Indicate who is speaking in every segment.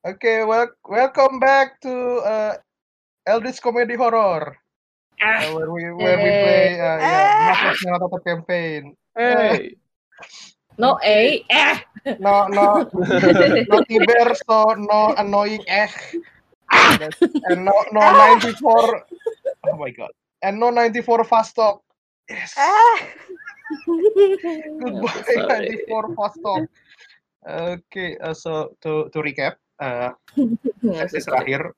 Speaker 1: Oke, wel- welcome back to uh, Eldritch Comedy Horror.
Speaker 2: Ah.
Speaker 1: Uh, where we where we play uh, yeah, Mafia Nyala Tetap Campaign.
Speaker 3: Hey.
Speaker 2: No A, eh.
Speaker 1: Uh, No no no tiber so no annoying eh. And no no 94. Oh my god. And no 94 fast talk. Yes.
Speaker 4: Ah. Eh,
Speaker 1: Goodbye
Speaker 3: sorry.
Speaker 1: 94 fast talk. Okay, uh, so to to recap, uh,
Speaker 3: Iya,
Speaker 1: sesi terakhir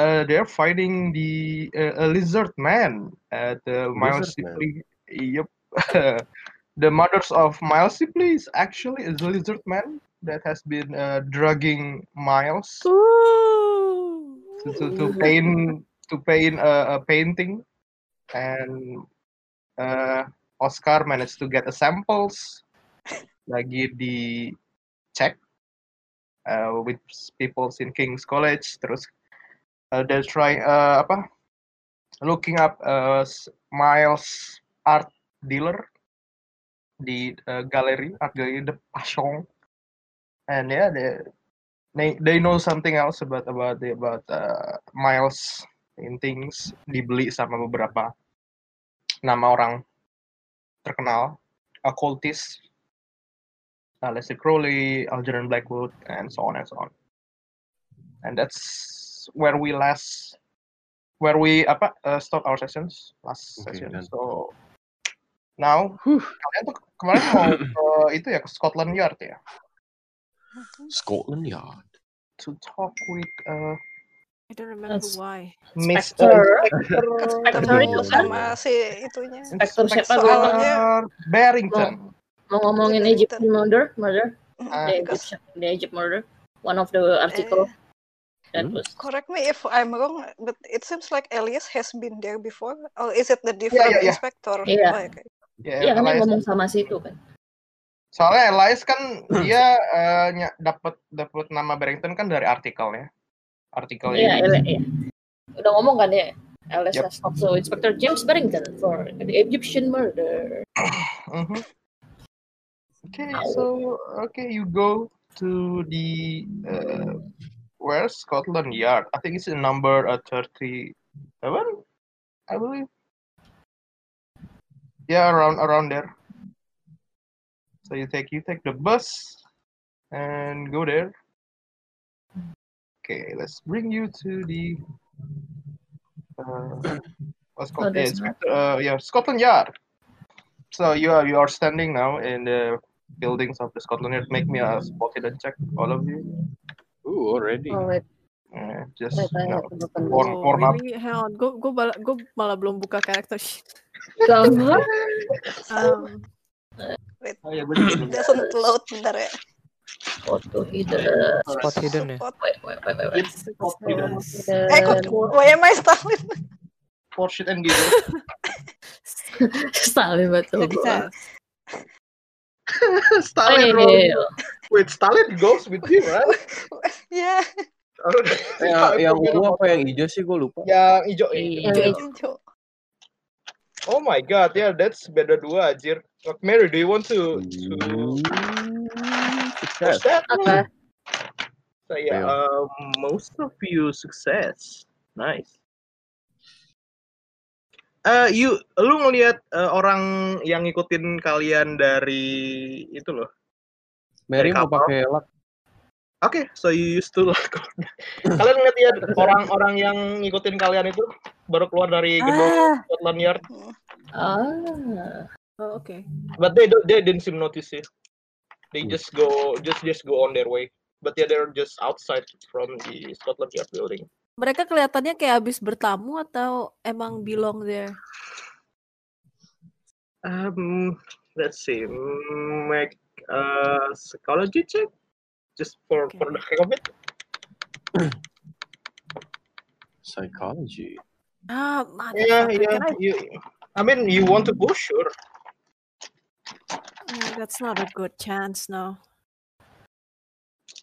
Speaker 1: uh, they're fighting the uh, a lizard man uh, the Miles
Speaker 5: Lizard man.
Speaker 1: Sibley yep the mothers of Miles Sibley is actually a lizard man that has been uh, drugging Miles to, to, to paint to paint a, a painting and uh, Oscar managed to get a samples lagi di cek uh, with people in King's College terus uh, they're trying uh, apa looking up uh, s- Miles art dealer di uh, galeri art gallery the Passion and yeah they they, they know something else about about the- about uh, Miles paintings dibeli sama beberapa nama orang terkenal occultist uh, Lester Crowley, Algernon Blackwood, and so on and so on. And that's where we last, where we apa uh, stop our sessions last
Speaker 5: Okay,
Speaker 1: session.
Speaker 5: done.
Speaker 1: So now kalian tuh kemarin mau ke itu ya ke Scotland Yard ya
Speaker 5: Scotland Yard.
Speaker 1: to talk with uh,
Speaker 6: I don't remember
Speaker 3: That's-
Speaker 6: why.
Speaker 1: Miss
Speaker 3: Spectre.
Speaker 6: Spectre
Speaker 5: itu
Speaker 4: sama si itunya.
Speaker 3: Spectre siapa
Speaker 1: Inspector
Speaker 3: Oh. gue?
Speaker 4: soalnya-
Speaker 1: Barrington.
Speaker 3: Mau ngomongin Egyptian murder, murder,
Speaker 1: Ah,
Speaker 3: the
Speaker 4: Because-
Speaker 3: Egyptian, the Egypt murder. One of the article
Speaker 4: Eh.
Speaker 3: that
Speaker 5: Hmm.
Speaker 3: was
Speaker 4: Correct me if I'm wrong, but it seems like Elias has been there before. Or is it the different
Speaker 1: yeah, yeah.
Speaker 4: inspector?
Speaker 3: Yeah.
Speaker 4: Oh, okay.
Speaker 3: Iya
Speaker 1: Ya,
Speaker 3: kan dia
Speaker 1: Elias.
Speaker 3: ngomong sama si itu kan.
Speaker 1: Soalnya Elias kan dia eh, ny- dapat dapat nama Barrington kan dari artikelnya. Artikel
Speaker 3: Iya,
Speaker 1: ini.
Speaker 3: Ele- iya. Udah ngomong kan dia. Alice
Speaker 1: Oh, Yep.
Speaker 3: has also Inspector James Barrington for the Egyptian murder.
Speaker 1: Mhm. Okay, so okay, you go to the uh, where Scotland Yard. I think it's in number uh, thirty-seven, I believe. Yeah, around around there. So you take you take the bus and go there. Okay, let's bring you to the uh, what's
Speaker 3: Oh,
Speaker 1: called yeah,
Speaker 3: that's
Speaker 1: Scot- uh, yeah Scotland Yard. So you are you are standing now in the buildings of the Scotland Yard. Make me a spot hidden check, all of you.
Speaker 5: Ooh, already.
Speaker 3: wait,
Speaker 1: Uh, just
Speaker 3: wait,
Speaker 1: you
Speaker 3: I
Speaker 1: know,
Speaker 3: have to open
Speaker 1: warm,
Speaker 6: Oh,
Speaker 1: warm up.
Speaker 6: really? Hang on, gue gue malah, gua malah belum buka karakter sheet.
Speaker 3: Gambar.
Speaker 6: Um,
Speaker 1: Oh, ya, bener, bener.
Speaker 4: Doesn't load bentar ya.
Speaker 3: Foto hidden.
Speaker 7: Spot hidden ya.
Speaker 4: Support.
Speaker 3: Wait, wait, wait, wait, wait.
Speaker 1: Spot
Speaker 6: Iya.
Speaker 1: hidden.
Speaker 4: Eh, kok, why am I stalling?
Speaker 1: For shit and giggles.
Speaker 3: Stalin betul.
Speaker 6: jadi saya
Speaker 1: Stalin
Speaker 3: Iya,
Speaker 1: rolls. Wait, Stalin goes with you, right?
Speaker 4: ya,
Speaker 5: Yang, yang ungu apa yang hijau sih gue lupa.
Speaker 1: yang hijau
Speaker 3: Iya.
Speaker 4: hijau,
Speaker 3: Iya.
Speaker 4: hijau.
Speaker 1: Oh my god, yeah, that's beda dua, anjir. Look, Mary, do you want to to
Speaker 5: Hmm,
Speaker 1: push
Speaker 5: Sukses.
Speaker 1: that?
Speaker 3: Apa?
Speaker 1: So, yeah, um, most of you success. Nice. Eh, you, lu ngelihat eh, orang yang ngikutin kalian dari itu loh.
Speaker 5: Mary mau pakai lak.
Speaker 1: Oke, so you used to luck. kalian ngeliat ya orang-orang yang ngikutin kalian itu baru keluar dari gedung
Speaker 6: Ah,
Speaker 1: Scotland Yard,
Speaker 3: Ah.
Speaker 6: oh, oke.
Speaker 1: but they don't, they didn't seem notice you. They just go just just go on their way. But yeah, they're just outside from the Scotland Yard building.
Speaker 6: Mereka kelihatannya kayak habis bertamu atau emang belong there?
Speaker 1: Um, let's see. Make a psychology check just for for the heck of it.
Speaker 5: Psychology.
Speaker 6: Ah, motherfucker,
Speaker 1: Yeah, yeah.
Speaker 6: can I-
Speaker 1: You, I mean, you want to go? Sure.
Speaker 6: Mm, That's not a good chance, no.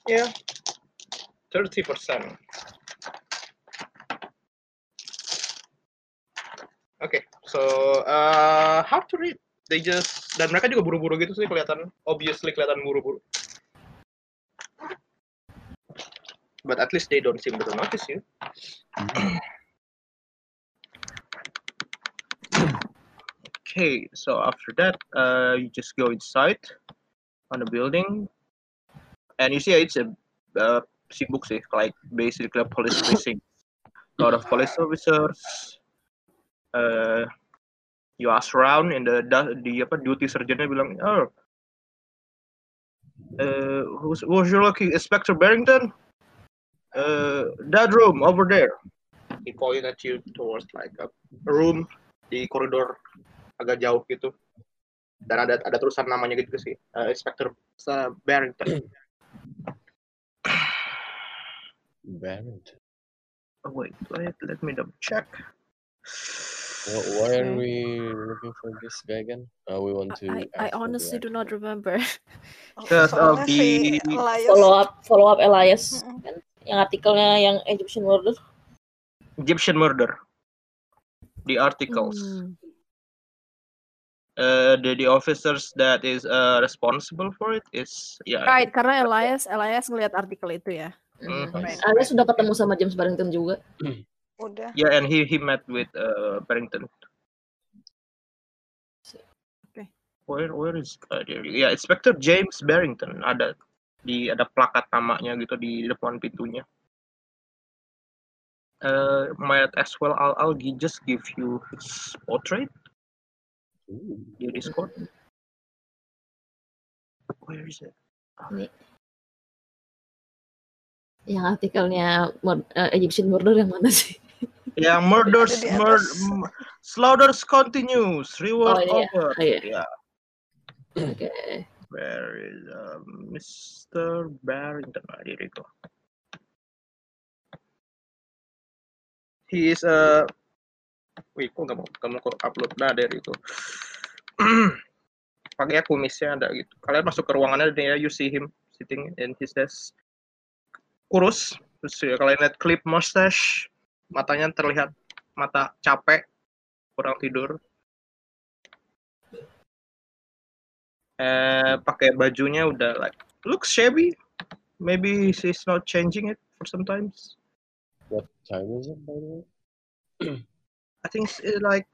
Speaker 1: Yeah. Thirty percent. Oke, so uh, hard to read. They just dan mereka juga buru-buru gitu sih kelihatan, obviously kelihatan buru-buru. but at least they don't seem to notice you. okay, so after that, uh, you just go inside on the building, and you see it's a uh, sibuk sih, like basically a police precinct. A lot of police officers. Uh, you ask around, and the da- the apa duty sergeantnya bilang, oh. Uh, who's, who's your lucky Inspector Barrington? uh, that room over there. He pointed at you towards like a room di koridor agak jauh gitu. Dan ada ada tulisan namanya gitu sih. Uh, Inspector uh, Barrington.
Speaker 5: Barrett.
Speaker 1: Oh, wait, wait, let me double check.
Speaker 5: Wh- Why are we looking for this guy again? Uh, we want to.
Speaker 6: I,
Speaker 5: ask
Speaker 6: I
Speaker 5: him
Speaker 6: honestly
Speaker 5: to
Speaker 6: do not remember.
Speaker 1: Because of
Speaker 4: Oh, Soalnya
Speaker 1: the-
Speaker 4: si Elias-
Speaker 3: Follow up, follow up Elias.
Speaker 4: Mm-mm.
Speaker 3: Kan? Yang artikelnya yang Egyptian Murder.
Speaker 1: Egyptian murder. The articles.
Speaker 6: Hmm.
Speaker 1: Uh, the the officers that is uh, responsible for it is yeah.
Speaker 6: Right, karena Elias Elias ngelihat artikel itu ya.
Speaker 1: Mm.
Speaker 5: advise.
Speaker 3: Anda sudah ketemu sama James Barrington juga.
Speaker 4: Udah.
Speaker 1: Yeah, and he he met with uh, Barrington.
Speaker 6: Okay.
Speaker 1: Where where is uh, there, yeah Inspector James Barrington ada di ada plakat namanya gitu di depan pintunya. Uh, might as well I'll, I'll gi- just give you his portrait
Speaker 5: Ooh.
Speaker 1: di Discord. Where is it?
Speaker 3: Yang artikelnya mur- eh, Egyptian Murder yang mana sih?
Speaker 1: Yeah, murders
Speaker 4: Ada di
Speaker 1: mur
Speaker 4: atas.
Speaker 1: m- slaughters continues. Reward
Speaker 3: Oh, iya.
Speaker 1: over.
Speaker 3: Oh, iya.
Speaker 1: Yeah.
Speaker 3: Oke.
Speaker 1: Where is uh, Mr. Barrington? Ah, here we go. He is a. Wih, kok nggak mau, nggak mau kok upload? Nah, there you go. Pakai kumisnya ada gitu. Kalian masuk ke ruangannya, dia you see him sitting in his desk. Kurus, terus ya, kalian lihat clip mustache, matanya terlihat mata capek, kurang tidur. eh pakai bajunya udah like looks shabby maybe she's not changing it for sometimes
Speaker 5: What time is it, by the way?
Speaker 1: I think it's uh, like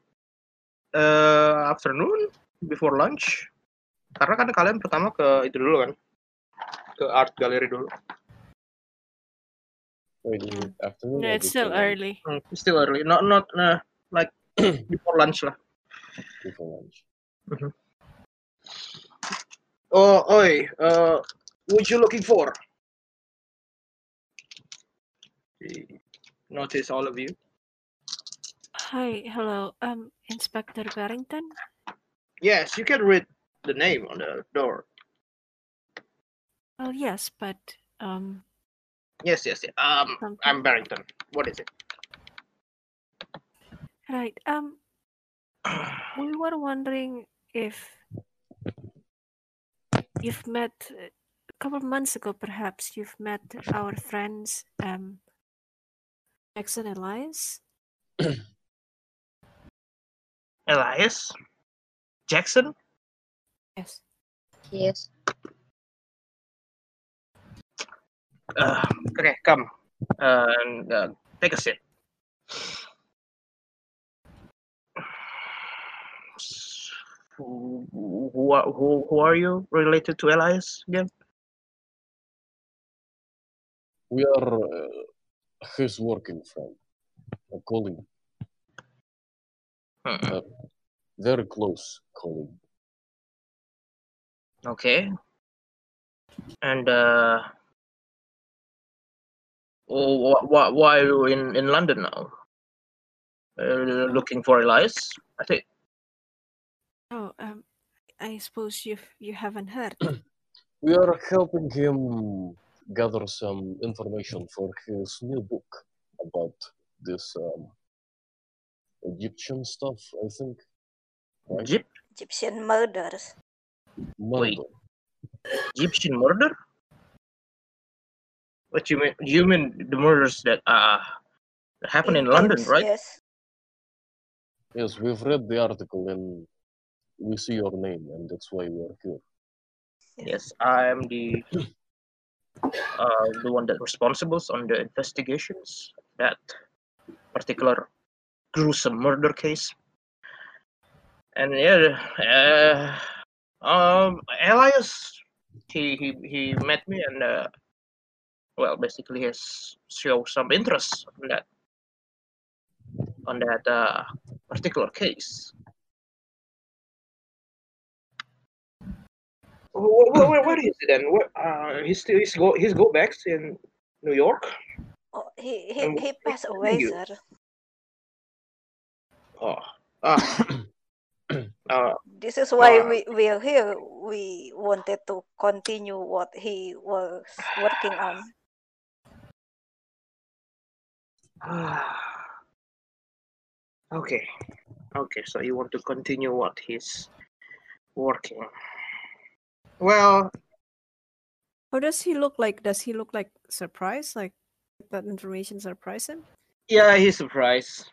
Speaker 1: uh, afternoon before lunch karena kan kalian pertama ke itu dulu kan ke art gallery dulu
Speaker 5: Wait, is it afternoon?
Speaker 7: No,
Speaker 5: or
Speaker 8: gitu
Speaker 7: it's still
Speaker 8: kan.
Speaker 5: before lunch?
Speaker 7: early.
Speaker 1: Hmm, still early not not uh, like before lunch lah
Speaker 5: Before lunch.
Speaker 1: oh oi uh, what you looking for He notice all of you
Speaker 7: Hi, hello. Um, Inspector Barrington.
Speaker 1: yes you can read the name on the door
Speaker 7: Well, yes, but um,
Speaker 1: Yes, yes, yes. Um,
Speaker 7: something-
Speaker 1: I'm Barrington. What is it?
Speaker 7: right. Um, we were wondering if you've met uh, a couple months ago, perhaps you've met our friends. Um,
Speaker 6: Jackson Elias.
Speaker 1: Elias Jackson.
Speaker 6: Yes.
Speaker 3: Yes.
Speaker 1: Uh, okay, come. Uh, and, uh, take a seat. Who, who, are- who, who are you related to Elias again?
Speaker 5: We are uh, his working friend, a colleague, Uh,
Speaker 1: Hmm,
Speaker 5: very close colleague.
Speaker 1: Okay. And uh, oh, wh- wh- why are you in, in London now? Uh, looking for Elias? I think
Speaker 7: oh, um, I suppose you you haven't heard.
Speaker 5: We are helping him gather some information for his new book about this um, Egyptian stuff, I think. Right?
Speaker 1: Egypt.
Speaker 4: Egyptian murders.
Speaker 1: Wait.
Speaker 5: Murder.
Speaker 1: Egyptian murder? What you mean? You mean the murders that uh that happened in London,
Speaker 4: Egypt,
Speaker 1: right?
Speaker 4: Yes.
Speaker 5: Yes, we've read the article and we see your name, and that's why we are here.
Speaker 1: Yes, I am the uh, the one that responsible on the investigations that particular gruesome murder case. And yeah, uh, um, Elias, he he he met me and uh, well, basically he show some interest on that on that uh, particular case. Wh- wh- wh- where is he then? Where, uh, he's still he's go he's go back in New York.
Speaker 4: Oh, he he,
Speaker 1: And
Speaker 4: he
Speaker 1: what
Speaker 4: passed
Speaker 1: do
Speaker 4: away,
Speaker 1: you-
Speaker 4: sir.
Speaker 1: Oh, ah. uh,
Speaker 4: This is why
Speaker 1: Ah.
Speaker 4: we we are here. We wanted to continue what he was working on.
Speaker 1: okay, okay. So you want to continue what he's working? Well,
Speaker 7: How does he look like? Does he look like surprised? Like that information surprised him?
Speaker 1: yeah, he's surprised.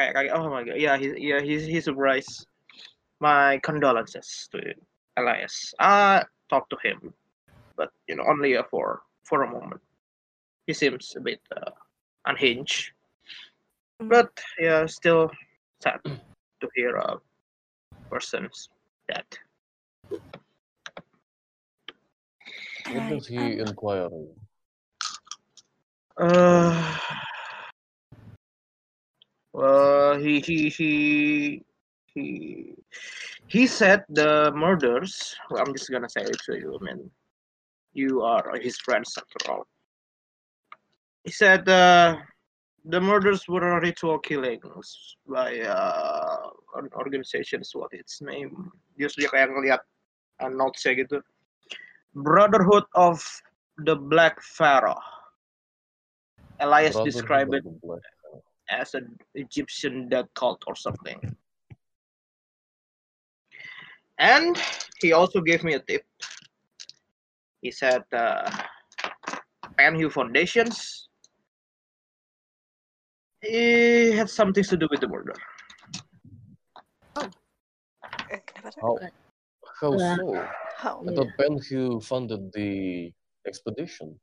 Speaker 1: Kayak, kayak, oh my god, yeah, he, yeah, he's he's surprised. My condolences to Elias. I talked to him, but you know, only uh, for for a moment. He seems a bit uh, unhinged,
Speaker 7: Mhm.
Speaker 1: but yeah, still sad to hear a person's death.
Speaker 8: What
Speaker 7: Right,
Speaker 8: does he inquire on?
Speaker 1: Uh, well, Uh, he he he he he said the murders. Well, I'm just gonna say it to you, man. You are his friends after all. He said uh, the murders were ritual killings by uh, an organizations. What its name? Just dia kayak ngeliat uh, notesnya gitu. Brotherhood of the Black Pharaoh. Elias
Speaker 8: Brotherhood
Speaker 1: described
Speaker 8: of
Speaker 1: it
Speaker 8: the Black.
Speaker 1: as an Egyptian death cult or something. And he also gave me a tip. He said, uh, Panhu Foundations. It had something to do with the murder.
Speaker 4: Eh, kenapa?
Speaker 1: Oh.
Speaker 4: sir?
Speaker 8: How, how
Speaker 3: Black.
Speaker 8: so?
Speaker 4: How?
Speaker 3: Iya,
Speaker 8: I thought Penhu funded the expedition.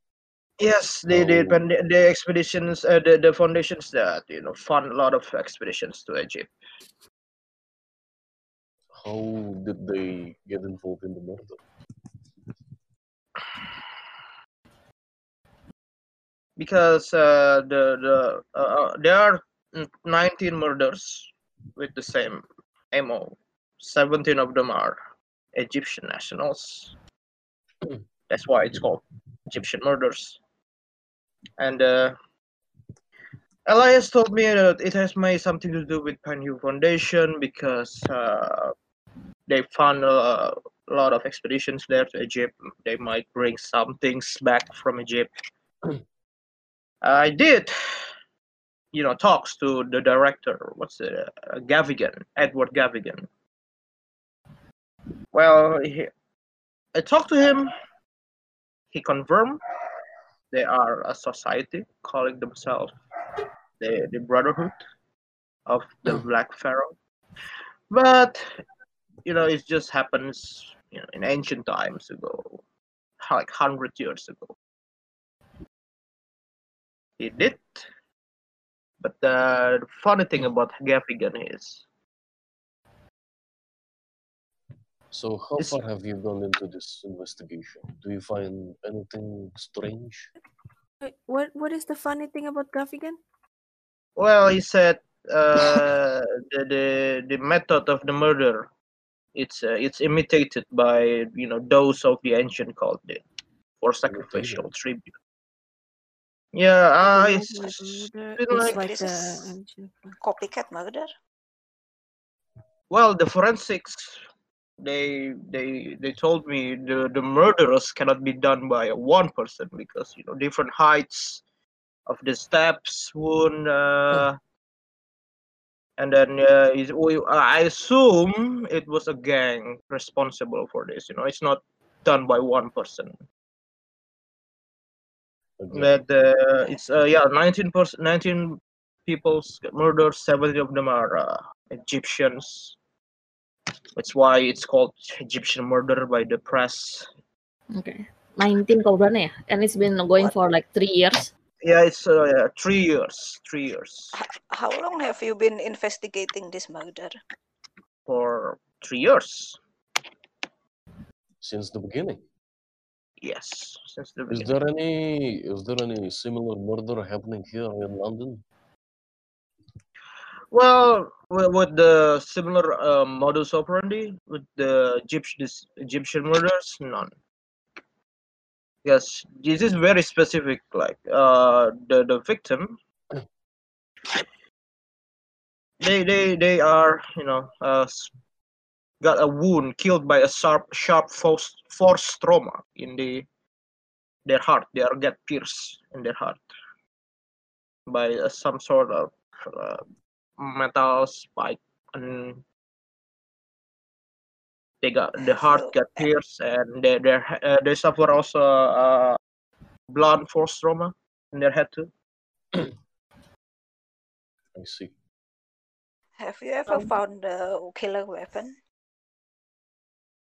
Speaker 1: Yes, they did.
Speaker 8: Oh.
Speaker 1: When the, the expeditions, uh, the, the foundations that, you know, fund a lot of expeditions to Egypt.
Speaker 8: How did they get involved in the murder?
Speaker 1: because uh, the the uh, uh, there are n- 19 murders with the same MO. 17 of them are Egyptian nationals. That's why it's called Egyptian murders. And uh, Elias told me that it has may something to do with Panhu Foundation because uh, they found a lot of expeditions there to Egypt. They might bring some things back from Egypt. I did, you know, talks to the director. What's the uh, Gavigan, Edward Gavigan. Well, he, I talked to him. He confirmed they are a society calling themselves the, the Brotherhood of the Black Pharaoh. But you know, it just happens, you know, in ancient times ago, like hundred years ago he did. But uh, the funny thing about Gaffigan is
Speaker 8: So how
Speaker 1: It's-
Speaker 8: far have you gone into this investigation? Do you find anything strange?
Speaker 7: Wait, what What is the funny thing about Gaffigan?
Speaker 1: Well, he said uh, the, the the method of the murder, it's uh, it's imitated by you know those of the ancient cult did for sacrificial tribute. Yeah, uh,
Speaker 7: Oh,
Speaker 1: it's,
Speaker 7: the
Speaker 1: been
Speaker 7: murder is
Speaker 1: like
Speaker 7: like
Speaker 4: this
Speaker 7: the
Speaker 4: is-
Speaker 7: ancient-
Speaker 4: Copycat murder?
Speaker 1: well the forensics they they they told me the the murderers cannot be done by one person because you know different heights of the steps wound uh, and then uh, is- we, i assume it was a gang responsible for this you know it's not done by one person
Speaker 8: Again,
Speaker 1: but uh, it's uh, yeah 19 pers- 19 people's murdered 70 of them are uh, egyptians that's why it's called egyptian murder by the press
Speaker 3: Oke. 19 kalau berani ya and it's been going for like three years
Speaker 1: Yeah, it's uh, yeah, three years, three years
Speaker 4: How long have you been investigating this murder?
Speaker 1: for three years.
Speaker 8: since the beginning.
Speaker 1: Yes, since the
Speaker 8: Is
Speaker 1: beginning.
Speaker 8: there any is there any similar murder happening here in London?
Speaker 1: Well, wi- with the similar uh, modus operandi with the Egyptian Egyptian murders, none. Yes, this is very specific. Like uh, the the victim, they they they are you know uh, s- got a wound killed by a sharp sharp force force trauma in the their heart. They are get pierced in their heart by uh, some sort of uh, metal spike and they got the heart got pierced and they they uh, they suffer also uh, blood force trauma in their head too.
Speaker 8: I see.
Speaker 4: Have you ever
Speaker 1: Um.
Speaker 4: found a killer weapon?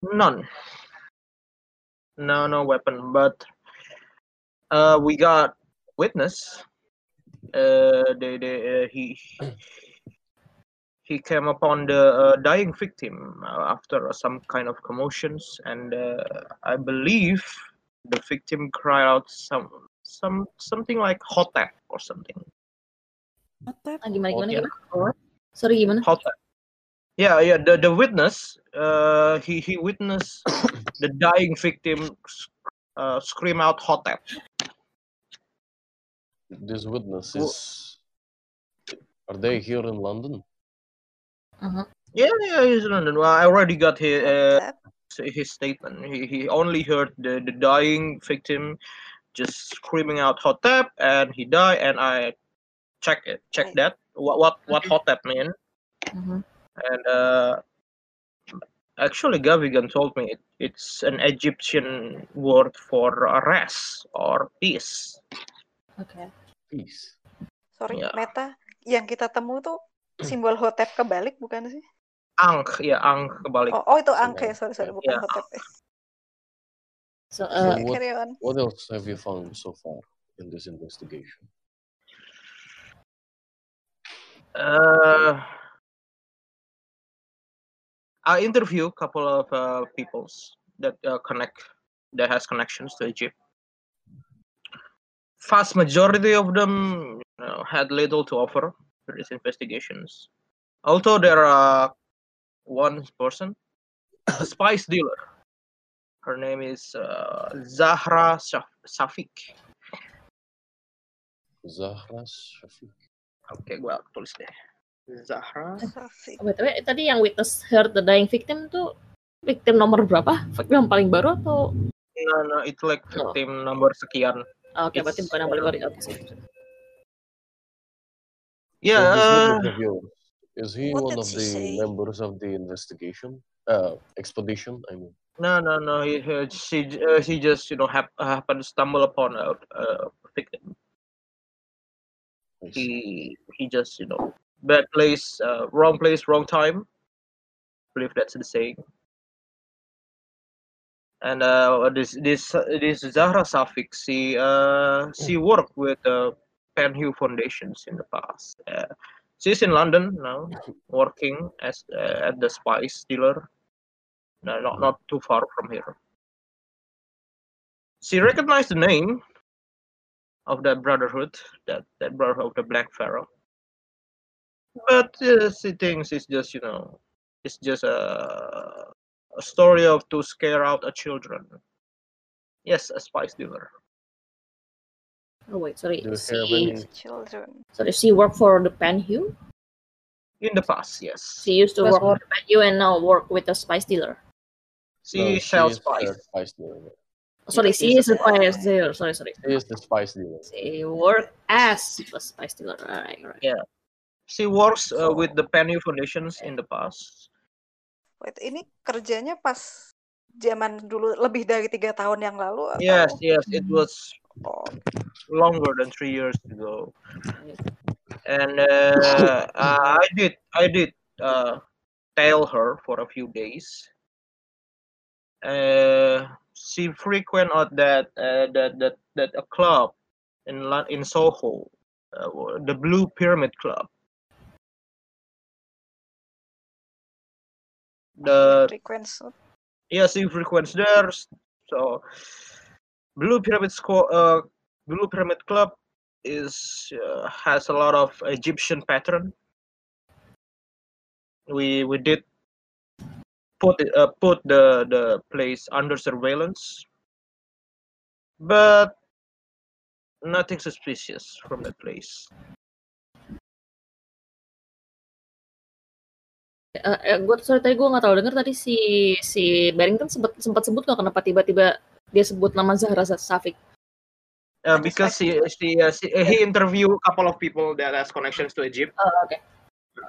Speaker 1: None. No, no weapon. But uh, we got witness. Uh, they, they, uh, he he came upon the uh, dying victim uh, after some kind of commotions, and uh, I believe the victim cried out some some something like hotep or something.
Speaker 3: Ah, gimana gimana
Speaker 1: Oke.
Speaker 3: gimana sorry gimana
Speaker 1: Hotep. Yeah, yeah. The the witness, uh, he he witnessed the dying victim s- uh, scream out hotep.
Speaker 8: These witnesses are they here in London?
Speaker 3: Uh-huh.
Speaker 1: Yeah, yeah, he's in London. Well, I already got his uh,
Speaker 4: That-
Speaker 1: his statement. He he only heard the, the dying victim just screaming out hot tap, and he died. And I check it, check that.
Speaker 4: Right.
Speaker 1: What what what hot tap mean?
Speaker 3: Mhm.
Speaker 1: And uh, actually, Gavigan told me it, it's an Egyptian word for rest or peace.
Speaker 3: Oke.
Speaker 8: Peace.
Speaker 4: Sorry,
Speaker 1: Ya. Hmm.
Speaker 4: Meta, yang kita temu tuh simbol hotep kebalik bukan sih?
Speaker 1: Ang, ya ang kebalik.
Speaker 4: Oh, oh itu
Speaker 8: Simbol
Speaker 4: angka ya, sorry sorry, bukan
Speaker 1: Ya.
Speaker 4: hotep. Eh,
Speaker 3: So,
Speaker 8: So
Speaker 3: uh,
Speaker 8: what
Speaker 4: Carry on.
Speaker 8: what else have you found so far in this investigation?
Speaker 1: Uh, I interview a couple of uh, peoples that uh, connect that has connections to Egypt. Vast majority of them you know, had little to offer to these investigations. Although there are one person, a spice dealer. Her name is uh, Zahra Shaf- Safik.
Speaker 8: Zahra Shafiq.
Speaker 1: Okay, gua tulis deh. Zahra.
Speaker 4: Safi.
Speaker 3: btw tadi yang witness heard the dying victim tuh victim nomor berapa? Victim paling baru atau?
Speaker 1: No, no, it's like victim number sekian.
Speaker 3: Oh, Oke, berarti
Speaker 1: It's-
Speaker 3: bukan yang paling baru. Oke, sorry.
Speaker 1: Yeah,
Speaker 8: So this
Speaker 1: uh,
Speaker 8: witness of yours, is he
Speaker 4: What
Speaker 8: one
Speaker 4: did
Speaker 8: of
Speaker 4: she
Speaker 8: the
Speaker 4: say?
Speaker 8: members of the investigation? Uh, expedition, I mean.
Speaker 1: No, no, no. He, he she, j- uh, she just you know hap- happened to stumble upon a, a victim.
Speaker 8: I see.
Speaker 1: He he just you know bad place, uh, wrong place, wrong time. believe that's the saying. And uh, this this uh, this Zahra Safik, she uh she worked with uh, Penhue Foundations in the past. Uh, she's in London now, working as uh, at the spice dealer. No, not not too far from here. She recognized the name of that brotherhood, that that brotherhood of the Black Pharaoh. But uh, she thinks it's just you know, it's just a a story of to scare out a children. Yes, a spice dealer.
Speaker 3: Oh wait, sorry.
Speaker 8: Do you
Speaker 3: Si,
Speaker 8: have any?
Speaker 4: Children.
Speaker 3: sorry, she work for the Penhue.
Speaker 1: In the past, yes,
Speaker 3: She used to
Speaker 9: Was
Speaker 3: work for the Penhue and now work with a spice dealer.
Speaker 1: she
Speaker 8: no,
Speaker 1: sells
Speaker 8: is the
Speaker 1: spice.
Speaker 8: spice dealer.
Speaker 3: Oh, sorry,
Speaker 1: Yeah,
Speaker 3: she
Speaker 1: she's a
Speaker 3: is a spice dealer. Sorry, sorry.
Speaker 8: He is the spice dealer.
Speaker 3: She work as a spice dealer. Alright, alright.
Speaker 1: She works uh, with the Penny Foundations in the past.
Speaker 4: Wait, ini kerjanya pas zaman dulu lebih dari tiga tahun yang lalu atau?
Speaker 1: Yes, yes, it was
Speaker 4: Oh,
Speaker 1: longer than three years ago. and uh, uh, I did I did uh, tail her for a few days, uh, she frequent out that uh, that that that a club in Lon- in Soho, uh, the Blue Pyramid Club. The
Speaker 4: Frequency.
Speaker 3: Oh,
Speaker 1: yes, you frequent there. So, Blue Pyramid Squad, uh, Blue Pyramid Club is uh, has a lot of Egyptian pattern. We we did put it- uh, put the the place under surveillance, but nothing suspicious from that place.
Speaker 3: Eh, eh, gue sorry tadi gue nggak terlalu dengar tadi si si Barrington sempat sempat sebut nggak kenapa tiba-tiba dia sebut nama Zahra Sa- Safik.
Speaker 1: Uh, because he, she, uh, she- uh, he interviewed a couple of people that has connections to Egypt.
Speaker 3: Oh, oke.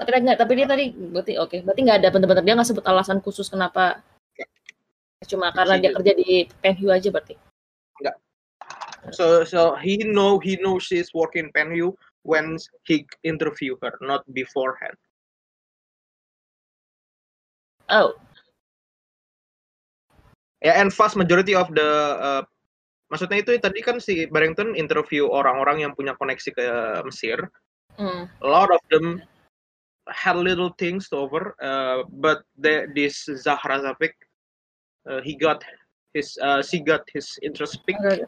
Speaker 3: Tapi tadi nggak, tapi dia tadi berarti oke, berarti nggak ada benar-benar dia nggak sebut alasan khusus kenapa cuma karena dia kerja di PNU aja berarti.
Speaker 1: So so he know he knows she's working in Penhu when he interview her, not beforehand.
Speaker 3: Oh,
Speaker 1: Yeah, and vast majority of the uh, maksudnya itu tadi kan si Barrington interview orang-orang yang punya koneksi ke uh, Mesir.
Speaker 3: hmm.
Speaker 1: A lot of them had little things to over, uh, but the, this Zahra Zafik, uh, he got his uh, she got his interest picked.
Speaker 3: Okay.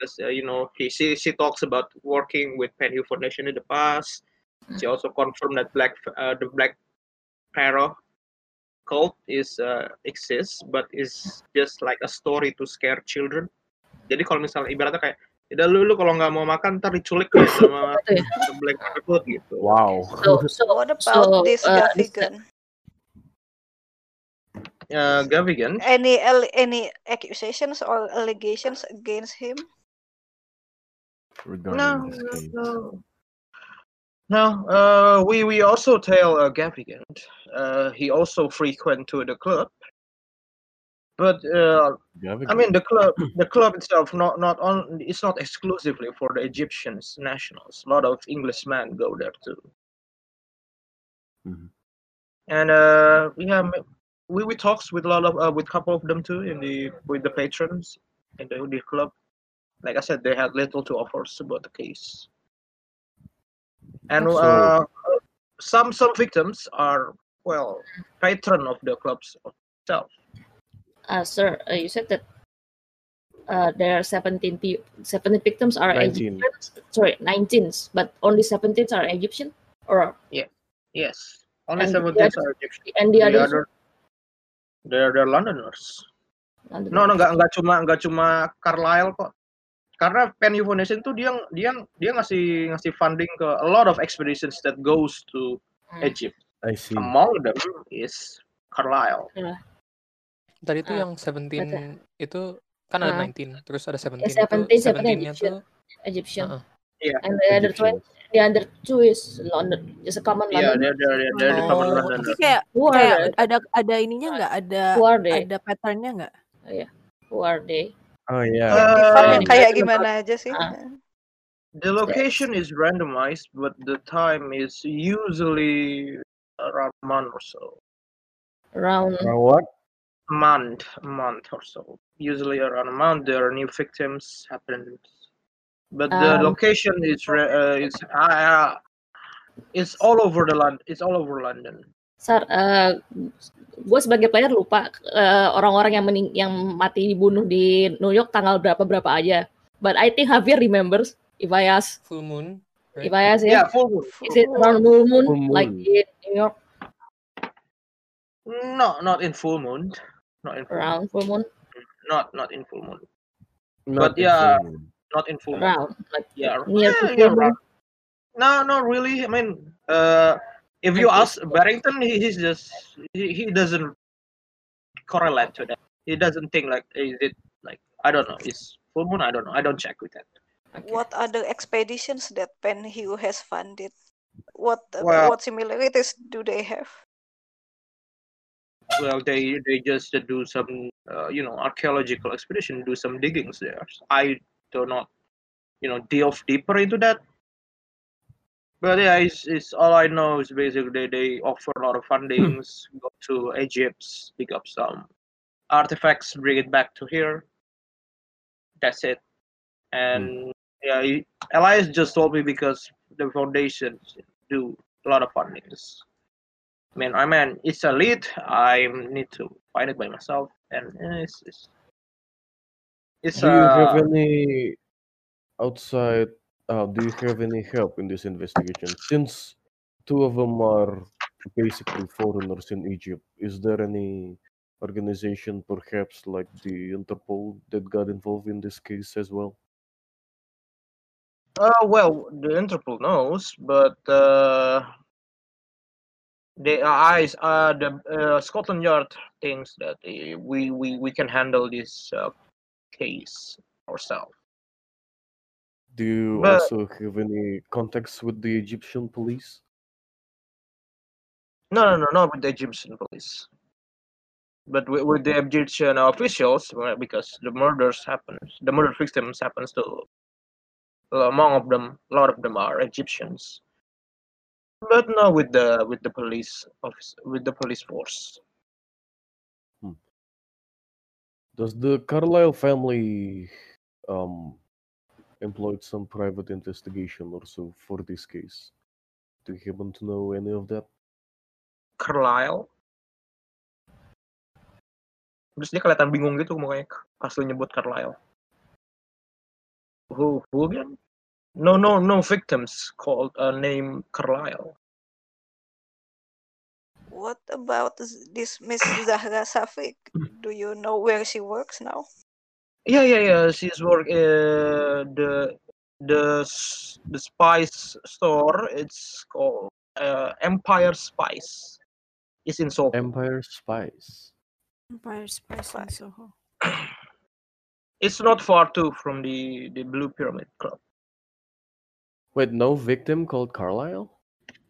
Speaker 1: because, uh, you know he she, she talks about working with Penhu Foundation in the past. She also confirmed that black uh, the black pharaoh cult is uh, exists, but is just like a story to scare children. Jadi kalau misalnya ibaratnya kayak udah lu, lu kalau nggak mau makan ntar diculik lu sama sama black pharaoh cult," gitu.
Speaker 10: Wow.
Speaker 3: So, so,
Speaker 4: What about
Speaker 3: so,
Speaker 4: this
Speaker 3: uh,
Speaker 4: Gavigan?
Speaker 1: Uh, Gavigan,
Speaker 4: Any al- any accusations or allegations against him?
Speaker 8: regarding
Speaker 1: No,
Speaker 8: this
Speaker 1: no,
Speaker 8: case.
Speaker 1: no. No, uh, we we also tell uh, Gavigan. Uh, he also frequent to the club, but uh, I mean the club the club itself not not on it's not exclusively for the Egyptians nationals. A lot of Englishmen go there too.
Speaker 8: Mhm.
Speaker 1: And uh, yeah, m- we we talks with a lot of uh, with couple of them too in the with the patrons in the, the club. Like I said, they had little to offer about the case. And
Speaker 8: So-
Speaker 1: uh, some some victims are well patron of the clubs itself.
Speaker 3: uh, sir, uh, you said that uh, there are 17, pe- 17 victims are
Speaker 10: 19.
Speaker 3: Egyptians. Sorry, 19s, but only 17 are Egyptian, or
Speaker 1: Yes, only
Speaker 3: And the
Speaker 1: seventeen
Speaker 3: other-
Speaker 1: are Egyptian.
Speaker 3: and the,
Speaker 1: Iya,
Speaker 3: others.
Speaker 1: they're they're Londoners.
Speaker 3: London.
Speaker 1: No, no, nggak nggak cuma nggak cuma Carlisle kok. Karena Penny Foundation tuh dia dia dia ngasih ngasih funding ke a lot of expeditions that goes to
Speaker 3: Hmm.
Speaker 1: Egypt.
Speaker 8: I see.
Speaker 1: Among them is Carlisle.
Speaker 11: Tadi
Speaker 3: Ah,
Speaker 11: tuh yang 17 itu kan ada
Speaker 3: Ah.
Speaker 11: 19, terus ada
Speaker 3: Eh,
Speaker 11: 17 itu
Speaker 3: 17, 17
Speaker 11: 17-nya
Speaker 3: Egyptian.
Speaker 11: tuh
Speaker 3: Egyptian.
Speaker 11: Heeh.
Speaker 1: Yeah.
Speaker 3: And the other
Speaker 8: Egyptian.
Speaker 3: 20, the other two is London, just a common
Speaker 1: Yeah,
Speaker 3: London.
Speaker 1: they're they're they're, they're the common
Speaker 11: Oh,
Speaker 1: Londoners.
Speaker 7: Tapi kayak
Speaker 3: Who are
Speaker 7: kayak
Speaker 3: they?
Speaker 7: ada ada ininya nggak? Ada
Speaker 3: Who are they?
Speaker 7: ada patternnya nggak?
Speaker 3: Oh, yeah. Who are they?
Speaker 8: Oh yeah.
Speaker 1: Uh,
Speaker 4: Define yang
Speaker 3: Random.
Speaker 4: kayak gimana aja sih?
Speaker 3: Ah,
Speaker 1: The location is randomized, but the time is usually around a month or so.
Speaker 3: Round.
Speaker 8: Now what?
Speaker 1: A month, a month or so. Usually around a month, there are new victims happen. But the
Speaker 3: Um,
Speaker 1: location is re- uh, is uh, it's all over the land. It's all over London.
Speaker 3: Sar, gue uh, sebagai player lupa eh, orang-orang yang mening- yang mati dibunuh di New York tanggal berapa berapa aja. But I think Javier remembers if I ask,
Speaker 11: full moon.
Speaker 3: if I ask
Speaker 1: Yeah,
Speaker 3: ya,
Speaker 1: full moon.
Speaker 3: is it around full moon,
Speaker 8: Full moon.
Speaker 3: like in New York
Speaker 1: No, not in full moon. Not in full moon.
Speaker 3: around full moon,
Speaker 1: Not not in full moon.
Speaker 8: Not
Speaker 1: But
Speaker 8: in
Speaker 1: yeah.
Speaker 8: full moon.
Speaker 1: Not in full moon.
Speaker 3: around like
Speaker 1: Yeah,
Speaker 3: near to
Speaker 1: yeah,
Speaker 3: full
Speaker 1: yeah,
Speaker 3: moon.
Speaker 1: around. No, not really. I mean, uh, if you ask Barrington, he, he's just he, he doesn't correlate to that. He doesn't think like is it like I don't know. It's full moon. I don't know. I don't check with that.
Speaker 4: What other expeditions that Penhew has funded? What
Speaker 1: Well-
Speaker 4: what similarities do they have?
Speaker 1: Well, they they just do some uh, you know archaeological expedition, do some diggings there. I do not you know delve deeper into that. But yeah, it's, it's all I know
Speaker 8: Hmm.
Speaker 1: is basically they offer a lot of fundings, go to Egypt, pick up some artifacts, bring it back to here. That's it.
Speaker 8: Hmm.
Speaker 1: And yeah, you- Elias just told me because the foundations do a lot of fundings. I mean, I mean, it's a lead. I need to find it by myself, and eh, it's it's, it's uh,
Speaker 8: Do you have
Speaker 1: a
Speaker 8: any outside? Uh, do you have any help in this investigation? Since two of them are basically foreigners in Egypt, is there any organization, perhaps like the Interpol, that got involved in this case as well?
Speaker 1: Uh, well, the Interpol knows, but uh, the eyes, uh, the uh, Scotland Yard thinks that uh, we, we we can handle this uh, case ourselves.
Speaker 8: Do you
Speaker 1: But-
Speaker 8: also have any contacts with the Egyptian police?
Speaker 1: No, no, no, not with the Egyptian police, but with, with the Egyptian officials, well, because the murders happens, the murder victims happens to among of them, a lot of them are Egyptians, but not with the with the police office, with the police force.
Speaker 8: Does the Carlyle family um, employed some private investigation or so for this case? Do you happen to know any of that?
Speaker 1: Carlisle. Terus dia kelihatan bingung gitu mukanya pas lu nyebut Carlisle. Who, who again? No, no, no victims called a name Carlisle.
Speaker 4: What about z- this Miss Zahra Safik? Do you know where she works now?
Speaker 1: Yeah, yeah, yeah. She's work uh, the the s- the spice store. It's called uh, Empire Spice. It's in Seoul.
Speaker 8: Empire Spice.
Speaker 7: Empire Spice in Soho.
Speaker 1: It's not far too from the the Blue Pyramid Club.
Speaker 8: Wait, no victim called Carlyle?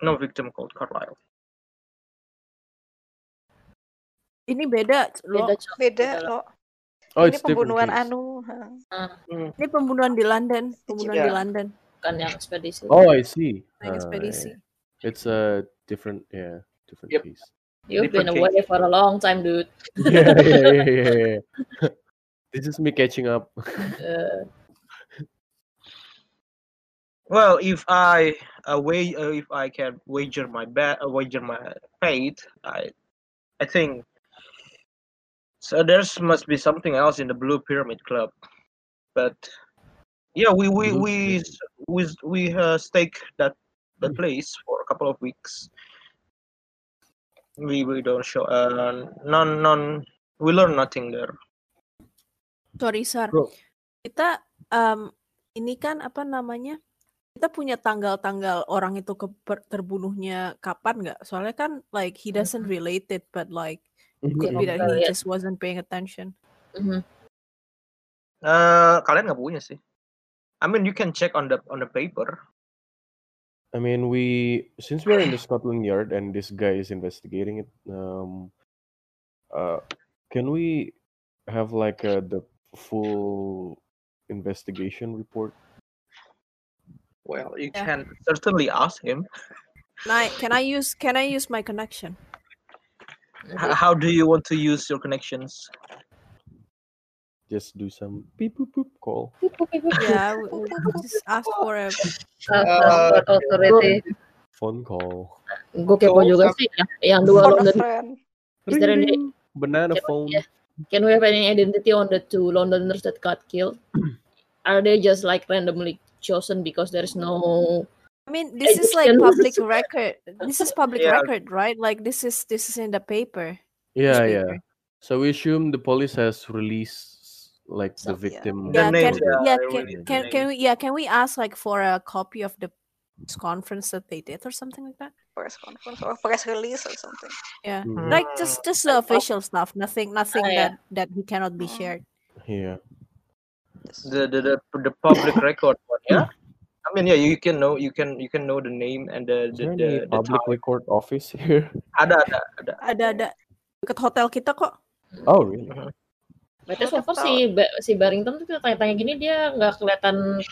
Speaker 1: No victim called Carlisle.
Speaker 7: Ini beda loh.
Speaker 3: Beda, Cok.
Speaker 4: Beda
Speaker 3: Beda.
Speaker 4: loh.
Speaker 8: Oh,
Speaker 4: Ini
Speaker 8: it's different
Speaker 4: pembunuhan
Speaker 8: case.
Speaker 4: anu. ha.
Speaker 7: Ini pembunuhan di London, pembunuhan di
Speaker 4: Iya.
Speaker 7: London,
Speaker 3: Bukan kan yang ekspedisi.
Speaker 8: Oh, I see.
Speaker 7: naik
Speaker 8: Ah,
Speaker 7: ekspedisi.
Speaker 8: yeah. It's a different, yeah, different
Speaker 12: Yep.
Speaker 8: case.
Speaker 3: You've been
Speaker 1: different
Speaker 3: away
Speaker 1: case.
Speaker 3: for a long time, dude.
Speaker 8: yeah, yeah, yeah, yeah. yeah. this is me catching up.
Speaker 3: Uh,
Speaker 1: Well, if I uh, wa- uh, if I can wager my bet, uh, wager my fate, I, I think. So there's must be something else in the Blue Pyramid Club, but yeah, we we
Speaker 8: Blue
Speaker 1: we s- we s- we uh, stake that the place for a couple of weeks. We we don't show uh none none. We learn nothing there.
Speaker 7: Sorry Sar,
Speaker 8: Bro.
Speaker 7: kita em, ini kan apa namanya? Kita punya tanggal-tanggal orang itu ke terbunuhnya kapan nggak? Soalnya kan like he doesn't relate it, but like
Speaker 1: Iya,
Speaker 7: could be that
Speaker 3: Relate.
Speaker 7: he just wasn't paying attention.
Speaker 3: mhm.
Speaker 1: Uh, kalian nggak punya sih. I mean, you can check on the on the paper.
Speaker 8: I mean, we since we're in the Scotland Yard and this guy is investigating it, um, uh, can we have like uh, the full investigation report?
Speaker 1: Well, you
Speaker 7: Yeah.
Speaker 1: can certainly ask him.
Speaker 7: Can I can I use can I use my connection?
Speaker 1: H- how do you want to use your connections?
Speaker 8: Just do some beep boop boop call.
Speaker 7: Yeah, we- we just ask for a
Speaker 3: Atas
Speaker 12: Uh,
Speaker 3: authority.
Speaker 8: Phone call.
Speaker 3: Gue kepo
Speaker 12: so-
Speaker 3: juga sih. Yang, yang dua
Speaker 4: For a
Speaker 3: London.
Speaker 4: friend.
Speaker 3: Is there any-
Speaker 8: Ring, ring.
Speaker 3: Can
Speaker 8: Banana
Speaker 3: we-
Speaker 8: phone.
Speaker 3: yeah. Can we have any identity on the two Londoners that got killed? Are they just like randomly chosen because there's no
Speaker 7: I mean, this is like
Speaker 3: Egyptian
Speaker 7: public
Speaker 3: was-
Speaker 7: record. This is public
Speaker 1: Yeah.
Speaker 7: record, right? Like this is this is in the paper.
Speaker 8: Yeah, yeah.
Speaker 7: newspaper.
Speaker 8: So we assume the police has released like
Speaker 3: Some-
Speaker 8: the
Speaker 4: yeah.
Speaker 8: victim.
Speaker 1: The
Speaker 7: Yeah,
Speaker 1: names,
Speaker 7: can
Speaker 8: or the-
Speaker 7: yeah
Speaker 1: I
Speaker 7: can
Speaker 1: really
Speaker 8: the
Speaker 7: can,
Speaker 1: name.
Speaker 7: can we yeah can we ask like for a copy of the press conference that they did or something like that?
Speaker 4: press conference or press release or something.
Speaker 7: Yeah,
Speaker 8: Mhm.
Speaker 7: like
Speaker 1: Mm.
Speaker 7: just just the official stuff. Nothing nothing
Speaker 3: Oh, yeah.
Speaker 7: that that he cannot be
Speaker 4: Mm.
Speaker 7: shared.
Speaker 8: Yeah.
Speaker 4: Just-
Speaker 1: the the, the, the public record one, yeah. I mean, yeah, you can know you can you can know the name and the
Speaker 8: Is
Speaker 1: the
Speaker 8: there
Speaker 1: the,
Speaker 8: any
Speaker 1: the
Speaker 8: public
Speaker 1: time.
Speaker 8: record office here?
Speaker 1: Ada ada ada.
Speaker 7: Ada ada dekat hotel kita kok.
Speaker 8: Oh, really?
Speaker 3: Berarti
Speaker 4: Nggak
Speaker 3: so far
Speaker 4: tahu.
Speaker 3: si, Ba- si Barrington tuh kita tanya-tanya gini dia nggak kelihatan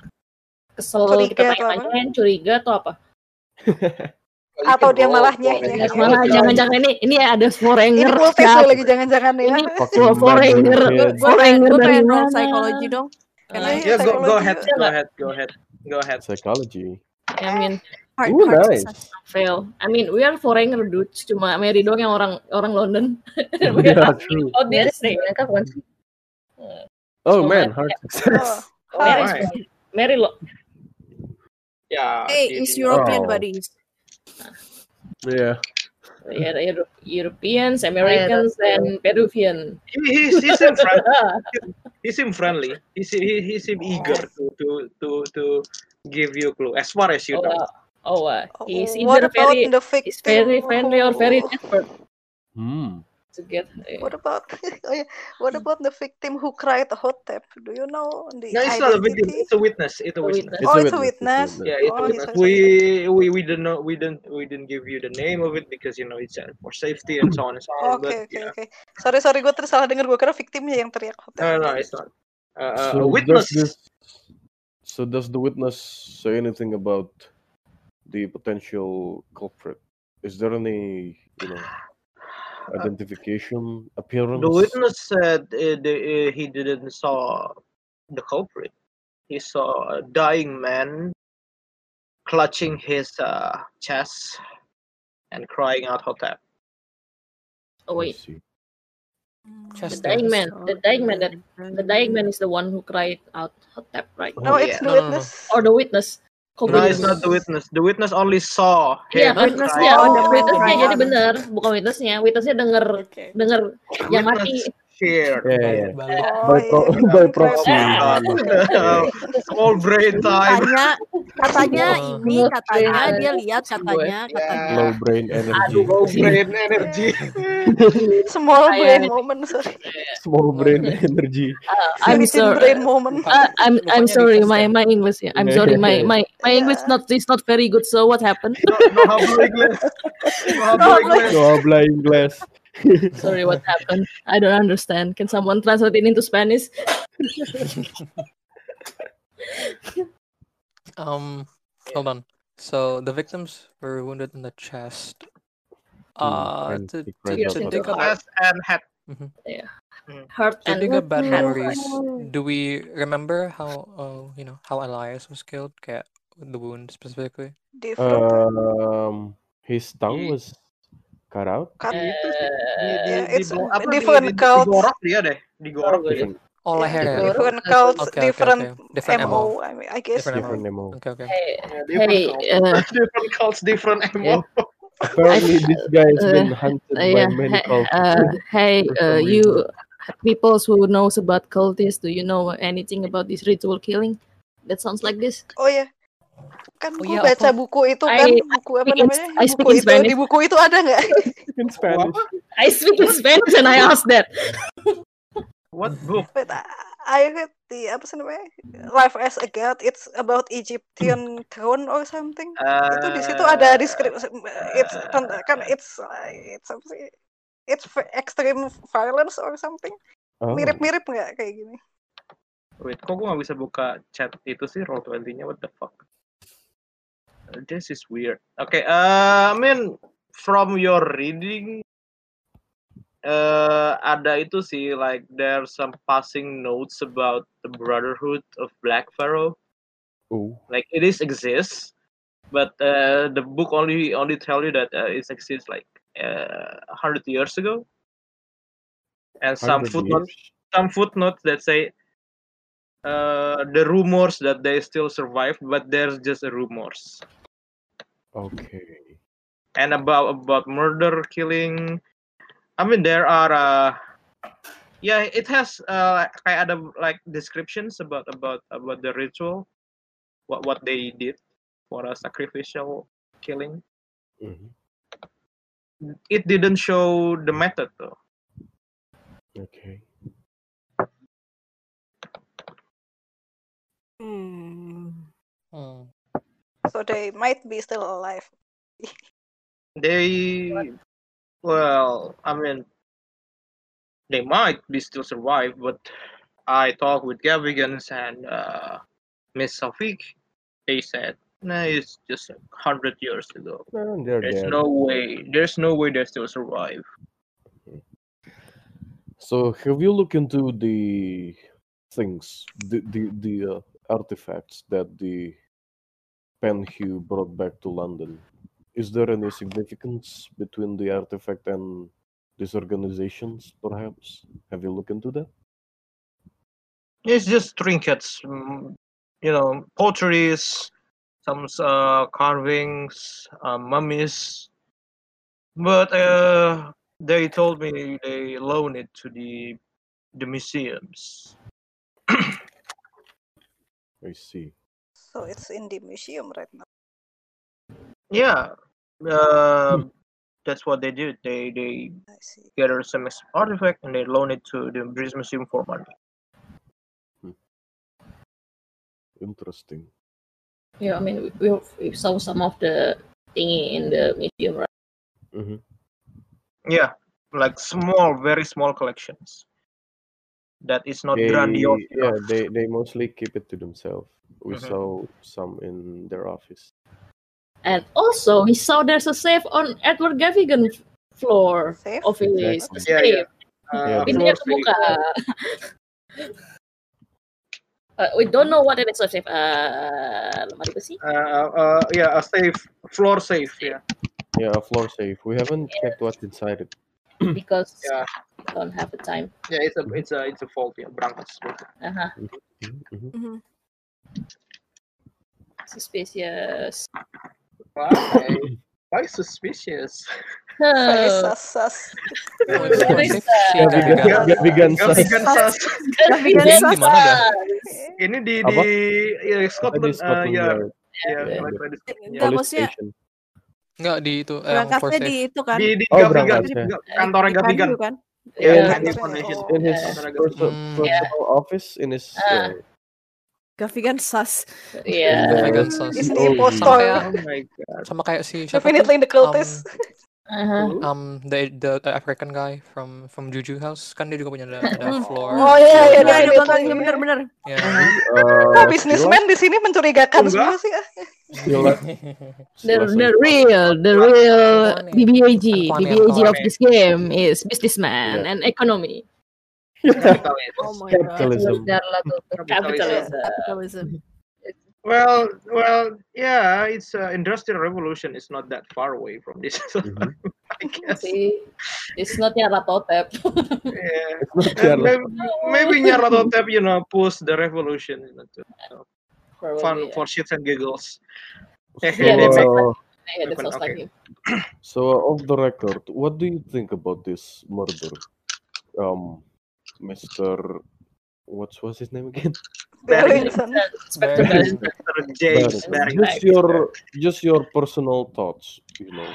Speaker 3: kesel gitu,
Speaker 4: Curiga
Speaker 3: kita
Speaker 4: atau apa?
Speaker 3: tanya-tanya curiga atau apa?
Speaker 4: Atau dia malah nyeh
Speaker 3: Eh, malah jangan-jangan ini ini ya, ada
Speaker 4: Iya, Ini
Speaker 3: foreigner
Speaker 4: full face lo lagi jangan-jangan ya.
Speaker 3: Nah, Ini
Speaker 8: Fucking
Speaker 3: for- foreigner
Speaker 8: bad dude.
Speaker 3: foreigner
Speaker 7: Gue
Speaker 3: dari
Speaker 7: pengen roll
Speaker 3: mana?
Speaker 7: psychology dong. Can I-
Speaker 1: Yeah, go, go
Speaker 4: Psychology
Speaker 1: ahead,
Speaker 4: juga.
Speaker 1: go ahead, go ahead, go ahead.
Speaker 8: Psychology.
Speaker 3: I mean,
Speaker 7: Hard,
Speaker 8: Ooh,
Speaker 7: hard
Speaker 8: nice.
Speaker 7: success.
Speaker 3: fail. I mean, we are foreigner dudes. Cuma Mary doang yang orang orang London. We
Speaker 8: Yeah,
Speaker 3: are
Speaker 8: true.
Speaker 3: out there sih.
Speaker 8: Oh
Speaker 3: so
Speaker 8: man,
Speaker 3: bad.
Speaker 8: hard success.
Speaker 1: Oh,
Speaker 3: Mary,
Speaker 1: my.
Speaker 3: iya. Mary lo.
Speaker 1: Yeah.
Speaker 7: Hey,
Speaker 1: di-
Speaker 7: it's
Speaker 1: di-
Speaker 7: European
Speaker 8: Oh.
Speaker 7: buddies.
Speaker 8: Yeah.
Speaker 3: Euro- Euro- iya, Europeans,
Speaker 4: Oh, iya,
Speaker 3: Americans, and Peruvian.
Speaker 1: He, he, he seemed friendly. He seemed friendly. He seem, he, he seem eager to, to to to give you clue as far as you
Speaker 3: Oh,
Speaker 1: know.
Speaker 3: wow. Oh, wow. He's
Speaker 4: What
Speaker 3: either
Speaker 4: about
Speaker 3: very,
Speaker 4: the victim?
Speaker 3: he's very friendly or very
Speaker 4: who-
Speaker 3: desperate
Speaker 8: Hmm.
Speaker 3: to get. eh,
Speaker 4: What about oh yeah. What about the victim who cried hot tap? Do you know the
Speaker 1: No, it's not a victim.
Speaker 4: identity?
Speaker 1: It's a witness. It's a
Speaker 3: A
Speaker 1: witness.
Speaker 3: witness.
Speaker 4: Oh, it's a witness.
Speaker 1: Yeah, it's a
Speaker 4: Oh, he's
Speaker 1: witness.
Speaker 4: a-
Speaker 1: We we we didn't know. We didn't we didn't give you the name of it because you know it's uh, for safety and so on and so on.
Speaker 4: Oke
Speaker 1: but
Speaker 4: oke
Speaker 1: yeah.
Speaker 4: oke. Sorry sorry gue terus salah dengar gue kira victimnya yang teriak hot tap.
Speaker 1: No, no, it's not. Uh, uh,
Speaker 8: So
Speaker 1: a witness.
Speaker 8: does this? So does the witness say anything about the potential culprit? Is there any, you know, identification, appearance?
Speaker 1: The witness said uh, the, uh, he didn't saw the culprit. He saw a dying man clutching his uh, chest and crying out "Hotep."
Speaker 3: Oh
Speaker 8: I
Speaker 3: wait,
Speaker 8: see.
Speaker 3: the
Speaker 11: Just
Speaker 3: dying man,
Speaker 7: So
Speaker 3: the dying man, that
Speaker 7: then-
Speaker 3: the dying man is the one who cried out hot tap, right?
Speaker 4: No,
Speaker 8: Oh,
Speaker 4: it's
Speaker 1: yeah.
Speaker 4: the
Speaker 11: No, no, no.
Speaker 4: witness.
Speaker 3: Or the witness,
Speaker 1: No,
Speaker 11: No,
Speaker 3: co-witness.
Speaker 1: it's not the witness. The witness only saw
Speaker 3: Iya
Speaker 1: him.
Speaker 3: kan?
Speaker 7: Witness
Speaker 1: crying.
Speaker 3: Iya,
Speaker 4: Oh,
Speaker 3: witness,
Speaker 4: the man
Speaker 3: witnessnya
Speaker 4: crying
Speaker 3: jadi
Speaker 4: out.
Speaker 3: bener, bukan witnessnya. Witnessnya denger
Speaker 7: Oke.
Speaker 3: denger yang mati.
Speaker 1: Witness shared.
Speaker 8: Yeah, yeah,
Speaker 11: balik
Speaker 4: Oh
Speaker 8: yeah.
Speaker 11: balik.
Speaker 8: By,
Speaker 4: iya,
Speaker 8: pro-
Speaker 4: dia
Speaker 8: by
Speaker 4: mungkin crying
Speaker 8: proxy.
Speaker 4: out loud.
Speaker 1: Oh, Small brain time.
Speaker 7: Katanya, katanya
Speaker 11: Wah.
Speaker 7: ini
Speaker 3: Nge-
Speaker 7: katanya
Speaker 3: Keren.
Speaker 7: dia lihat
Speaker 3: Sih, boy.
Speaker 7: katanya katanya.
Speaker 8: Low brain
Speaker 3: Aduh,
Speaker 8: energy.
Speaker 1: Low
Speaker 3: sih.
Speaker 1: brain energy.
Speaker 4: Small
Speaker 3: Saya-
Speaker 4: brain moment, sorry.
Speaker 8: Small brain energy.
Speaker 3: uh, I'm
Speaker 4: Little
Speaker 3: sorry.
Speaker 4: brain moment.
Speaker 11: Lupa-
Speaker 3: Uh, I'm I'm
Speaker 11: lupanya
Speaker 3: sorry,
Speaker 11: dikasih
Speaker 3: my
Speaker 11: kan?
Speaker 3: my English. Yeah. I'm sorry, my my my English
Speaker 4: Yeah.
Speaker 3: not is not very good. So what happened?
Speaker 1: No, no hablo inglés. No hablo
Speaker 4: hablo
Speaker 1: inglés.
Speaker 8: No habla inglés.
Speaker 3: Sorry, what happened? I don't understand. Can someone translate it into Spanish?
Speaker 11: Um, hold on. So the victims were wounded in the chest. Uh,
Speaker 8: and
Speaker 11: to,
Speaker 8: he
Speaker 11: to,
Speaker 8: cried out
Speaker 11: to
Speaker 8: for
Speaker 11: dig
Speaker 8: help.
Speaker 11: up
Speaker 1: Chest and head.
Speaker 3: Heart
Speaker 11: to
Speaker 3: and
Speaker 11: dig up bad
Speaker 3: head.
Speaker 11: memories. Do we remember how uh, you know how Elias was killed? Get the wound specifically.
Speaker 8: Uh,
Speaker 4: Different.
Speaker 8: Um, his
Speaker 1: Ye-
Speaker 8: tongue was cut out.
Speaker 4: Cut.
Speaker 1: Itu sih di di
Speaker 3: Uh,
Speaker 4: Yeah,
Speaker 1: di
Speaker 4: Eh, it's
Speaker 1: go- apa di
Speaker 4: different
Speaker 1: di
Speaker 4: cults.
Speaker 1: digorok dia deh, gitu. digorok dia.
Speaker 8: Different,
Speaker 11: All I
Speaker 4: Yeah,
Speaker 11: had.
Speaker 8: different,
Speaker 4: different cults,
Speaker 11: Okay, okay,
Speaker 4: different
Speaker 11: okay. Different MO.
Speaker 4: MO. I mean, I guess.
Speaker 11: Different
Speaker 8: different
Speaker 11: MO.
Speaker 8: MO.
Speaker 11: Okay, okay.
Speaker 3: Hey,
Speaker 1: Yeah, different
Speaker 3: hey,
Speaker 1: cults,
Speaker 3: uh,
Speaker 1: different cults, different
Speaker 3: yeah.
Speaker 1: emo.
Speaker 8: Apparently, this guy has been hunted
Speaker 3: Uh,
Speaker 8: by
Speaker 3: yeah.
Speaker 8: many
Speaker 3: he-
Speaker 8: cults
Speaker 3: Uh, hey, uh,
Speaker 8: for some
Speaker 3: you
Speaker 8: reason.
Speaker 3: people who knows about cultists, do you know anything about this ritual killing? That sounds like this.
Speaker 4: Oh ya, kan
Speaker 11: Oh
Speaker 4: gue
Speaker 11: yeah,
Speaker 4: baca
Speaker 11: apa?
Speaker 4: buku itu kan,
Speaker 3: iya, I,
Speaker 4: buku apa
Speaker 3: speak in,
Speaker 4: namanya?
Speaker 3: I speak in
Speaker 4: Buku itu di
Speaker 3: Spanish.
Speaker 4: buku itu ada nggak?
Speaker 8: In
Speaker 1: What?
Speaker 8: Spanish.
Speaker 3: I speak in Spanish and I ask that.
Speaker 1: What book?
Speaker 4: Wait, I I read the apa sih namanya? Life as a God. It's about Egyptian throne or something. itu di situ ada
Speaker 1: Eh,
Speaker 4: deskripsi. It's tentang- kan it's it's apa sih? It's v- extreme violence or something.
Speaker 8: Oh,
Speaker 4: Mirip-mirip nggak kayak gini?
Speaker 1: Wait, kok gue gak bisa buka chat itu sih Roll20-nya? What the fuck? Uh, This is weird. Okay, uh, I mean from your reading uh, ada itu sih like there's some passing notes about the Brotherhood of Black Pharaoh.
Speaker 8: oh,
Speaker 1: Like it is exists, but uh, the book only only tell you that uh, it exists like uh, hundred years ago, and some
Speaker 8: 100
Speaker 1: footnotes
Speaker 8: years?
Speaker 1: some footnotes that say uh, the rumors that they still survive, but there's just rumors.
Speaker 8: Okay.
Speaker 1: and about about murder killing i mean there are uh yeah it has uh kayak ada like descriptions about about about the ritual what what they did for a sacrificial killing
Speaker 13: mm-hmm,
Speaker 8: Mhm.
Speaker 1: it didn't show the method though
Speaker 8: Okay.
Speaker 7: Hmm.
Speaker 11: Hmm.
Speaker 4: So they might be still alive.
Speaker 1: they well i mean they might be still survive but i talked with gavigans and uh miss safik they said No, it's just a hundred years ago.
Speaker 8: No, they're
Speaker 1: there's
Speaker 8: dead.
Speaker 1: no way. There's no way they still survive.
Speaker 13: So have you looked into the things, the the, the uh, artifacts that the Penhew brought back to London? Is there any significance between the artifact and these organizations, perhaps? Have you looked into that?
Speaker 1: It's just trinkets, mm, you know, potteries, some uh, carvings, uh, mummies. But uh, they told me they loan it to the the museums.
Speaker 13: I see.
Speaker 4: So it's in the museum right now.
Speaker 1: Yeah, uh,
Speaker 8: Hmm.
Speaker 1: that's what they did. They they gather some artifact and they loan it to the British Museum for money.
Speaker 13: Interesting.
Speaker 3: Yeah, I mean, we, we saw some of the thingy in the museum, right?
Speaker 13: Mm-hmm.
Speaker 1: Yeah, like small, very small collections. That is not
Speaker 8: They,
Speaker 1: grandiose.
Speaker 8: yeah, they, they mostly keep it to themselves. We
Speaker 1: Mhm.
Speaker 8: saw some in their office.
Speaker 3: And also, we saw there's a safe on Edward Gavigan floor of his
Speaker 8: Exactly.
Speaker 3: safe.
Speaker 8: Yeah,
Speaker 3: Pintunya kebuka. Uh, we don't know what it is a safe. Uh, lemari besi.
Speaker 1: Uh, uh, yeah, a safe floor safe. Yeah.
Speaker 8: Yeah, a floor safe. We haven't checked what's inside it.
Speaker 3: because
Speaker 1: yeah.
Speaker 3: I don't have the time.
Speaker 1: Yeah, it's a
Speaker 8: Mm-hmm.
Speaker 1: it's a it's a fault. Yeah, Brankos.
Speaker 3: Uh-huh.
Speaker 8: Mhm.
Speaker 3: Suspicious.
Speaker 1: Why? Why suspicious?
Speaker 3: eh,
Speaker 4: Saya sas sas.
Speaker 8: Gavigan-
Speaker 1: Gavigan-
Speaker 8: Gavigan sus.
Speaker 1: Gavigan sus.
Speaker 4: Gavigan
Speaker 8: Gavigan sus.
Speaker 4: gimana dah?
Speaker 1: Ini di
Speaker 8: Apa?
Speaker 1: di ya, Scotland,
Speaker 8: Di
Speaker 1: eh,
Speaker 8: Scotland
Speaker 1: ya.
Speaker 8: Yard.
Speaker 1: Ya,
Speaker 8: Ya.
Speaker 1: like by the-
Speaker 7: Enggak,
Speaker 8: Police
Speaker 7: maksudnya
Speaker 8: station.
Speaker 11: Enggak di itu eh, yang for
Speaker 7: berangkatnya
Speaker 11: safe.
Speaker 7: di itu kan.
Speaker 1: Di, di
Speaker 8: Oh,
Speaker 1: Gavigan,
Speaker 8: berangkatnya.
Speaker 1: di Ga- kantornya
Speaker 7: Di
Speaker 1: Gavigan.
Speaker 7: Pandu kan.
Speaker 1: Ya,
Speaker 3: Iya.
Speaker 1: Pandu Foundation.
Speaker 8: In his
Speaker 1: Kantornya Gavigan.
Speaker 8: perso- personal office, in his yeah,
Speaker 7: Gavigan sas.
Speaker 3: Iya.
Speaker 8: in the
Speaker 11: Gavigan sus.
Speaker 4: Is the
Speaker 8: Oh,
Speaker 4: impostor.
Speaker 11: Sampai-
Speaker 1: Oh my god.
Speaker 11: Sama kayak si siapa tuh?
Speaker 4: Definitely in the cultist.
Speaker 3: Uh-huh.
Speaker 1: Who?
Speaker 11: Um, the the African guy from from Juju House kan dia juga punya ada, ada floor.
Speaker 4: Oh iya iya
Speaker 7: Iya,
Speaker 4: iya
Speaker 7: ada
Speaker 4: betul,
Speaker 7: kontaknya
Speaker 4: iya.
Speaker 7: benar-benar.
Speaker 11: Yeah.
Speaker 8: uh,
Speaker 4: Kok bisnismen Nah, di sini mencurigakan
Speaker 1: Enggak.
Speaker 4: semua sih. ah?
Speaker 8: Sila-
Speaker 11: Iya.
Speaker 3: The,
Speaker 8: Sila-
Speaker 3: the real, the real
Speaker 11: Kwane.
Speaker 3: DBAG,
Speaker 11: Kwane,
Speaker 3: DBAG of
Speaker 1: Kwane.
Speaker 3: this game is businessman
Speaker 8: Yeah.
Speaker 3: and economy.
Speaker 8: Mm-hmm.
Speaker 1: Capitalism.
Speaker 7: Oh my god.
Speaker 8: capitalism.
Speaker 3: There are a lot of capitalism.
Speaker 1: Capitalism.
Speaker 7: Capitalism.
Speaker 1: Well, well, yeah. It's uh, industrial revolution is not that far away from this.
Speaker 8: Mhm.
Speaker 1: I guess.
Speaker 3: See, Iya it's not Yaratotep.
Speaker 1: Yeah.
Speaker 8: Not
Speaker 1: And
Speaker 8: yellow.
Speaker 1: maybe, maybe Nyarlathotep, you know, push the revolution, you know, to
Speaker 3: Probably,
Speaker 1: fun
Speaker 3: Oh, yeah.
Speaker 1: for shits and giggles.
Speaker 3: Yeah, that's
Speaker 8: So, uh,
Speaker 3: Yeah, that sounds
Speaker 1: Okay.
Speaker 3: like him.
Speaker 8: so uh, off the record, what do you think about this murder, um, Mister? What was his name again?
Speaker 4: Barrington.
Speaker 3: Spectre Barrington.
Speaker 1: Dr. James
Speaker 8: Barrington.
Speaker 1: Barrington.
Speaker 8: Just your, just your personal thoughts. You know,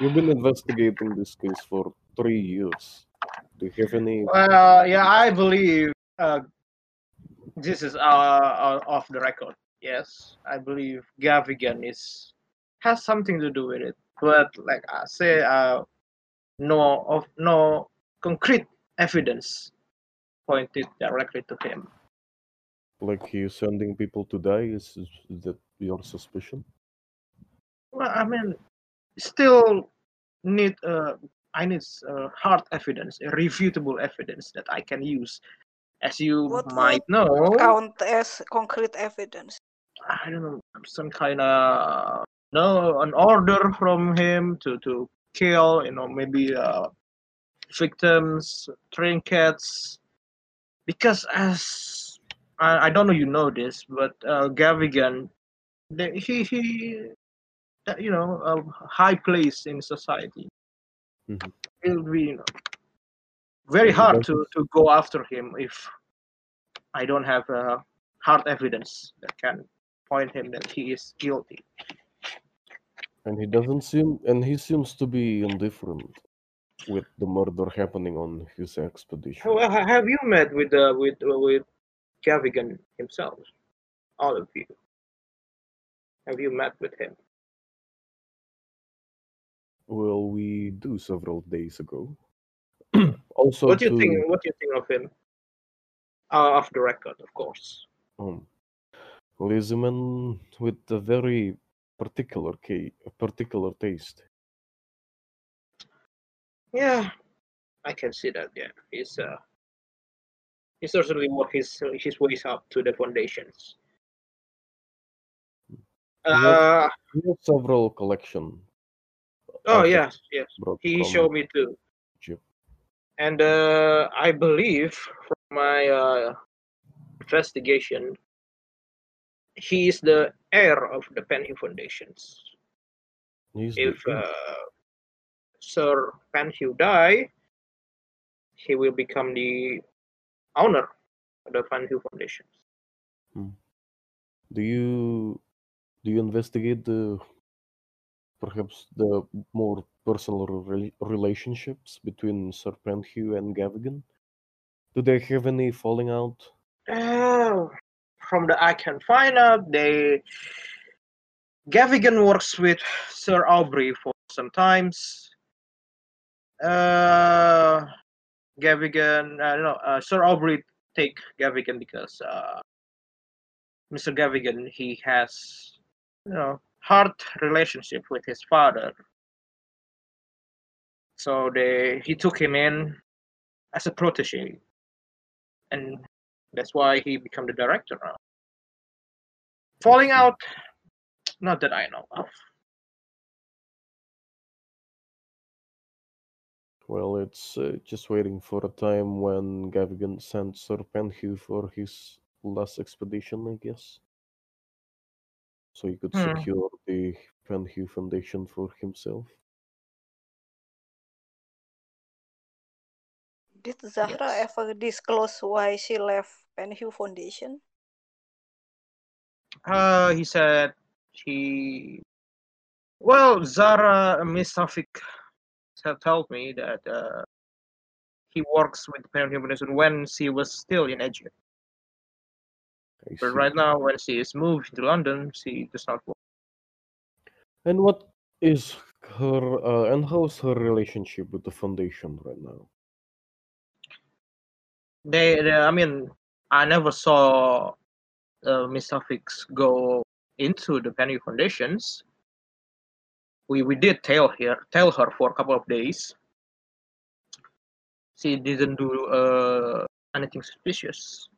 Speaker 8: you've been investigating this case for three years. Do you have any?
Speaker 1: Well, yeah, I believe uh, this is uh, uh, off the record. Yes, I believe Gavigan is has something to do with it, but like I say, uh, no of no concrete evidence pointed directly to him.
Speaker 8: Like you sending people to die? Is, is that your suspicion?
Speaker 1: Well, I mean, still need uh, I need uh, hard evidence, irrefutable evidence that I can use. As you
Speaker 4: What
Speaker 1: might know,
Speaker 4: Count as concrete evidence.
Speaker 1: I don't know some kind of no an order from him to to kill you know maybe uh victims trinkets because as I, I don't know you know this but uh Gavigan the, he he uh, you know a high place in society
Speaker 8: Mhm.
Speaker 1: it'll be you know, very
Speaker 8: Yeah,
Speaker 1: hard
Speaker 8: that's-
Speaker 1: to to go after him if I don't have uh, hard evidence that can point him that he is guilty
Speaker 8: And he doesn't seem, and he seems to be indifferent with the murder happening on his expedition.
Speaker 1: Well, ha- have you met with uh, with uh, with Gavigan himself? All of you. Have you met with him?
Speaker 8: Well, we do several days ago. also,
Speaker 1: what do you
Speaker 8: to
Speaker 1: think? What do you think of him? Uh, off the record, of course.
Speaker 8: um, Lizzieman with a very particular ca- particular taste.
Speaker 1: Yeah, I can see that. Yeah, he's uh, he's certainly work his his ways up to the foundations.
Speaker 8: He has-
Speaker 1: Uh,
Speaker 8: he has several collection.
Speaker 1: oh
Speaker 8: Okay.
Speaker 1: yes, yes.
Speaker 8: Brought
Speaker 1: He
Speaker 8: from
Speaker 1: showed me too,
Speaker 8: Egypt.
Speaker 1: and uh, I believe from my uh, investigation, he is the heir of the Penny Foundations.
Speaker 8: He's the
Speaker 1: if uh, Sir Panhu die, he will become the owner of the Panhu Foundation.
Speaker 8: Do you do you investigate the perhaps the more personal rela- relationships between Sir Penhew and Gavigan? Do they have any falling out?
Speaker 1: Oh, from the I can find out, they Gavigan works with Sir Aubrey for some times. Uh, Gavigan, uh, no, uh, Sir Aubrey take Gavigan because uh, Mr. Gavigan he has you know hard relationship with his father. So they he took him in as a protege, and that's why he become the director now. Falling out, not that I know of.
Speaker 8: Well, it's uh, just waiting for a time when Gavigan sends Sir Penhew for his last expedition, I guess. So he could
Speaker 1: Hmm.
Speaker 8: secure the Penhew Foundation for himself.
Speaker 4: Did Zahra ever disclose why she left Penhue Foundation?
Speaker 1: Uh, he said he. Well, Zara Miss Safik have told me that uh, he works with Parent Humanism when she was still in Egypt.
Speaker 8: Hmm.
Speaker 1: But right now, when she is moved to London, she does not work.
Speaker 8: And what is her uh, and how's her relationship with the foundation right now?
Speaker 1: They, they I mean, I never saw uh, Miss Suffolk's go into the penny foundations. We we did tell her tell her for a couple of days. She didn't do uh, anything suspicious.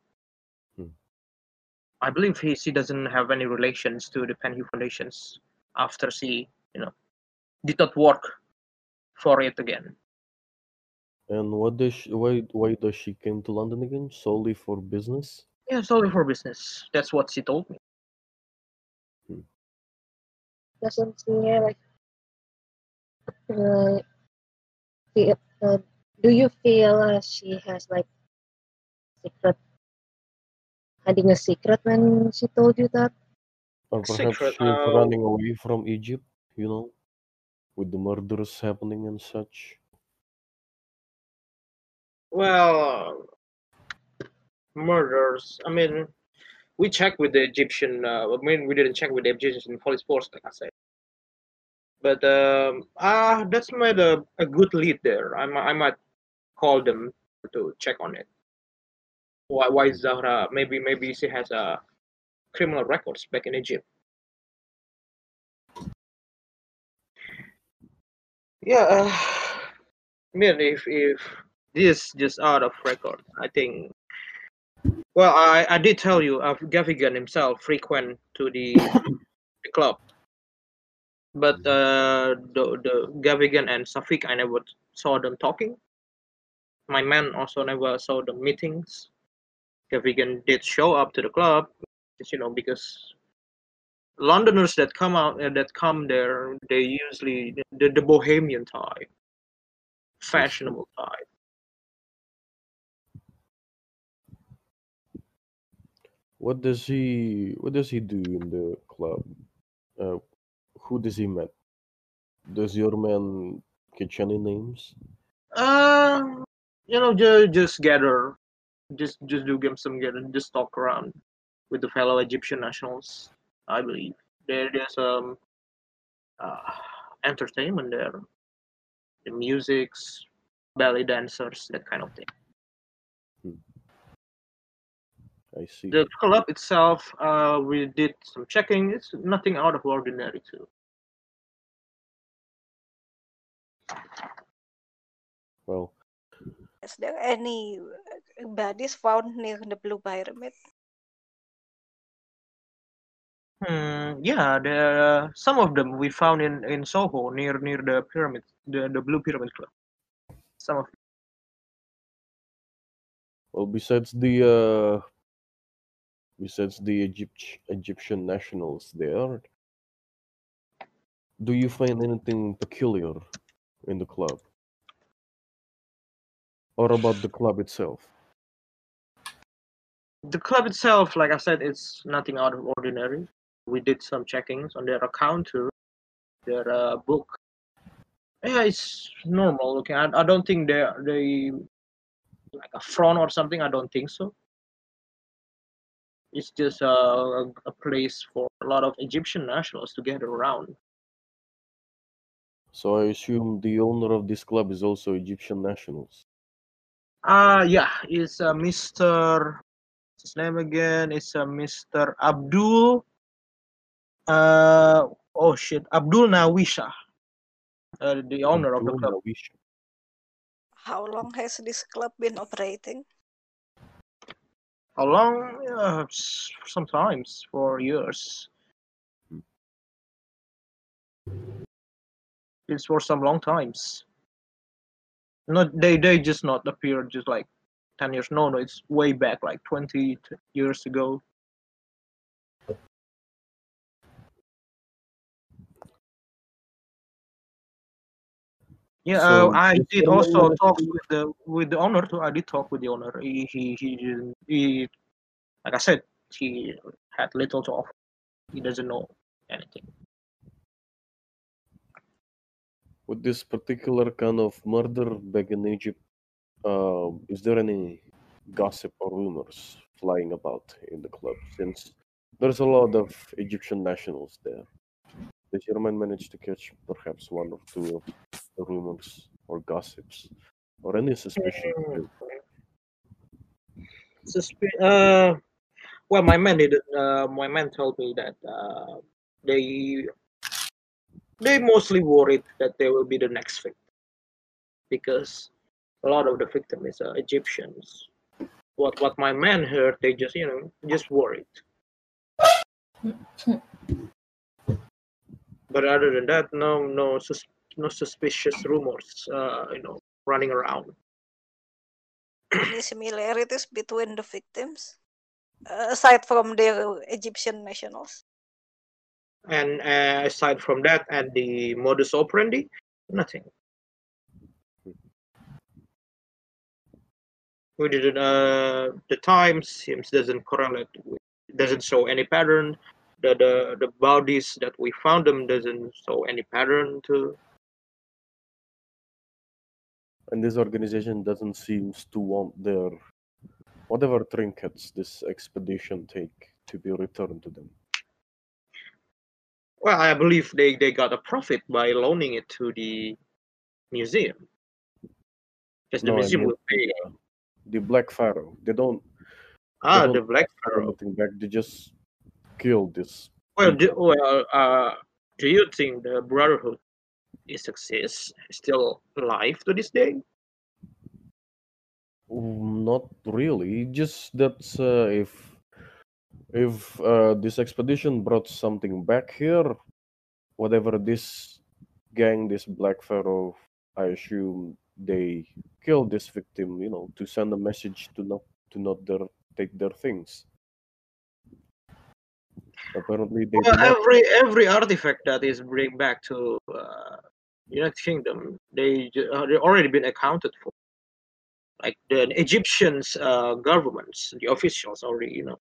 Speaker 1: I believe he she doesn't have any relations to the penny foundations after she you know did not work for it again.
Speaker 8: And what does she, why why does she came to London again? Solely for business?
Speaker 1: Yeah, it's only for business. That's what she told me.
Speaker 14: doesn't seem like uh, feel, uh, do you feel uh, she has like secret hiding a secret when she told you that
Speaker 8: Or perhaps
Speaker 1: Secret,
Speaker 8: she's
Speaker 1: uh,
Speaker 8: running away from Egypt, you know, with the murders happening and such.
Speaker 1: Well, murders. I mean, we checked with the Egyptian. Uh, I mean, we didn't check with the Egyptian police force, like I said. But um, ah, that's made a, a good lead there. I might, I might call them to check on it. Why, why Zahra? Maybe, maybe she has a criminal records back in Egypt. Yeah. Uh, I mean, if if this just out of record, I think. Well, I, I did tell you, uh, Gavigan himself frequent to the, the club, but uh, the the Gavigan and Safik, I never saw them talking. My man also never saw the meetings. Gavigan did show up to the club, you know, because Londoners that come out uh, that come there, they usually the, the bohemian type, fashionable type.
Speaker 8: What does he what does he do in the club? Uh, who does he met? Does your man catch any names?
Speaker 1: Um, you know, just just gather, just just do game some gathering, just talk around with the fellow Egyptian nationals. I believe there there's um uh, entertainment there, the musics, belly dancers, that kind of thing.
Speaker 8: I see.
Speaker 1: The club itself, uh, we did some checking. It's nothing out of ordinary too.
Speaker 8: Well,
Speaker 4: Is there any uh, bodies found near the Blue Pyramid?
Speaker 1: Hmm, yeah, there some of them we found in, in Soho near near the pyramid, the, the Blue Pyramid Club. Some of
Speaker 8: well, besides the uh, besides the Egypt, Egyptian nationals there, do you find anything peculiar in the club, or about the club itself?
Speaker 1: the club itself, like I said, it's nothing out of ordinary. We did some checkings on their account too, their uh, book. Yeah, it's normal looking. I, I don't think they they like a front or something. I don't think so. It's just a, a place for a lot of Egyptian nationals to gather around.
Speaker 8: So I assume the owner of this club is also Egyptian nationals.
Speaker 1: Uh yeah, it's uh, Mr. what's His name again It's uh, Mr. Abdul. Uh oh shit, Abdul Nawisha, uh, the owner of the club.
Speaker 4: How long has this club been operating?
Speaker 1: How long? Yeah, s- sometimes for years. It's for some long times. Not they they just not appeared just like ten years. No, no, it's way back like twenty t- years ago. Yeah, uh,
Speaker 8: So
Speaker 1: I
Speaker 8: is
Speaker 1: did
Speaker 8: there
Speaker 1: also
Speaker 8: no-
Speaker 1: talk with the with the owner too. I did talk with the owner. He he he, didn't- he like I said, he had little to offer. He doesn't know anything.
Speaker 8: With this particular kind of murder back in Egypt, uh, is there any gossip or rumors flying about in the club? Since there's a lot of Egyptian nationals there, did your man manage to catch perhaps one or two of the rumors or gossips or any suspicion?
Speaker 1: Suspe- uh, well, my man didn't. Uh, my man told me that uh, they they mostly worried that they will be the next victim because a lot of the victim is uh, Egyptians. What what my man heard, they just you know just worried. But other than that, no no sus- no suspicious rumors. Uh, you know running around.
Speaker 4: Any similarities between the victims? Uh, aside from their Egyptian nationals?
Speaker 1: and uh, aside from that and the modus operandi nothing we didn't uh, the time seems doesn't correlate with, doesn't show any pattern the, the the bodies that we found them doesn't show any pattern to
Speaker 8: And this organization doesn't seem to want their whatever trinkets this expedition take to be returned to them.
Speaker 1: well i believe they they got a profit by loaning it to the museum because the
Speaker 8: No, I
Speaker 1: museum
Speaker 8: mean
Speaker 1: will pay
Speaker 8: the Black Pharaoh. They don't.
Speaker 1: Ah,
Speaker 8: they don't
Speaker 1: the Black
Speaker 8: ask for Anything back. They just kill this.
Speaker 1: well do, well uh do you think the brotherhood is exists still alive to this day
Speaker 8: Mm, Not really. Just that uh, if if uh, this expedition brought something back here, whatever this gang, this Black Pharaoh, I assume they killed this victim. You know, to send a message to not to not their, take their things. Apparently, they do
Speaker 1: Well,
Speaker 8: not.
Speaker 1: every every artifact that is bring back to uh, United Kingdom, they ju- uh, they already been accounted for. Like the Egyptians' uh, governments, the officials already, you know,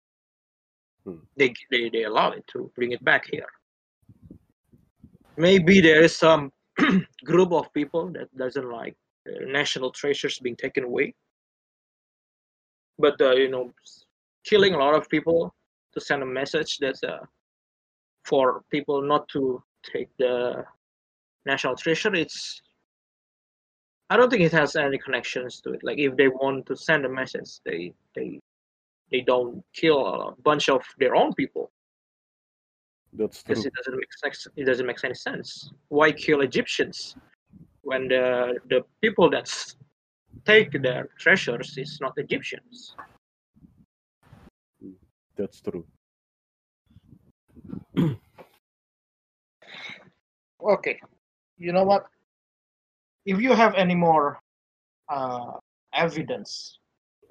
Speaker 1: they they they allow it to bring it back here. Maybe there is some group of people that doesn't like uh, national treasures being taken away, but uh, you know, killing a lot of people to send a message that's uh, for people not to take the national treasure. It's I don't think it has any connections to it. Like if they want to send a message, they they
Speaker 15: they don't kill a bunch of their own people
Speaker 8: That's true.
Speaker 15: because it doesn't make sense. It doesn't make any sense. Why kill Egyptians when the the people that take their treasures is not Egyptians?
Speaker 8: That's true.
Speaker 1: Okay, you know what? If you have any more uh, evidence,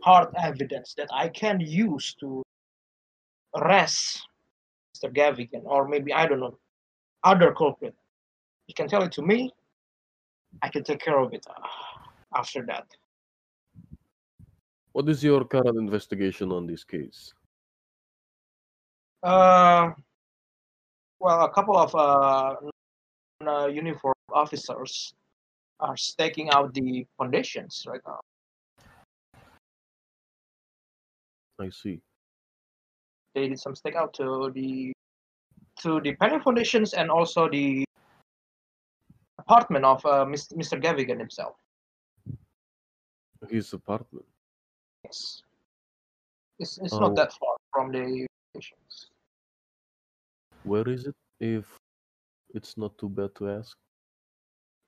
Speaker 1: hard evidence that I can use to arrest Mr. Gavigan, or maybe I don't know, other culprit, you can tell it to me. I can take care of it uh, after that.
Speaker 8: What is your current investigation on this case?
Speaker 1: Uh, well, a couple of uh, n- uh, uniform officers are staking out the foundations right now.
Speaker 8: I see.
Speaker 1: They did some stakeout to the to the panel foundations and also the apartment of uh, Mis- Mr. Gavigan himself.
Speaker 8: His apartment.
Speaker 1: Yes, it's it's
Speaker 8: Oh.
Speaker 1: not that far from the foundation.
Speaker 8: Where is it? If it's not too bad to ask.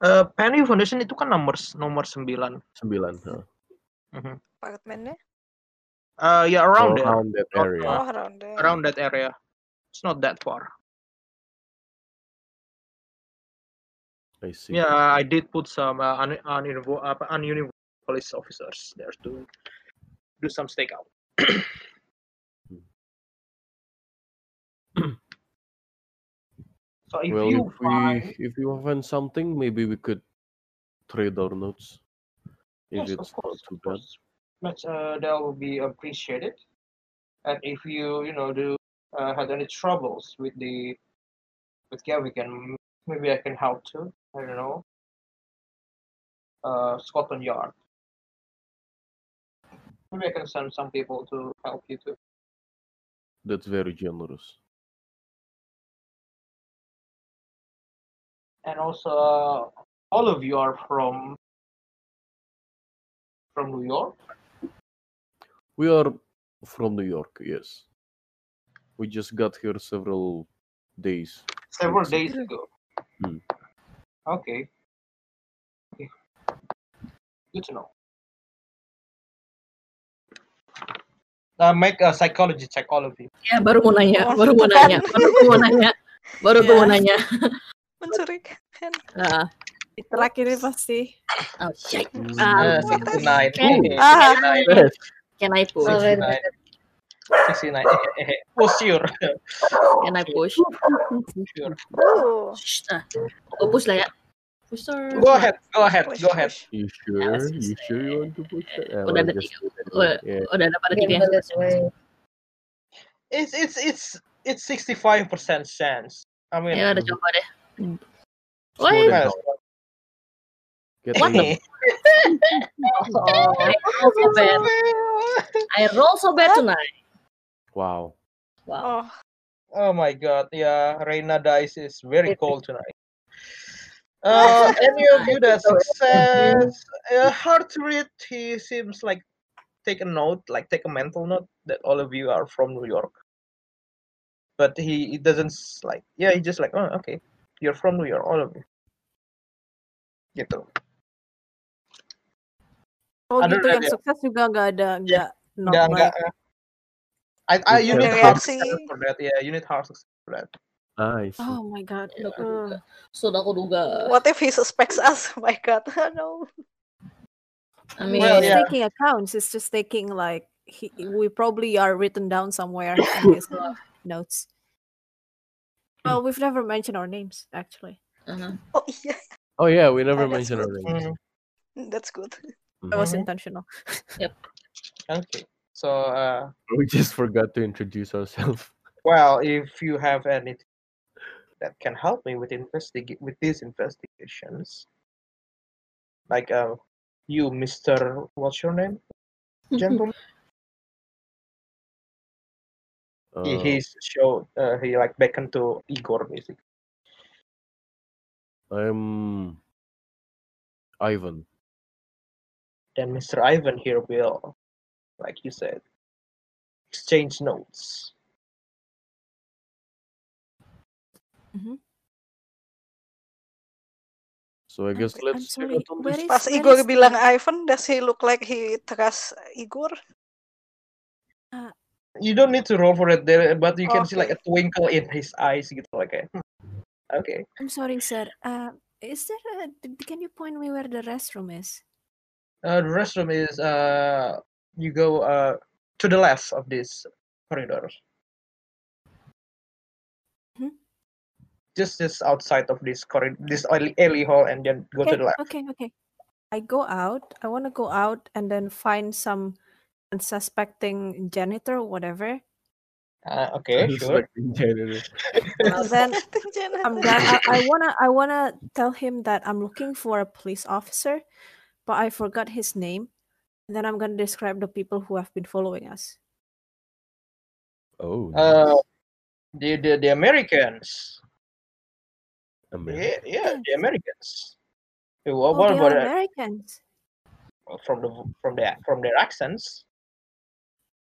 Speaker 15: Uh, Penny Foundation itu kan nomor nomor 9.
Speaker 8: Sembilan, huh?
Speaker 4: Apartemennya?
Speaker 15: Uh, yeah, around,
Speaker 8: Around
Speaker 15: there.
Speaker 8: that area.
Speaker 4: Oh, around there.
Speaker 15: Around that area. It's not that far.
Speaker 8: I see.
Speaker 15: Yeah, I did put some uh, un, uninvo- uh, ununiformed police officers there to do some stakeout. so if
Speaker 8: Hmm. well,
Speaker 15: you
Speaker 8: if we if you find something, maybe we could trade our notes. If
Speaker 1: Yes, of
Speaker 8: it's not too bad.
Speaker 1: much uh, that will be appreciated. And if you you know do uh, had any troubles with the with Gavigan, maybe I can help too. I don't know. Uh, Scotland Yard. Maybe I can send some people to help you too.
Speaker 8: That's very generous.
Speaker 1: And also, uh, all of you are from from New York.
Speaker 8: We are from New York, yes. We just got here several days.
Speaker 1: Several
Speaker 8: weeks ago.
Speaker 1: days ago.
Speaker 8: Hmm.
Speaker 1: Okay. okay. Good to know. Uh, make a psychology check, all of you.
Speaker 3: Ya, baru mau nanya,
Speaker 4: Oh,
Speaker 3: baru mau
Speaker 4: kan.
Speaker 3: nanya, baru gue mau nanya, baru gue mau
Speaker 4: Ya.
Speaker 3: nanya.
Speaker 4: Mencurigakan.
Speaker 3: Nah,
Speaker 7: Terakhir ini pasti.
Speaker 3: oh shit.
Speaker 1: Uh,
Speaker 3: Um,
Speaker 8: Oh,
Speaker 1: 69.
Speaker 3: can,
Speaker 1: Ooh.
Speaker 3: can,
Speaker 1: Ah.
Speaker 3: I, can I push?
Speaker 1: 69. 69. For sure.
Speaker 3: Can I push?
Speaker 1: Sure.
Speaker 3: Shh, ah. Gue push lah ya. Push sir.
Speaker 1: Go ahead. Go ahead. Go ahead.
Speaker 8: You sure? You sure you want to push that? Ah,
Speaker 3: Udah
Speaker 8: well,
Speaker 3: ada
Speaker 8: just do it
Speaker 3: Udah,
Speaker 8: anyway. Yeah.
Speaker 3: udah ada pada tiga yang
Speaker 1: It's it's it's it's 65 percent chance. I mean,
Speaker 3: Ya udah coba deh.
Speaker 8: It's more
Speaker 1: Wait.
Speaker 8: than half. Get
Speaker 3: What the-
Speaker 8: eight.
Speaker 3: Oh, I roll so bad. I roll so bad tonight.
Speaker 8: Wow.
Speaker 3: Wow.
Speaker 1: Oh my god, yeah, Reina dice is very cold tonight. Uh,
Speaker 3: Oh,
Speaker 1: any of you that success, uh, hard to read. He seems like take a note, like take a mental note that all of you are from New York. But he, he doesn't s- like. Yeah, he just like, oh, okay, you're from New York, all of you. Gitu.
Speaker 7: Oh
Speaker 1: Ada
Speaker 7: gitu
Speaker 1: udah
Speaker 7: yang
Speaker 1: dia.
Speaker 7: sukses juga nggak ada nggak not
Speaker 1: ya. Nggak, nggak.
Speaker 7: like
Speaker 1: eh. I, I, you
Speaker 4: Ada
Speaker 1: need hard
Speaker 4: reaksi.
Speaker 1: success for that. Yeah, you need hard success for that.
Speaker 8: I see.
Speaker 7: oh my god.
Speaker 3: Sudah aku duga. Sudah aku duga.
Speaker 4: What if he suspects us? My God, no.
Speaker 3: I
Speaker 7: I
Speaker 3: mean,
Speaker 1: Well,
Speaker 7: it's
Speaker 1: yeah.
Speaker 7: Hmm. taking accounts. It's just taking like he, we probably are written down somewhere in his uh, notes. Well, we've never mentioned our names actually.
Speaker 3: Uh-huh.
Speaker 4: Oh iya,
Speaker 8: Oh yeah, we
Speaker 4: Oh,
Speaker 8: never
Speaker 4: that's
Speaker 8: mentioned our
Speaker 4: good.
Speaker 8: names.
Speaker 4: that's good.
Speaker 7: That was
Speaker 1: Mhm.
Speaker 7: intentional.
Speaker 1: Okay. So, uh,
Speaker 8: We just forgot to introduce ourselves.
Speaker 1: well, if you have anything that can help me with investigate with these investigations, like uh, you, Mister, what's your name, gentleman? he,
Speaker 8: Uh,
Speaker 1: he's showed uh, he like beckoned to Igor basically.
Speaker 8: I'm Ivan.
Speaker 1: Then Mister Ivan here will, like you said, exchange notes.
Speaker 8: So I guess
Speaker 4: I'm
Speaker 8: let's check
Speaker 4: sorry.
Speaker 8: out on
Speaker 4: Where
Speaker 8: this.
Speaker 4: is, Pas Igor bilang Ivan, does he look like he trust Igor?
Speaker 1: You don't need to roll for it there, but you can see like a
Speaker 4: Okay.
Speaker 1: twinkle in his eyes gitu like kayak, "Hmm, Okay.
Speaker 7: I'm sorry, sir. Uh, is there? A, d- can you point me where the restroom is?
Speaker 1: Uh, the restroom is uh you go uh to the left of this corridor.
Speaker 7: Mhm.
Speaker 1: Just just outside of this corridor, this alley, alley hall, and then go
Speaker 7: okay,
Speaker 1: to the left.
Speaker 7: okay, okay. I go out. I want to go out and then find some unsuspecting janitor, or whatever.
Speaker 1: Uh, okay,
Speaker 8: It's
Speaker 1: sure.
Speaker 8: like in general.
Speaker 7: And then I'm gonna, I, I wanna I wanna tell him that I'm looking for a police officer, but I forgot his name. And then I'm gonna describe the people who have been following us.
Speaker 8: Oh,
Speaker 1: Uh, the the, the Americans.
Speaker 8: America.
Speaker 1: Yeah, yeah, the Americans. Who were
Speaker 7: Oh, they
Speaker 1: were-
Speaker 7: are Americans.
Speaker 1: from the from their from their accents.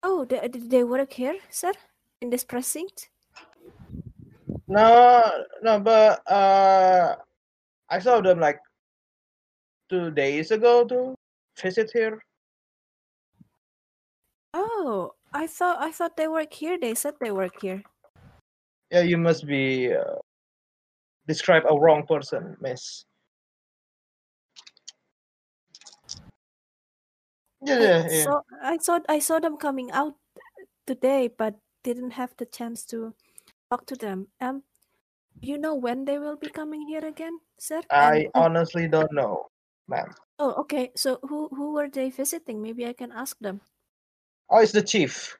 Speaker 7: Oh, they, they they work here, sir, in this precinct.
Speaker 1: No, no, but uh, I saw them like two days ago to visit here.
Speaker 7: Oh, I thought I thought they work here. They said they work here.
Speaker 1: Yeah, you must be uh, describe a wrong person, Miss. Yeah, yeah,
Speaker 7: I
Speaker 1: yeah.
Speaker 7: saw I saw I saw them coming out today, but didn't have the chance to talk to them. Um, you know when they will be coming here again, sir? And
Speaker 1: I honestly don't know, ma'am.
Speaker 7: oh, okay. So who who were they visiting? Maybe I can ask them.
Speaker 1: Oh, it's the chief,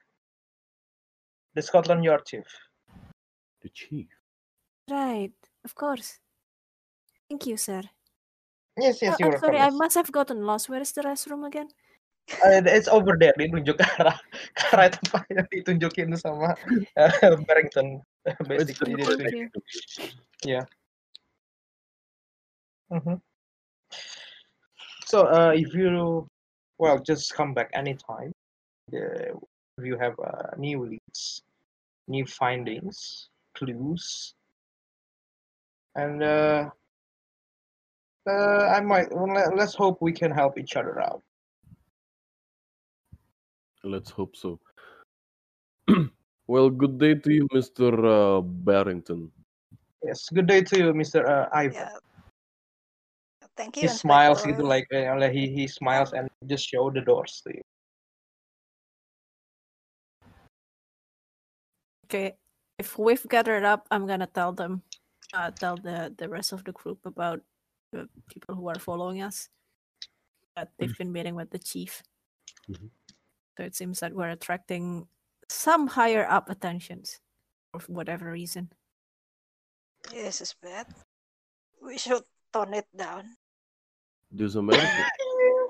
Speaker 1: the Scotland Yard chief.
Speaker 8: The chief.
Speaker 7: Right, of course. Thank you, sir.
Speaker 1: Yes, yes,
Speaker 7: Oh,
Speaker 1: you're
Speaker 7: I'm sorry.
Speaker 1: welcome.
Speaker 7: I must have gotten lost. Where is the restroom again?
Speaker 1: Uh, it's over there. Ditunjuk ke arah ke arah tempat yang ditunjukin sama uh, Barrington. Basically, dia
Speaker 7: Thank
Speaker 1: tunjuk.
Speaker 7: you.
Speaker 1: Yeah. Mhm. So, uh, if you, well, just come back anytime. Uh, if you have uh, new leads, new findings, clues, and uh, uh, I might. well, let- Let's hope we can help each other out.
Speaker 8: Let's hope so. well, good day to you, Mr. Uh, Barrington.
Speaker 1: Yes. Good day to you, Mister uh, Ivan.
Speaker 4: Thank
Speaker 1: he
Speaker 4: you,
Speaker 1: smiles gitu
Speaker 4: Inspector.
Speaker 1: like, uh, like he he smiles and just show the doors to you.
Speaker 7: Okay. If we've gathered up, I'm gonna tell them, uh, tell the the rest of the group about the people who are following us. That they've been meeting with the chief.
Speaker 8: Mhm.
Speaker 7: So it seems that we're attracting some higher up attentions, for whatever reason.
Speaker 4: This is bad. We should tone it down.
Speaker 8: This American.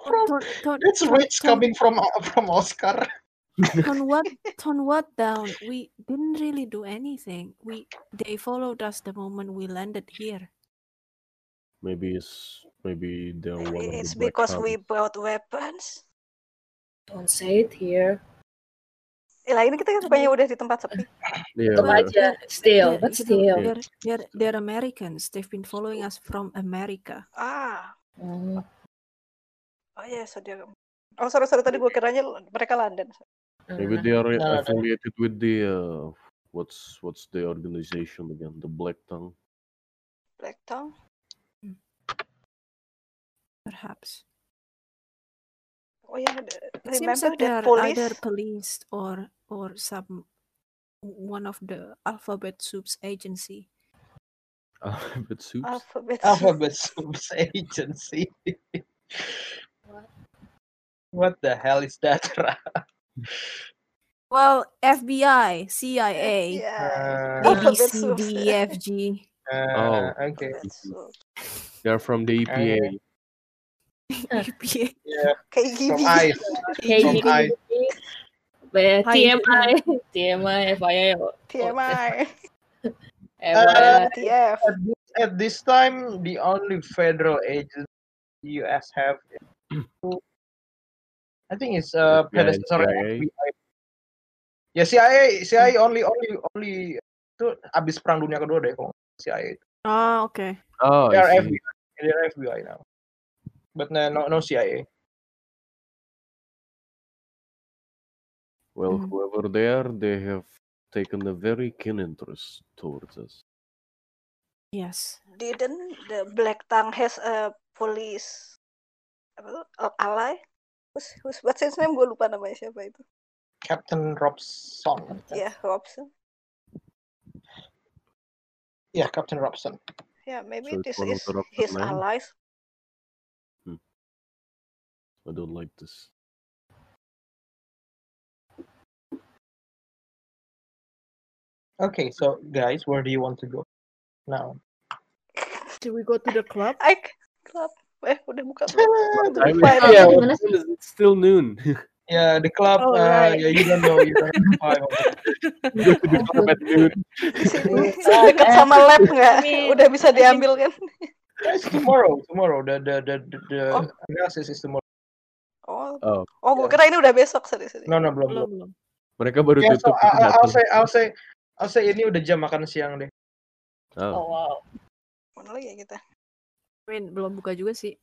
Speaker 7: Tone, tone,
Speaker 1: It's
Speaker 7: tone,
Speaker 1: rich coming from uh, from Oscar.
Speaker 7: tone what? Tone what down? We didn't really do anything. We they followed us the moment we landed here.
Speaker 8: Maybe it's maybe they're one of
Speaker 4: It's
Speaker 8: the black
Speaker 4: because
Speaker 8: Hand.
Speaker 4: we brought weapons.
Speaker 3: Don't say it here.
Speaker 4: Eh, lah ini kita kan bukannya udah di tempat sepi.
Speaker 8: Yeah,
Speaker 3: Tetap
Speaker 8: yeah.
Speaker 3: aja, still, but
Speaker 7: you know,
Speaker 3: still.
Speaker 7: they're, they're, they're Americans. They've been following us from America.
Speaker 4: Ah,
Speaker 3: Hmm.
Speaker 4: oh ya, saudara. Oh, sorry, sorry. Tadi gue kiranya mereka London.
Speaker 3: Uh-huh.
Speaker 8: Maybe they are
Speaker 1: no, no.
Speaker 8: uh, affiliated with the uh, what's what's the organization again? The Black Tongue.
Speaker 4: Black Tongue.
Speaker 7: Perhaps.
Speaker 4: Oh ya,
Speaker 7: It seems
Speaker 4: remember
Speaker 7: that they
Speaker 4: that
Speaker 7: are
Speaker 4: police?
Speaker 7: either police or or some one of the alphabet soup's agency.
Speaker 8: Alphabet Soups.
Speaker 1: Oh,
Speaker 4: Alphabet.
Speaker 1: Alphabet Soups Agency. what the hell is that? Ra?
Speaker 7: Well, FBI, CIA,
Speaker 1: Yeah.
Speaker 4: Alphabet
Speaker 7: ABC,
Speaker 4: soups,
Speaker 7: D, E,
Speaker 4: yeah.
Speaker 7: F, G.
Speaker 1: Uh, okay.
Speaker 16: They're from the
Speaker 8: E
Speaker 16: EPA.
Speaker 7: EPA.
Speaker 1: Yeah. From
Speaker 4: KGB.
Speaker 1: eyes. From
Speaker 3: KGB.
Speaker 1: eyes.
Speaker 3: Be-
Speaker 7: Hi,
Speaker 3: TMI, TMI, FIA,
Speaker 4: TMI.
Speaker 1: Uh,
Speaker 3: FYI.
Speaker 4: WTF.
Speaker 1: at, this, at this time, the only federal agency U.S. have, is- I think, it's uh,
Speaker 8: FBI,
Speaker 1: predecessor
Speaker 8: CIA.
Speaker 1: FBI. Ya CIA, CIA only only only itu abis perang dunia kedua deh kalau nggak salah CIA itu.
Speaker 7: Ah, oke.
Speaker 8: Oh,
Speaker 1: they are
Speaker 8: I see.
Speaker 1: FBI, they are FBI now. But no, no, no CIA. mm-hmm.
Speaker 8: Well, whoever they are, they have taken a very keen interest towards us.
Speaker 7: Yes.
Speaker 4: Didn't the Black Tongue has a police apa tuh, a- ally? Who's, who's, what's his name? Gue lupa namanya siapa itu.
Speaker 1: Captain Robson.
Speaker 4: Ya, Robson.
Speaker 1: Yeah, Captain Robson.
Speaker 4: Yeah, maybe
Speaker 8: So
Speaker 4: this
Speaker 8: it's one of
Speaker 4: is
Speaker 8: the Robson
Speaker 4: his
Speaker 8: men?
Speaker 4: allies.
Speaker 8: I don't like this.
Speaker 1: Okay, so guys, where do you want to go now?
Speaker 7: Do we go to the club?
Speaker 4: I club. Eh, udah buka
Speaker 1: belum?
Speaker 8: I mean,
Speaker 1: Fine.
Speaker 8: yeah,
Speaker 1: Gimana
Speaker 8: what time is it? It's still noon.
Speaker 1: Yeah, the club. uh,
Speaker 7: Oh, right.
Speaker 1: yeah, you don't know. You don't know. Fine, okay.
Speaker 8: Go to the club at noon.
Speaker 4: Di sini dekat
Speaker 1: Eh.
Speaker 4: sama lab nggak? Udah bisa diambil kan?
Speaker 1: Guys, Eh, tomorrow, tomorrow. The the the the, the analysis is tomorrow.
Speaker 4: Oh,
Speaker 8: Oh,
Speaker 4: oh gue kira ini udah besok serius. serius.
Speaker 1: ya. No, no, belum. belum.
Speaker 8: mereka baru
Speaker 1: Yeah, Ya, so
Speaker 8: tutup.
Speaker 1: I, I- I'll
Speaker 8: datang.
Speaker 1: say, I'll say, I'll say ini udah jam makan siang deh.
Speaker 8: Oh.
Speaker 4: wow. Mana lagi ya kita?
Speaker 7: I mean, belum buka juga sih.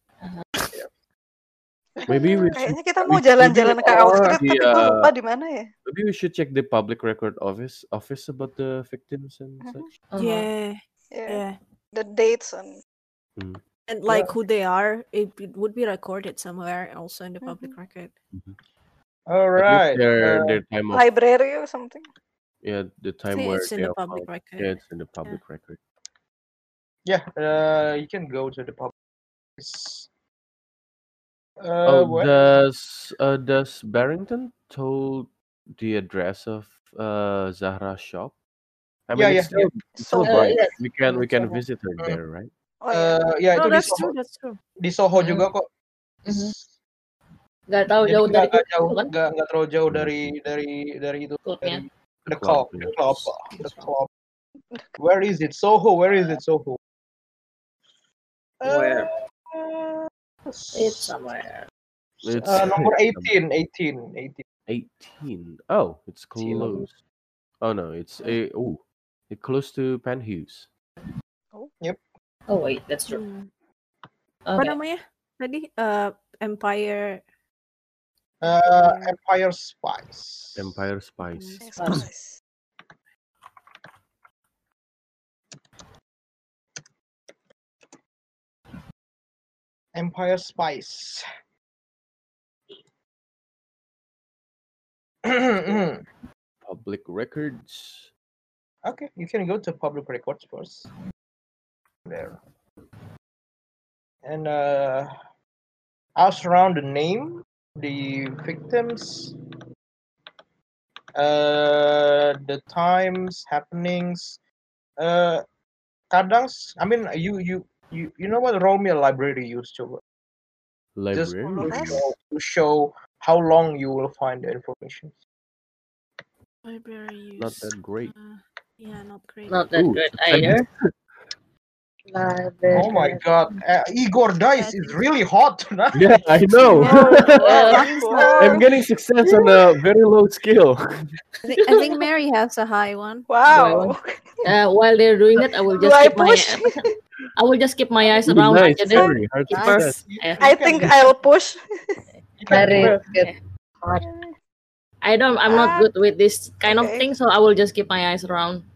Speaker 8: Maybe we should,
Speaker 4: Kayaknya kita mau
Speaker 8: we- maybe
Speaker 4: jalan-jalan
Speaker 8: we
Speaker 4: ke
Speaker 8: should
Speaker 4: Outskirts,
Speaker 8: check
Speaker 4: tapi
Speaker 8: the,
Speaker 4: gue lupa
Speaker 8: uh,
Speaker 4: di mana ya.
Speaker 8: Maybe we should check the public record office office about the victims and
Speaker 1: Mm-hmm.
Speaker 8: such.
Speaker 3: Uh-huh.
Speaker 7: Yeah.
Speaker 4: Yeah.
Speaker 7: Yeah.
Speaker 4: Ya, The dates and
Speaker 7: And like who they are, it, it would be recorded somewhere also in the public
Speaker 8: Mm-hmm.
Speaker 7: record.
Speaker 8: At least
Speaker 1: Alright.
Speaker 8: their
Speaker 1: uh,
Speaker 8: their time of
Speaker 4: library or something.
Speaker 8: yeah the time
Speaker 7: think
Speaker 8: where
Speaker 7: it's in
Speaker 8: they
Speaker 7: the
Speaker 8: are
Speaker 7: public
Speaker 8: found.
Speaker 7: record.
Speaker 8: Yeah, it's in the public record.
Speaker 1: yeah, uh, you can go to the pub. It's- Uh,
Speaker 8: Oh,
Speaker 1: where?
Speaker 8: does uh, does Barrington told the address of uh, Zahra's shop? I mean,
Speaker 1: Yeah,
Speaker 8: it's
Speaker 1: yeah, yeah.
Speaker 8: still it's still
Speaker 1: Soho. Uh,
Speaker 8: bright.
Speaker 1: yes.
Speaker 8: We can we
Speaker 1: It's
Speaker 8: can
Speaker 1: Soho.
Speaker 8: visit her
Speaker 1: Mm.
Speaker 8: there, right?
Speaker 4: Oh, iya.
Speaker 1: Uh, ya itu di
Speaker 7: No, Oh, that's
Speaker 1: Soho.
Speaker 7: true, that's true.
Speaker 1: Di Soho juga kok.
Speaker 3: Gak tahu
Speaker 1: Jadi
Speaker 3: jauh
Speaker 1: nggak-
Speaker 3: dari
Speaker 1: nggak Mm-hmm.
Speaker 3: itu
Speaker 1: jauh,
Speaker 3: kan?
Speaker 1: nggak nggak terlalu
Speaker 8: Mm-hmm.
Speaker 1: jauh dari dari dari itu dari the club,
Speaker 8: club,
Speaker 1: the club, the club. Where is it? Soho. Where is it? Soho.
Speaker 15: Where?
Speaker 3: It's somewhere.
Speaker 8: It's
Speaker 1: Uh, nomor
Speaker 8: it's
Speaker 1: 18, 18, 18.
Speaker 8: 18. Oh, it's close. Oh no, it's a oh, it close to Penhues.
Speaker 1: Yep.
Speaker 3: Oh wait, that's true.
Speaker 7: Hmm. Apa
Speaker 3: Okay.
Speaker 7: namanya? Tadi uh, Empire
Speaker 1: Uh, Empire Spice.
Speaker 8: Empire Spice.
Speaker 4: Spice.
Speaker 1: Empire Spice. Mm-hmm.
Speaker 8: Public records.
Speaker 1: Okay, you can go to public records first. There. And uh, I'll surround the name, the victims, uh, the times, happenings. Uh, kadang, s- I mean, you you you you know what Romeo library used to just
Speaker 8: Library.
Speaker 1: to show, to show how long you will find the information.
Speaker 7: library use. uh,
Speaker 8: Not that great.
Speaker 7: Yeah, not great.
Speaker 3: Not that
Speaker 8: Ooh,
Speaker 3: great
Speaker 8: it's
Speaker 3: either.
Speaker 1: Oh my god, uh, Igor dice is really hot tonight.
Speaker 8: Yeah, I know.
Speaker 7: Eh,
Speaker 8: I'm getting success on a very low skill.
Speaker 7: I think, I think Mary has a high one.
Speaker 3: Wow. Uh, while they're doing that, I will
Speaker 7: Do
Speaker 3: just
Speaker 7: I
Speaker 3: keep my
Speaker 7: push?
Speaker 3: I will just keep my eyes
Speaker 8: Ooh,
Speaker 3: around
Speaker 8: nice,
Speaker 3: aja deh.
Speaker 8: Mary. Hard
Speaker 3: Keep
Speaker 8: success.
Speaker 3: first.
Speaker 4: I think I'll push.
Speaker 3: I don't. I'm not
Speaker 7: Ah.
Speaker 3: good with this kind of
Speaker 1: Okay.
Speaker 3: thing, so I will just keep my eyes around.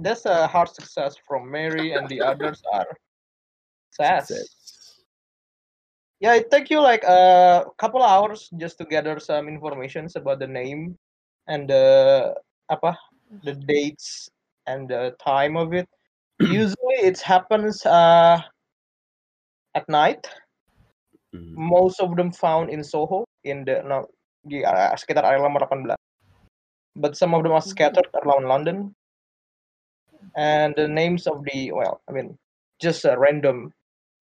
Speaker 1: That's a hard success from Mary, and the others are success. Yeah, it took you like a couple hours just to gather some informations about the name and the apa, the dates and the time of it. Usually, it happens uh, at night. Hmm. Most of them found in Soho in the no, di uh, sekitar area nomor 18. But some of them are scattered around London. And the names of the well, I mean, just uh, random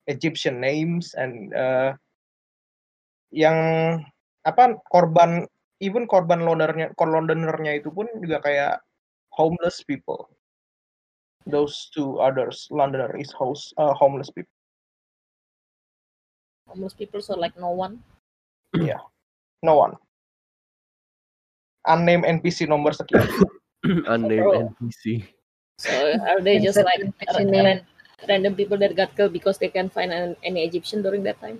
Speaker 1: Egyptian names and uh, yang apa korban even korban Londonernya kor- Londonernya itu pun juga kayak homeless people. Those two others, Londoner is house, uh, homeless people.
Speaker 3: Most people so like no one.
Speaker 1: Yeah, no one. unnamed NPC nomor sekian.
Speaker 3: Mm. Bro.
Speaker 8: Unnamed NPC.
Speaker 3: So are they just like
Speaker 14: Insert
Speaker 3: ra- ran- random people that got killed because they can't find an, any Egyptian during that time?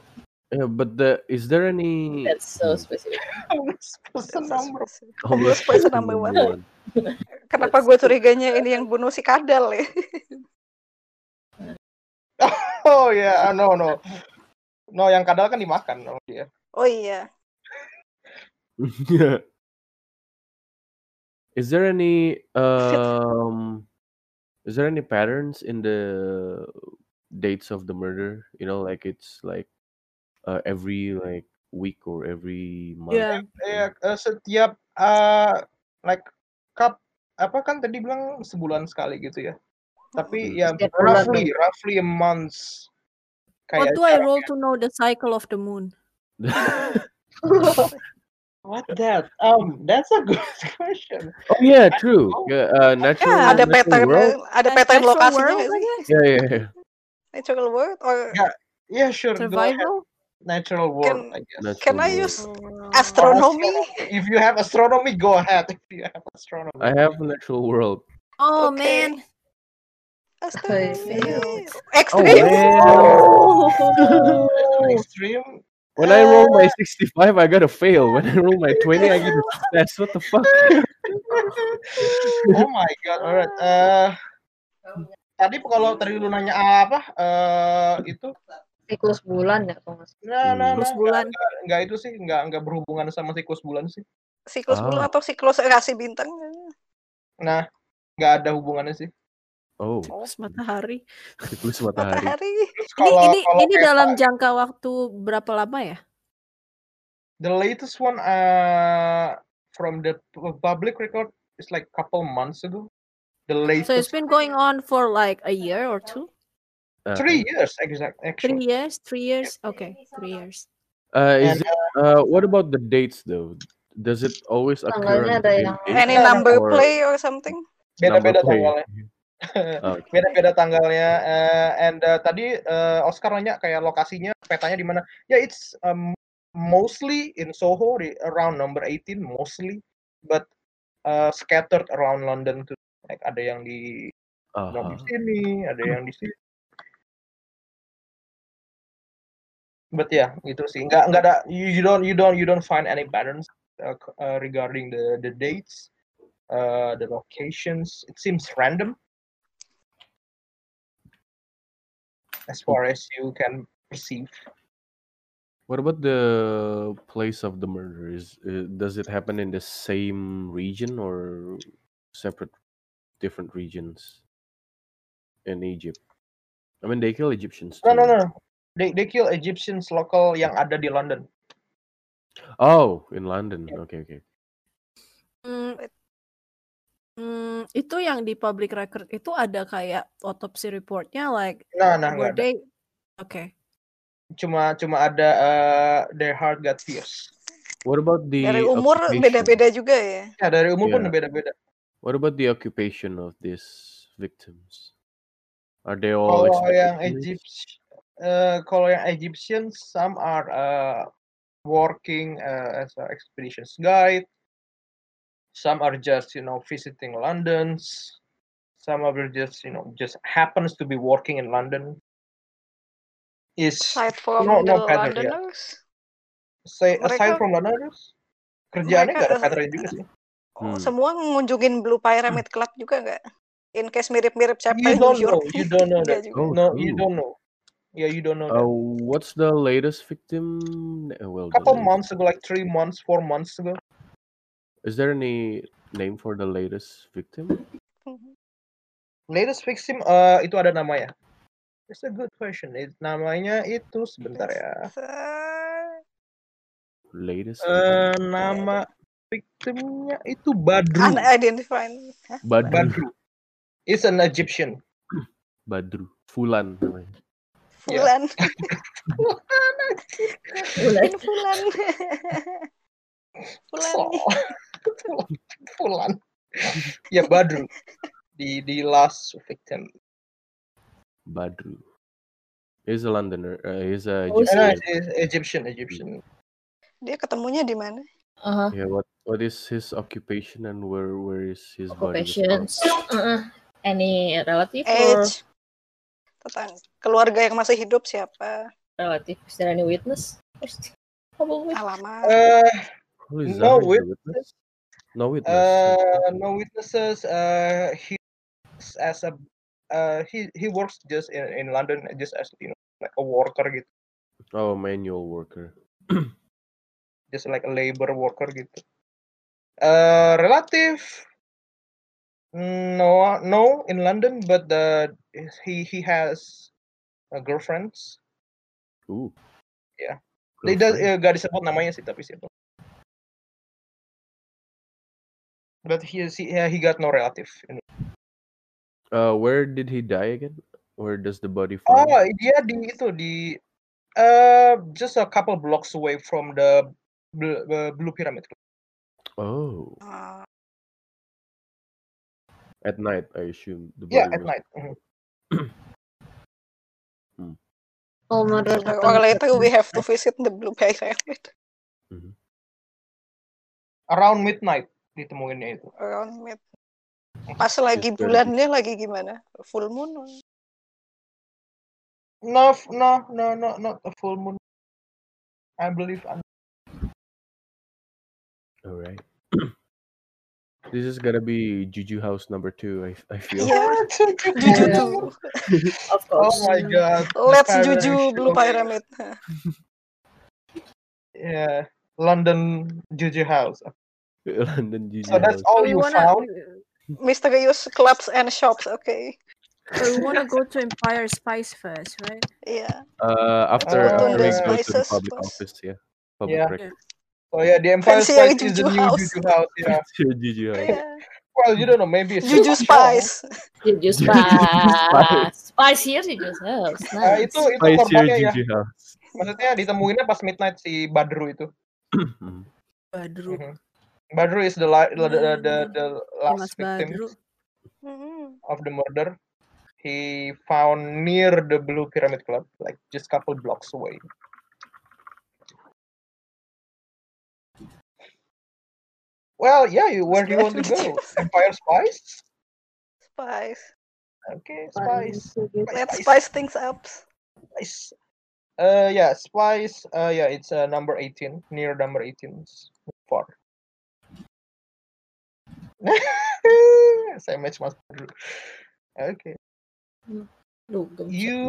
Speaker 8: Yeah, Uh, but the, is there any?
Speaker 3: That's so specific.
Speaker 4: Person number.
Speaker 8: Always
Speaker 4: Always person number one. Kenapa gue curiganya ini yang bunuh si Kadal ya?
Speaker 1: Oh ya, ah, no no. No, yang kadal kan dimakan sama dia.
Speaker 4: Oh iya.
Speaker 8: yeah. Is there any um is there any patterns in the dates of the murder? You know, like it's like uh, every like week or every month.
Speaker 1: Iya, iya, eh, setiap eh, like cup apa kan tadi bilang sebulan sekali gitu ya. Tapi ya
Speaker 7: Setiap bulan.
Speaker 1: roughly roughly a month.
Speaker 7: What
Speaker 1: Kayak
Speaker 7: do I
Speaker 1: cara-
Speaker 7: roll to know the cycle of the moon?
Speaker 1: What that? Um, that's a good question.
Speaker 8: Oh yeah, true. Yeah, uh, natural.
Speaker 4: Ya, Ada
Speaker 8: natural
Speaker 4: pattern eh,
Speaker 8: world?
Speaker 4: ada pattern
Speaker 7: natural
Speaker 4: lokasinya
Speaker 7: world,
Speaker 4: nggak sih?
Speaker 8: Yeah, yeah, yeah.
Speaker 4: Natural world or
Speaker 1: Yeah, sure. go ahead. Natural world, I guess.
Speaker 4: can
Speaker 8: Natural
Speaker 4: I
Speaker 8: world.
Speaker 4: use astronomy?
Speaker 1: If you have astronomy, go ahead. If you have astronomy.
Speaker 8: I have natural world.
Speaker 7: Oh man.
Speaker 8: Oh,
Speaker 4: Extreme.
Speaker 8: man.
Speaker 1: Extreme.
Speaker 8: When I roll
Speaker 1: Uh.
Speaker 8: my 65, I got a fail. When I roll my 20, I got a success. What the fuck?
Speaker 1: oh my god, alright. Eh, tadi kalau tadi lu nanya apa? Eh itu?
Speaker 14: siklus bulan ya kalau nggak salah.
Speaker 1: Nah, nah,
Speaker 8: Siklus
Speaker 1: nah,
Speaker 7: bulan.
Speaker 1: Enggak, itu sih, enggak enggak berhubungan sama siklus bulan sih.
Speaker 4: Siklus
Speaker 8: Ah.
Speaker 4: bulan atau siklus rasi bintang?
Speaker 1: Nah, enggak ada hubungannya sih.
Speaker 8: Oh,
Speaker 7: Terus matahari.
Speaker 8: siklus matahari.
Speaker 4: Matahari.
Speaker 7: Ini
Speaker 1: Kalau-
Speaker 7: ini
Speaker 1: kalau
Speaker 7: ini
Speaker 1: peta-
Speaker 7: dalam jangka waktu berapa lama ya?
Speaker 1: The latest one uh from the pu- public record is like couple months ago. The
Speaker 7: So
Speaker 1: latest
Speaker 7: it's been going on for like a year or two?
Speaker 8: Uh,
Speaker 1: three years exact
Speaker 7: Three
Speaker 1: actually.
Speaker 7: years? Three years? Okay, three years.
Speaker 8: Uh, is
Speaker 1: And,
Speaker 8: it, uh, what about the dates though? Does it always occur? on the
Speaker 14: Tanggalnya ada
Speaker 8: same
Speaker 14: yang-
Speaker 8: date
Speaker 4: Any number
Speaker 8: or
Speaker 4: play or something?
Speaker 8: number
Speaker 1: Beda-beda
Speaker 8: play?
Speaker 1: tanggalnya.
Speaker 8: Okay.
Speaker 1: Beda-beda tanggalnya. Uh, and uh, tadi uh, Oscar nanya kayak lokasinya, petanya di mana? Ya it's um, mostly in Soho di around number 18 mostly, but uh, scattered around London too. Like ada yang di
Speaker 8: Aha.
Speaker 1: di sini, ada yang di sini. But yeah, gitu sih. Nggak nggak ada you, you don't you don't you don't find any patterns uh, c- uh, regarding the the dates, uh, the locations. It seems random as far as you can perceive.
Speaker 8: What about the place of the murder? Is uh, does it happen in the same region or separate, different regions in Egypt? I mean, they kill Egyptians.
Speaker 1: No no
Speaker 8: too.
Speaker 1: no. They they kill Egyptians local yang ada di London.
Speaker 8: Oh, in London. Okay, okay.
Speaker 7: Hmm. Hmm, itu yang di public record itu ada kayak autopsy reportnya like
Speaker 1: Nah, nah, nggak
Speaker 7: were
Speaker 1: ada.
Speaker 7: they okay
Speaker 1: Cuma cuma ada uh, their heart got pierced.
Speaker 8: What about the
Speaker 4: Dari umur
Speaker 8: occupation?
Speaker 4: beda-beda juga ya.
Speaker 1: Ya dari umur pun
Speaker 8: Yeah.
Speaker 1: beda-beda.
Speaker 8: What about the occupation of these victims? Are they all
Speaker 1: Kalau yang
Speaker 8: executioners?
Speaker 1: Egypt, eh, kalau yang Egyptian, some are uh, working uh, as an expeditions guide. Some are just you know visiting London's. Some are just you know just happens to be working in London. Is
Speaker 4: Aside from
Speaker 1: no
Speaker 4: the
Speaker 1: no pattern ya.
Speaker 4: Londoners.
Speaker 1: Say, aside
Speaker 4: mereka-
Speaker 1: from Londoners, kerjaannya nggak ada
Speaker 4: mereka-
Speaker 1: pattern juga sih.
Speaker 8: Hmm.
Speaker 4: Oh, Semua ngunjungin Blue Pyramid Club juga nggak? In case mirip-mirip siapa
Speaker 1: You
Speaker 4: di New
Speaker 1: don't know.
Speaker 4: York.
Speaker 1: You don't know
Speaker 4: Nggak
Speaker 1: that.
Speaker 4: juga.
Speaker 8: Oh,
Speaker 1: No, you
Speaker 8: true.
Speaker 1: don't know. Yeah, you don't know
Speaker 8: Uh,
Speaker 1: that.
Speaker 8: what's the latest victim? Uh, Well, the
Speaker 1: Couple
Speaker 8: latest-
Speaker 1: months ago, like three months, four months ago.
Speaker 8: Is there any name for the latest victim?
Speaker 1: Latest victim eh itu ada namanya. It's a good question. It, namanya itu sebentar ya.
Speaker 8: Oh. Latest
Speaker 1: Eh nama Eh, victimnya itu Badru.
Speaker 4: Ah, Unidentified. Hah?
Speaker 8: Badru.
Speaker 1: Badru. It's an Egyptian.
Speaker 8: Badru. Fulan. namanya.
Speaker 4: Fulan. Fulan. Fulan. Fulan. Fulan.
Speaker 1: Oh. Fulan. ya Badru. The the last victim.
Speaker 8: Badru. He's a Londoner. Uh, he's a
Speaker 1: Eh, no,
Speaker 8: Egyptian.
Speaker 1: it's- it's Egyptian, Egyptian.
Speaker 4: Dia ketemunya di mana?
Speaker 3: Uh-huh.
Speaker 8: Yeah, what What is his occupation and where where is his body?
Speaker 3: Occupations. Uh-uh. Any relative
Speaker 1: Uh.
Speaker 3: or
Speaker 4: Age. Tentang keluarga yang masih hidup siapa?
Speaker 3: relative? Is there any witness?
Speaker 1: Ah.
Speaker 4: Alamat.
Speaker 1: Eh,
Speaker 8: Who is
Speaker 1: No
Speaker 8: Zahra?
Speaker 1: wit-
Speaker 8: witness? No witness.
Speaker 1: Uh, no witnesses. Uh, he works as a uh, he he works just in, in London just as you know like a worker gitu,
Speaker 8: Oh, manual worker.
Speaker 1: just like a labor worker gitu. Uh, relative. No, no, in London, but the he he has a girlfriends.
Speaker 8: Ooh.
Speaker 1: Yeah. They does
Speaker 8: Girlfriend?
Speaker 1: eh, gak disebut namanya sih tapi siapa. But he is he, yeah, he got no relative. in-
Speaker 8: Uh, where did he die again? Where does the body fall?
Speaker 1: Oh, dia di itu di uh, just a couple blocks away from the bl- uh, Blue Pyramid.
Speaker 8: Oh, at night, I assume the
Speaker 1: yeah,
Speaker 8: body
Speaker 1: at
Speaker 8: was.
Speaker 1: night. mhm.
Speaker 14: Oh, murder
Speaker 4: Like,
Speaker 14: happened
Speaker 4: or later we
Speaker 14: suddenly.
Speaker 4: have to visit the Blue Pyramid
Speaker 1: Around midnight ditemuinnya itu.
Speaker 4: around mid. Pas lagi
Speaker 1: It's very
Speaker 4: bulannya lagi gimana? Full moon?
Speaker 1: No, f- no, no, no, not a full moon. I believe. I'm...
Speaker 8: All right. This is gonna be Juju House number two. I
Speaker 4: Iya.
Speaker 8: I feel.
Speaker 4: Juju
Speaker 1: Iya.
Speaker 4: tuh.
Speaker 3: Of
Speaker 1: course. Oh my god.
Speaker 4: Iya. Let's
Speaker 1: Parang
Speaker 4: Juju Blue
Speaker 1: show.
Speaker 4: Pyramid.
Speaker 1: Yeah, Iya. London Juju House.
Speaker 8: London Juju
Speaker 1: So that's
Speaker 8: House.
Speaker 1: all
Speaker 4: We
Speaker 1: you
Speaker 4: wanna-
Speaker 1: found.
Speaker 4: Mysterious clubs and shops, okay.
Speaker 7: But we want to go to Empire Spice first, right?
Speaker 4: Yeah.
Speaker 1: Uh,
Speaker 8: Uh, after after we go to the
Speaker 4: spices
Speaker 8: public
Speaker 4: was-
Speaker 8: office, yeah, public
Speaker 1: Yeah.
Speaker 8: record.
Speaker 1: Oh yeah, the Empire
Speaker 4: Fancier
Speaker 1: Spice is the
Speaker 4: Juju
Speaker 1: new
Speaker 4: House.
Speaker 1: Juju House. Yeah.
Speaker 8: Juju House.
Speaker 1: Well, you don't know. Maybe it's
Speaker 4: Iya. Juju
Speaker 1: just a show.
Speaker 4: Spice.
Speaker 3: Juju
Speaker 8: Juju Spice.
Speaker 3: Spice. Spicier Juju House.
Speaker 1: Ah,
Speaker 3: oh, Nice.
Speaker 1: itu itu
Speaker 8: Spicier
Speaker 1: korbannya ya.
Speaker 8: Juju House.
Speaker 1: Maksudnya ditemuinnya pas midnight si Badru itu. Mm-hmm. Mhm.
Speaker 7: Badru.
Speaker 1: Badru is the la- the, the, the, the
Speaker 7: Mas
Speaker 4: Iya,
Speaker 1: last victim
Speaker 7: Badru.
Speaker 1: of the murder. He found near the Blue Pyramid Club, like just couple blocks away. Well, yeah, you, where do you want to go? Empire Spice?
Speaker 4: Spice.
Speaker 1: Okay, Spice.
Speaker 4: Let's spice things up.
Speaker 1: Spice. Uh, yeah, Spice. Uh, yeah, it's uh, number 18, near number 18. Far. Saya match mas Badru. Okay. you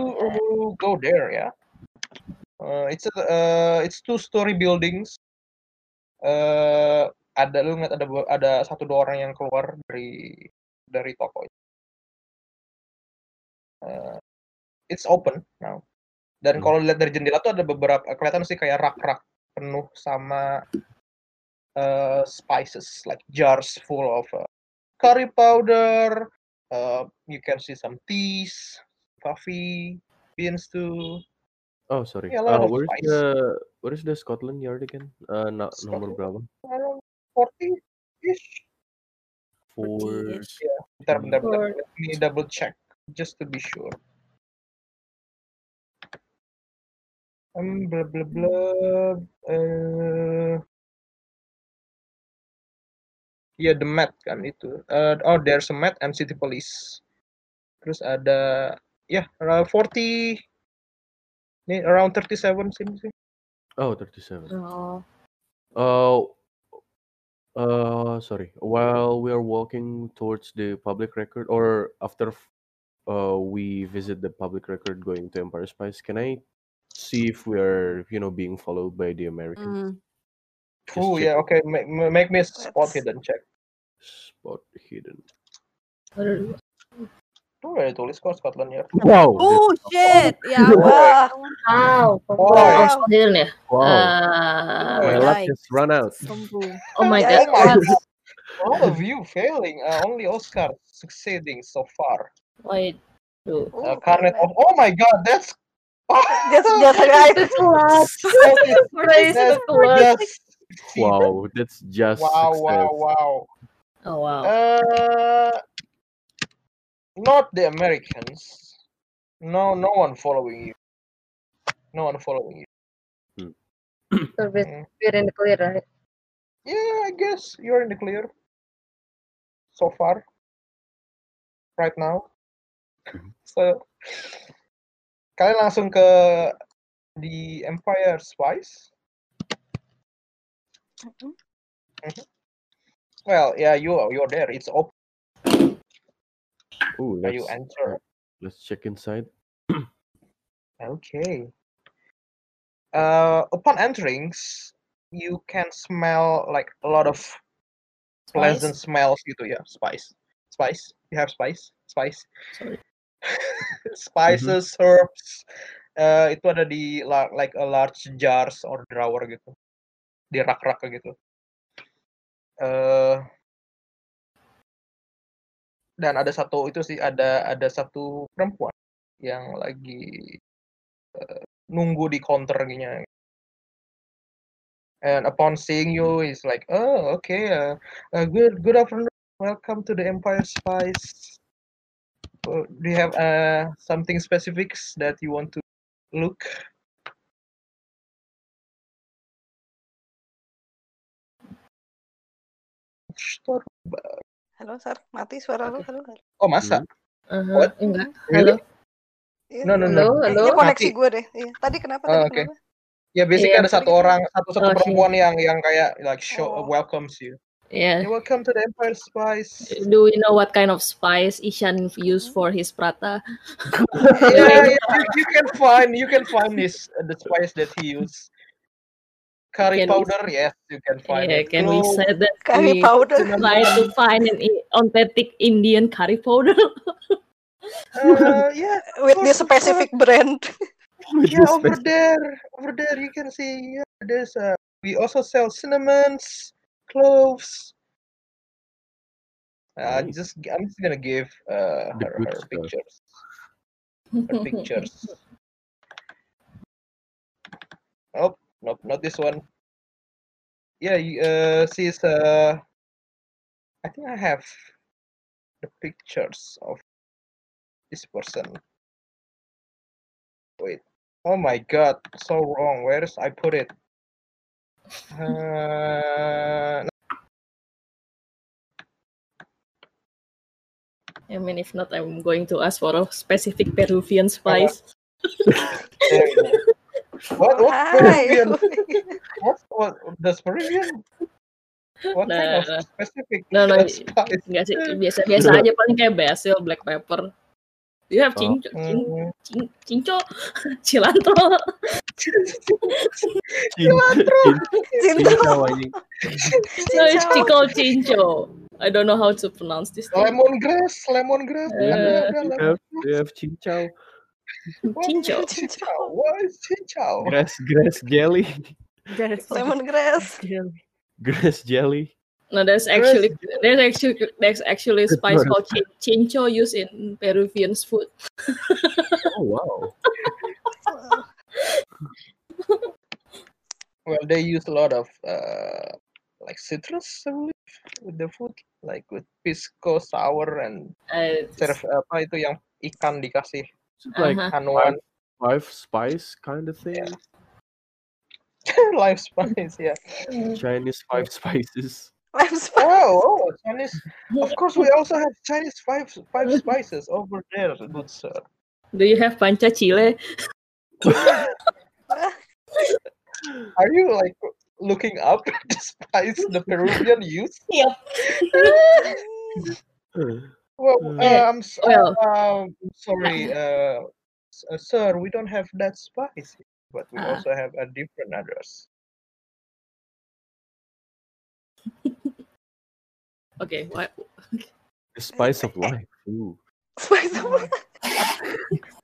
Speaker 1: go there yeah uh, it's a, uh, it's two story buildings uh, ada lu ngeliat ada bu- ada satu dua orang yang keluar dari dari toko itu. Uh, it's open now dan kalau lihat dari jendela tuh ada beberapa kelihatan sih kayak rak-rak penuh sama uh, spices like jars full of uh, curry powder uh, you can see some teas coffee beans too
Speaker 8: Oh, sorry.
Speaker 1: Yeah, a lot
Speaker 8: Uh,
Speaker 1: of
Speaker 8: where's
Speaker 1: spice.
Speaker 8: the where is the Scotland Yard again? Uh, no, nomor berapa?
Speaker 1: around 40 ish.
Speaker 8: Four.
Speaker 1: Yeah. Bentar, bentar, bentar.
Speaker 8: Or-
Speaker 1: Let me double check just to be sure. Um, blah blah blah. Uh, yeah, the Met kan itu. Uh, oh, there's a Met and City Police. Terus ada, ya, yeah, around 40. Ini around 37 sini sih.
Speaker 8: Oh,
Speaker 1: Uh-huh.
Speaker 8: 37.
Speaker 3: Oh.
Speaker 8: Oh, uh, sorry. While we are walking towards the public record, or after uh, we visit the public record going to Empire Spice, can I see if we are, you know, being followed by the American
Speaker 7: Hmm.
Speaker 1: True, Mm-hmm. yeah, Oh, ya, okay. Make, make me spot hidden check.
Speaker 8: spot hidden?
Speaker 1: Tuh udah ditulis ya, kok Scotland Yard.
Speaker 8: Wow.
Speaker 7: Oh shit! Ya apa?
Speaker 3: Wow.
Speaker 1: Wow.
Speaker 3: Oh, Spicier ya?
Speaker 8: Wow.
Speaker 1: uh,
Speaker 3: Ah,
Speaker 8: My luck has run out.
Speaker 3: oh my
Speaker 1: Yeah, oh
Speaker 3: god.
Speaker 1: my
Speaker 3: What?
Speaker 1: God. All of you failing. Uh, only Oscar succeeding so far.
Speaker 3: Wait. Dude.
Speaker 1: Uh, Carnet of Oh my God, that's
Speaker 4: That's just right.
Speaker 3: Praise
Speaker 1: That's
Speaker 3: the Lord.
Speaker 1: just
Speaker 8: Wow, that's just
Speaker 1: wow, wow,
Speaker 8: success.
Speaker 1: wow.
Speaker 3: Oh wow.
Speaker 1: Uh, not the Americans. No, no one following you. No one following you.
Speaker 14: So we're, we're in the clear, right?
Speaker 1: Yeah, I guess you're in the clear. So far. Right now. So kalian langsung ke The Empire Spice. Mhm. Well, yeah, you you're there. It's open.
Speaker 8: Ooh,
Speaker 1: Are you
Speaker 8: let's,
Speaker 1: answer?
Speaker 8: let's check inside.
Speaker 1: Okay. Uh, upon entering, you can smell like a lot of pleasant smells gitu ya, spice. Spice. You have spice? Spice.
Speaker 3: Sorry.
Speaker 1: Spices, herbs. Uh, itu ada di la- like a large jars or drawer gitu. Di rak-rak gitu. Eh dan ada satu itu sih ada ada satu perempuan yang lagi eh, nunggu di counternya. And upon seeing you, is like, oh, okay, uh, uh, good, good afternoon. Welcome to the Empire Spice. Uh, do you have uh, something specifics that you want to look?
Speaker 4: Halo, Sar. Mati suara lu. Halo, halo.
Speaker 1: Oh, masa?
Speaker 3: Aha,
Speaker 1: What?
Speaker 3: enggak.
Speaker 1: Really?
Speaker 4: Iya.
Speaker 1: No, no, no.
Speaker 4: Eh, Ini koneksi gue deh. Iya. Tadi kenapa? Tadi
Speaker 1: Oh, oke.
Speaker 4: kenapa?
Speaker 1: Ya, basically
Speaker 3: Iya,
Speaker 1: ada satu
Speaker 4: tadi-
Speaker 1: orang, satu satu
Speaker 3: Oh,
Speaker 1: perempuan yang yang kayak like show welcomes you.
Speaker 3: Yeah.
Speaker 1: welcome to the Empire Spice.
Speaker 3: Do you know what kind of spice Ishan used for his prata?
Speaker 1: yeah, yeah, you, you can find you can find this uh, the spice that he used. Curry
Speaker 3: Can we-
Speaker 1: powder, yes, you can find it.
Speaker 3: Yeah,
Speaker 1: Oh,
Speaker 3: can we
Speaker 1: Clove,
Speaker 3: say that
Speaker 4: Oh. Curry
Speaker 3: we
Speaker 4: powder.
Speaker 3: try to find an i- authentic Indian curry powder?
Speaker 1: Uh, yeah,
Speaker 4: With this specific brand.
Speaker 1: yeah, over there, over there, you can see yeah, there's uh, we also sell cinnamons, cloves. Uh,
Speaker 8: Nice.
Speaker 1: just I'm just gonna give uh,
Speaker 8: The
Speaker 1: her,
Speaker 8: good
Speaker 1: her
Speaker 8: stuff.
Speaker 1: pictures, her pictures. Oh, nope, not this one. Yeah, you, uh, she's uh, I think I have the pictures of this person. Wait. Oh my god, so wrong. Where is I put it? Uh,
Speaker 3: I mean, if not, I'm going to ask for a specific Peruvian spice.
Speaker 1: there you go. What? What
Speaker 4: Hai.
Speaker 1: Peruvian? What? What? Does Peruvian? What kind of
Speaker 3: Nah.
Speaker 1: specific
Speaker 3: No, no,
Speaker 1: spice?
Speaker 3: enggak sih. Biasa biasa aja paling kayak basil, black pepper. You have cinco,
Speaker 1: Hmm.
Speaker 3: cin,
Speaker 1: Mm.
Speaker 3: cin, cinco, cilantro.
Speaker 8: cilantro. Cincau anjing.
Speaker 3: No, it's called cinco. I don't know how to pronounce this thing.
Speaker 1: Lemongrass, lemongrass.
Speaker 3: Eh.
Speaker 1: ada- ada
Speaker 8: You
Speaker 1: lemon-
Speaker 8: have, you have cincau.
Speaker 1: What is
Speaker 3: Cincau.
Speaker 1: Cincau? What is cincau?
Speaker 8: Grass, grass jelly.
Speaker 4: Lemongrass.
Speaker 8: Grass jelly.
Speaker 3: No, there's actually there's actually there's actually
Speaker 8: Good
Speaker 3: spice
Speaker 8: word.
Speaker 3: called chin, chincho used in Peruvian food.
Speaker 8: Oh, wow.
Speaker 1: Well, they use a lot of uh, like citrus, I believe, with the food, like with pisco sour and
Speaker 3: Eh,
Speaker 1: serve apa itu yang ikan dikasih
Speaker 8: Like
Speaker 3: Ah.
Speaker 1: anuan
Speaker 8: five, five spice kind of thing.
Speaker 1: live spice, yeah.
Speaker 8: Chinese five spices.
Speaker 4: Live
Speaker 1: spice. Oh, oh, Chinese. Of course, we also have Chinese five five spices over there, good sir.
Speaker 3: Uh, Do you have panca chile?
Speaker 1: Are you like looking up the spice the Peruvian use?
Speaker 3: Yep.
Speaker 1: Well,
Speaker 3: Eh,
Speaker 1: uh, I'm s-
Speaker 3: well.
Speaker 1: uh, um, sorry, uh, s- uh, sir, we don't have that spice, here, but we
Speaker 3: Ah.
Speaker 1: also have a different address.
Speaker 3: Okay, what?
Speaker 8: The spice of
Speaker 3: eh.
Speaker 8: life. Ooh.
Speaker 4: Spice apa?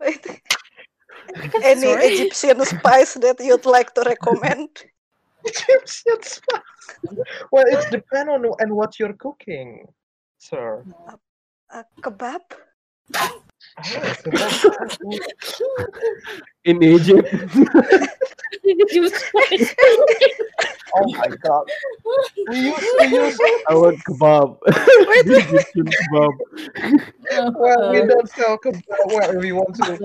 Speaker 4: Wait. Any
Speaker 3: Sorry.
Speaker 4: Egyptian spice that you'd like to recommend?
Speaker 1: Egyptian spice. Well, it depends on and what you're cooking, sir.
Speaker 4: Uh, kebab?
Speaker 1: Oh, so that's-
Speaker 8: In Egypt.
Speaker 1: oh my god. We use we use
Speaker 8: I want kebab. Egyptian kebab.
Speaker 1: well
Speaker 3: Uh,
Speaker 1: we don't sell kebab well if you want to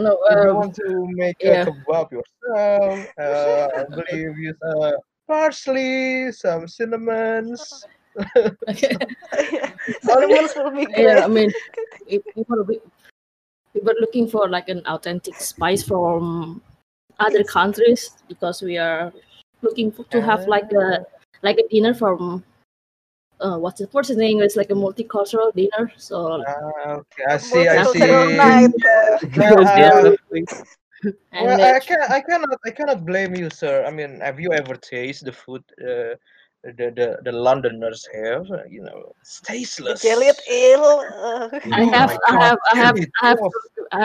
Speaker 3: No,
Speaker 1: if you
Speaker 3: um,
Speaker 1: want to make a
Speaker 3: yeah.
Speaker 1: kebab yourself, uh, I believe use uh, parsley, some cinnamons.
Speaker 4: Cinnamons will be great.
Speaker 3: Yeah, I mean, if we were, we were looking for like an authentic spice from other countries because we are looking for, to have like a like a dinner from uh, what's it? What's the name? It's like a multicultural dinner. So
Speaker 1: uh, okay, I see, I see.
Speaker 4: Multicultural night.
Speaker 1: Well, uh,
Speaker 3: And uh,
Speaker 1: well,
Speaker 3: then-
Speaker 1: I can I cannot I cannot blame you, sir. I mean, have you ever tasted the food uh, the, the the Londoners have? Uh, You know, it's tasteless.
Speaker 4: Jellied ale. uh,
Speaker 3: I have, I have, I have, I have, to,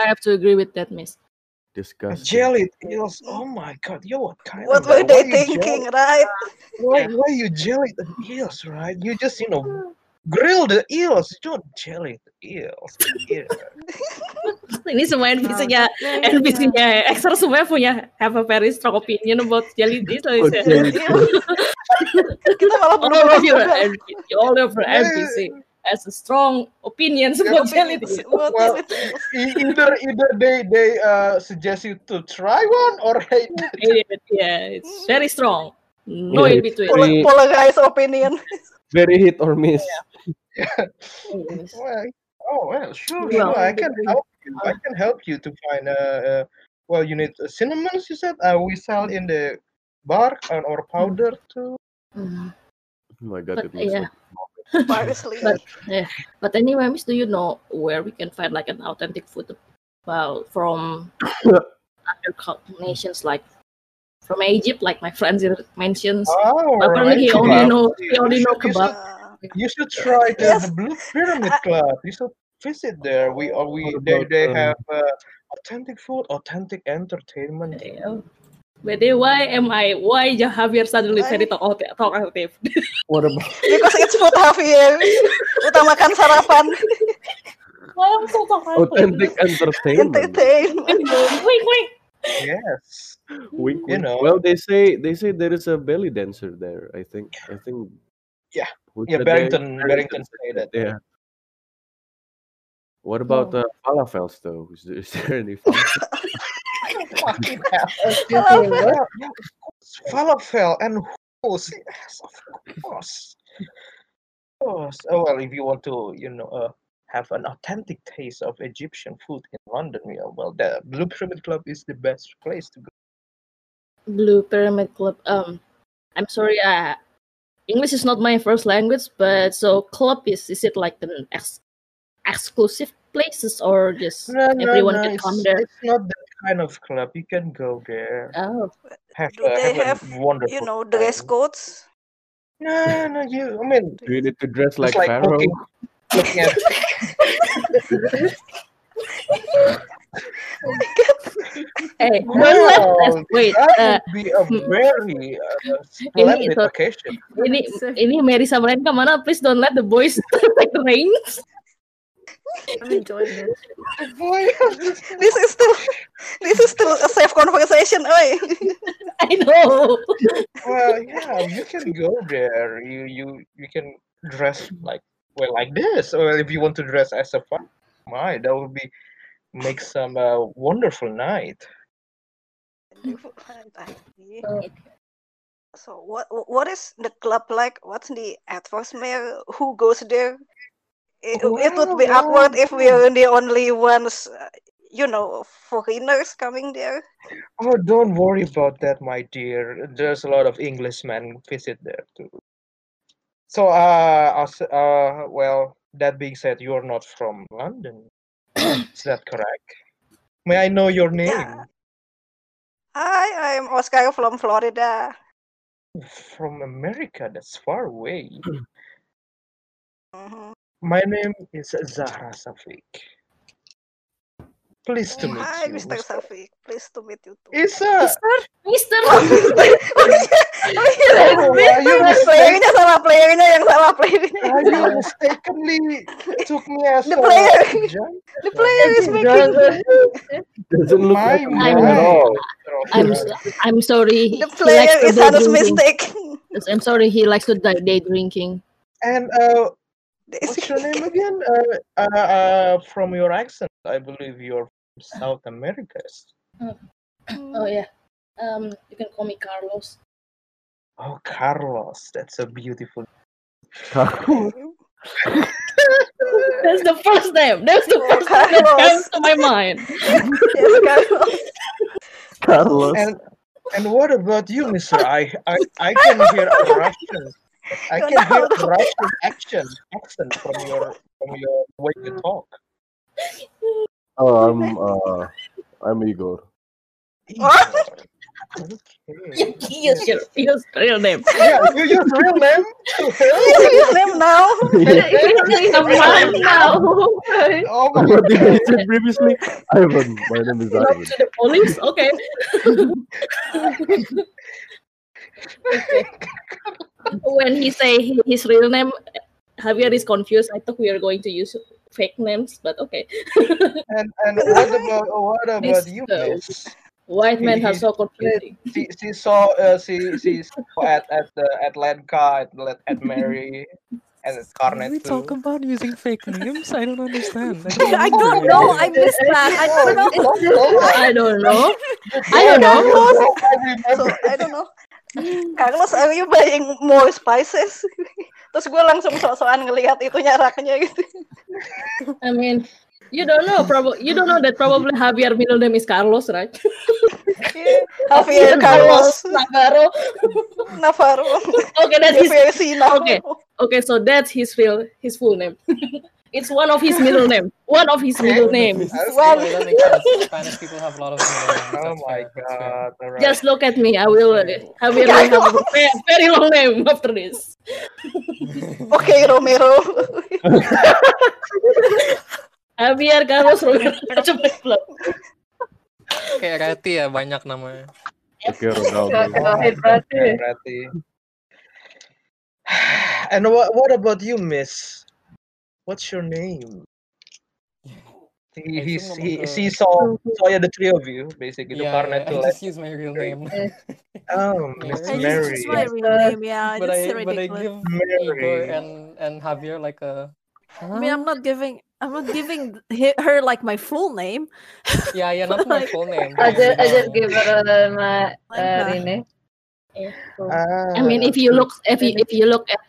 Speaker 3: I have to agree with that, Miss.
Speaker 8: Disgusting.
Speaker 1: Jelly eels. Oh my god, yo, what kind
Speaker 4: What
Speaker 1: of
Speaker 4: were
Speaker 1: guy? Why
Speaker 4: they
Speaker 1: you jelly-
Speaker 4: thinking, right?
Speaker 1: Why why you jelly the eels, right? You just you know grill the eels. You don't jelly the eels. Yeah.
Speaker 3: Ini semua NPC-nya, NPC-nya, extra semua punya have a very strong opinion about jelly this. uh, so it's-
Speaker 4: Jelly eels. Kita malah
Speaker 3: all
Speaker 4: berubah
Speaker 3: of your
Speaker 4: juga.
Speaker 3: NPC, all of your NPC has a strong opinions about jelly this.
Speaker 1: Well, e- either either they they uh, suggest you to try one or hate
Speaker 3: it. Yeah, it's very strong. No in
Speaker 8: Yeah, it's
Speaker 3: between.
Speaker 8: Pola- very-
Speaker 4: Polarized opinion.
Speaker 8: Very hit or miss.
Speaker 1: Well, oh well, sure,
Speaker 4: Well,
Speaker 1: sure. I can help you. I can help you to find uh, uh well, you need uh, cinnamons. You said uh, we sell in the bark and or powder
Speaker 3: Hmm.
Speaker 1: too.
Speaker 8: Oh my
Speaker 3: But,
Speaker 8: god, it looks
Speaker 3: yeah.
Speaker 8: like
Speaker 3: but, yeah. but anyway, Miss, do you know where we can find like an authentic food well from other cul- nations like from Egypt, like my friends here mentions.
Speaker 1: Oh,
Speaker 3: but apparently he
Speaker 1: right. Kebab.
Speaker 3: only know he
Speaker 1: You
Speaker 3: only know
Speaker 1: should- you should-
Speaker 3: kebab.
Speaker 4: uh,
Speaker 1: You should try the, the Blue Pyramid Club. You should visit there. We are we they,
Speaker 8: about,
Speaker 1: they
Speaker 8: um,
Speaker 1: have uh, authentic food, authentic entertainment.
Speaker 3: But then Oh. why am I why Javier suddenly very talk- talkative?
Speaker 8: What about
Speaker 4: Because it's food Javier. Utamakan sarapan.
Speaker 3: Why I'm so
Speaker 8: authentic entertainment?
Speaker 4: Entertainment.
Speaker 3: wait, wait.
Speaker 1: Yes.
Speaker 8: Wink,
Speaker 1: You
Speaker 8: wink.
Speaker 1: know.
Speaker 8: Well, they say they say there is a belly dancer there. I think I think
Speaker 1: Yeah.
Speaker 8: who
Speaker 1: Yeah,
Speaker 8: said they-
Speaker 1: Barrington Barrington
Speaker 8: said
Speaker 1: say that.
Speaker 8: Yeah. What about uh, falafels though? Is there, is there any falafel?
Speaker 1: Fucking hell. Yeah,
Speaker 4: Falafel.
Speaker 1: yeah, of course. Falafel and hummus. Yes, of course. Of course. Oh, well, if you want to, you know, uh, have an authentic taste of Egyptian food in London, yeah, well, the Blue Pyramid Club is the best place to go.
Speaker 3: Blue Pyramid Club. Um, I'm sorry. Uh, English is not my first language, but so club is is it like an ex- exclusive places or just
Speaker 1: No, no,
Speaker 3: everyone
Speaker 1: no,
Speaker 3: can
Speaker 1: it's,
Speaker 3: come there?
Speaker 1: it's not that kind of club. You can go there.
Speaker 3: Oh.
Speaker 1: Have,
Speaker 4: Do
Speaker 1: a,
Speaker 4: they
Speaker 1: have a
Speaker 4: have,
Speaker 1: wonderful
Speaker 4: you know, dress codes?
Speaker 1: No, no, you. I mean,
Speaker 8: Do you need to dress like,
Speaker 1: it's like
Speaker 8: Pharaoh?
Speaker 1: looking, looking at.
Speaker 3: Hey,
Speaker 1: Well,
Speaker 3: wait.
Speaker 1: that
Speaker 3: uh,
Speaker 1: would be a very uh,
Speaker 3: ini
Speaker 1: splendid
Speaker 3: so-
Speaker 1: occasion.
Speaker 3: ini ini Mary Samarin kemana? Please don't let the boys take the reins.
Speaker 6: I'm enjoying this.
Speaker 4: this is still this is still a safe conversation, oi.
Speaker 3: I know.
Speaker 1: Well, yeah, you can go there. You you you can dress like well like this, or if you want to dress as a fun, my that would be make some uh, wonderful night.
Speaker 4: So what what is the club like? What's the atmosphere? Who goes there? It, it would be
Speaker 1: Wow,
Speaker 4: awkward if
Speaker 1: wow.
Speaker 4: we are the only ones, uh, you know, foreigners coming there.
Speaker 1: Oh, don't worry about that, my dear. There's a lot of Englishmen visit there too. So, uh, as, uh, well, that being said, you're not from London. Is that correct? May I know your name?
Speaker 4: Hi, I'm Oscar from Florida.
Speaker 1: From America, that's far away.
Speaker 4: Mhm.
Speaker 1: My name is Zahra Safik. Pleased to
Speaker 4: Oh,
Speaker 1: meet
Speaker 4: hi,
Speaker 1: you, uh,
Speaker 4: Mr.
Speaker 1: Mr.
Speaker 4: Safi. Pleased to meet you too.
Speaker 1: It's a.
Speaker 3: Mister.
Speaker 1: oh, you
Speaker 4: Playernya salah, playernya yang salah, playernya.
Speaker 1: Are you mistakenly took me as
Speaker 4: The
Speaker 1: a
Speaker 4: player.
Speaker 1: junk?
Speaker 4: The player is making.
Speaker 8: Doesn't look
Speaker 1: My,
Speaker 8: like a
Speaker 3: my.
Speaker 8: man at all.
Speaker 3: I'm so- I'm sorry. he
Speaker 4: The
Speaker 3: likes
Speaker 4: player
Speaker 3: to
Speaker 4: is
Speaker 3: day
Speaker 4: Hannah's
Speaker 3: drinking.
Speaker 4: mistake.
Speaker 3: Yes, I'm sorry. He likes to day, day drinking.
Speaker 1: And uh, what's your name again? Uh, uh, uh, from your accent, I believe you're from South America.
Speaker 3: Oh yeah. Um, you can call me Carlos.
Speaker 1: Oh, Carlos, that's a beautiful.
Speaker 3: That's the first name. That's the first name that comes to my mind.
Speaker 8: Carlos.
Speaker 1: And and what about you, Mister? I I, I can hear a Russian. I can hear a Russian action accent from your from your way you talk.
Speaker 8: Oh, I'm uh, I'm Igor.
Speaker 1: Okay.
Speaker 3: Yes, your, your real name.
Speaker 1: Yeah, you use real name.
Speaker 4: Yes, real name now.
Speaker 1: uh,
Speaker 3: It's a mine now.
Speaker 1: Oh
Speaker 8: What did I say previously? Ivan. My name is
Speaker 3: Belong
Speaker 8: Ivan.
Speaker 3: to the police. Okay. Okay. When he say hi- his real name, Javier is confused. I thought we are going to use fake names, but okay.
Speaker 1: and and what about oh, what about you, Miss?
Speaker 3: White man
Speaker 1: He-
Speaker 3: has so confusing.
Speaker 1: She, she saw uh, she she saw at at the at Lenka at Len- at Mary and at
Speaker 11: Did
Speaker 1: Carnet
Speaker 11: we talk
Speaker 1: too.
Speaker 11: about using fake names? I don't understand.
Speaker 6: I
Speaker 11: I
Speaker 6: don't
Speaker 11: remember we
Speaker 6: know. I
Speaker 11: did.
Speaker 6: missed that. I
Speaker 1: Oh,
Speaker 6: don't know.
Speaker 1: you don't know that.
Speaker 3: I don't know.
Speaker 6: I don't know.
Speaker 1: You don't remember.
Speaker 4: So I don't know. Carlos, are you buying more spices? Terus gue langsung sok-sokan ngelihat itunya raknya gitu.
Speaker 3: I mean, you don't know. Probably you don't know that probably Javier middle name is Carlos, right?
Speaker 4: Javier Carlos
Speaker 3: Navarro.
Speaker 4: Navarro.
Speaker 3: Okay, that's his.
Speaker 4: Javier C.
Speaker 3: Okay,
Speaker 4: Navarro.
Speaker 3: okay. So that's his real his full name. it's one of his middle name. One of his middle name.
Speaker 4: One.
Speaker 11: That makes sense. Spanish people have a lot of middle names.
Speaker 1: Oh
Speaker 11: That's
Speaker 1: my
Speaker 11: fair. That's fair.
Speaker 1: god! All right.
Speaker 3: Just look at me. I will. uh, Javier will have a very, very long name after this.
Speaker 4: Oke, Romero.
Speaker 3: Javier Carlos Romero. Coba blok.
Speaker 11: Kayak Rati ya banyak namanya.
Speaker 8: Okay, Ronaldo.
Speaker 1: Oh my god, Rati. And what what about you, Miss? What's your name? He
Speaker 11: I
Speaker 1: he
Speaker 11: assume
Speaker 1: he,
Speaker 11: nama
Speaker 1: she
Speaker 11: ke-
Speaker 1: saw saw yeah, the three of you basically to
Speaker 11: Yeah,
Speaker 1: Carnet
Speaker 11: yeah.
Speaker 1: to
Speaker 11: I
Speaker 1: Len.
Speaker 11: just use my real name.
Speaker 1: Oh, Miss
Speaker 11: Mary.
Speaker 6: I just use my
Speaker 1: Mary.
Speaker 6: real name. Yeah,
Speaker 11: But
Speaker 6: that's
Speaker 11: I but I
Speaker 6: ridiculous.
Speaker 11: give Igor
Speaker 1: Mary.
Speaker 11: and and Javier like a
Speaker 6: I mean,
Speaker 11: huh?
Speaker 6: I'm not giving. I'm not giving hi- her like my full name.
Speaker 11: Yeah, yeah, not
Speaker 6: But
Speaker 11: my
Speaker 6: like,
Speaker 11: full name.
Speaker 14: I
Speaker 11: Kayak
Speaker 14: just, I just
Speaker 11: middle name.
Speaker 14: give her uh, my uh,
Speaker 6: Lenka.
Speaker 14: ini.
Speaker 3: Yeah. I
Speaker 1: Ah,
Speaker 3: mean, if you look, if you if you look at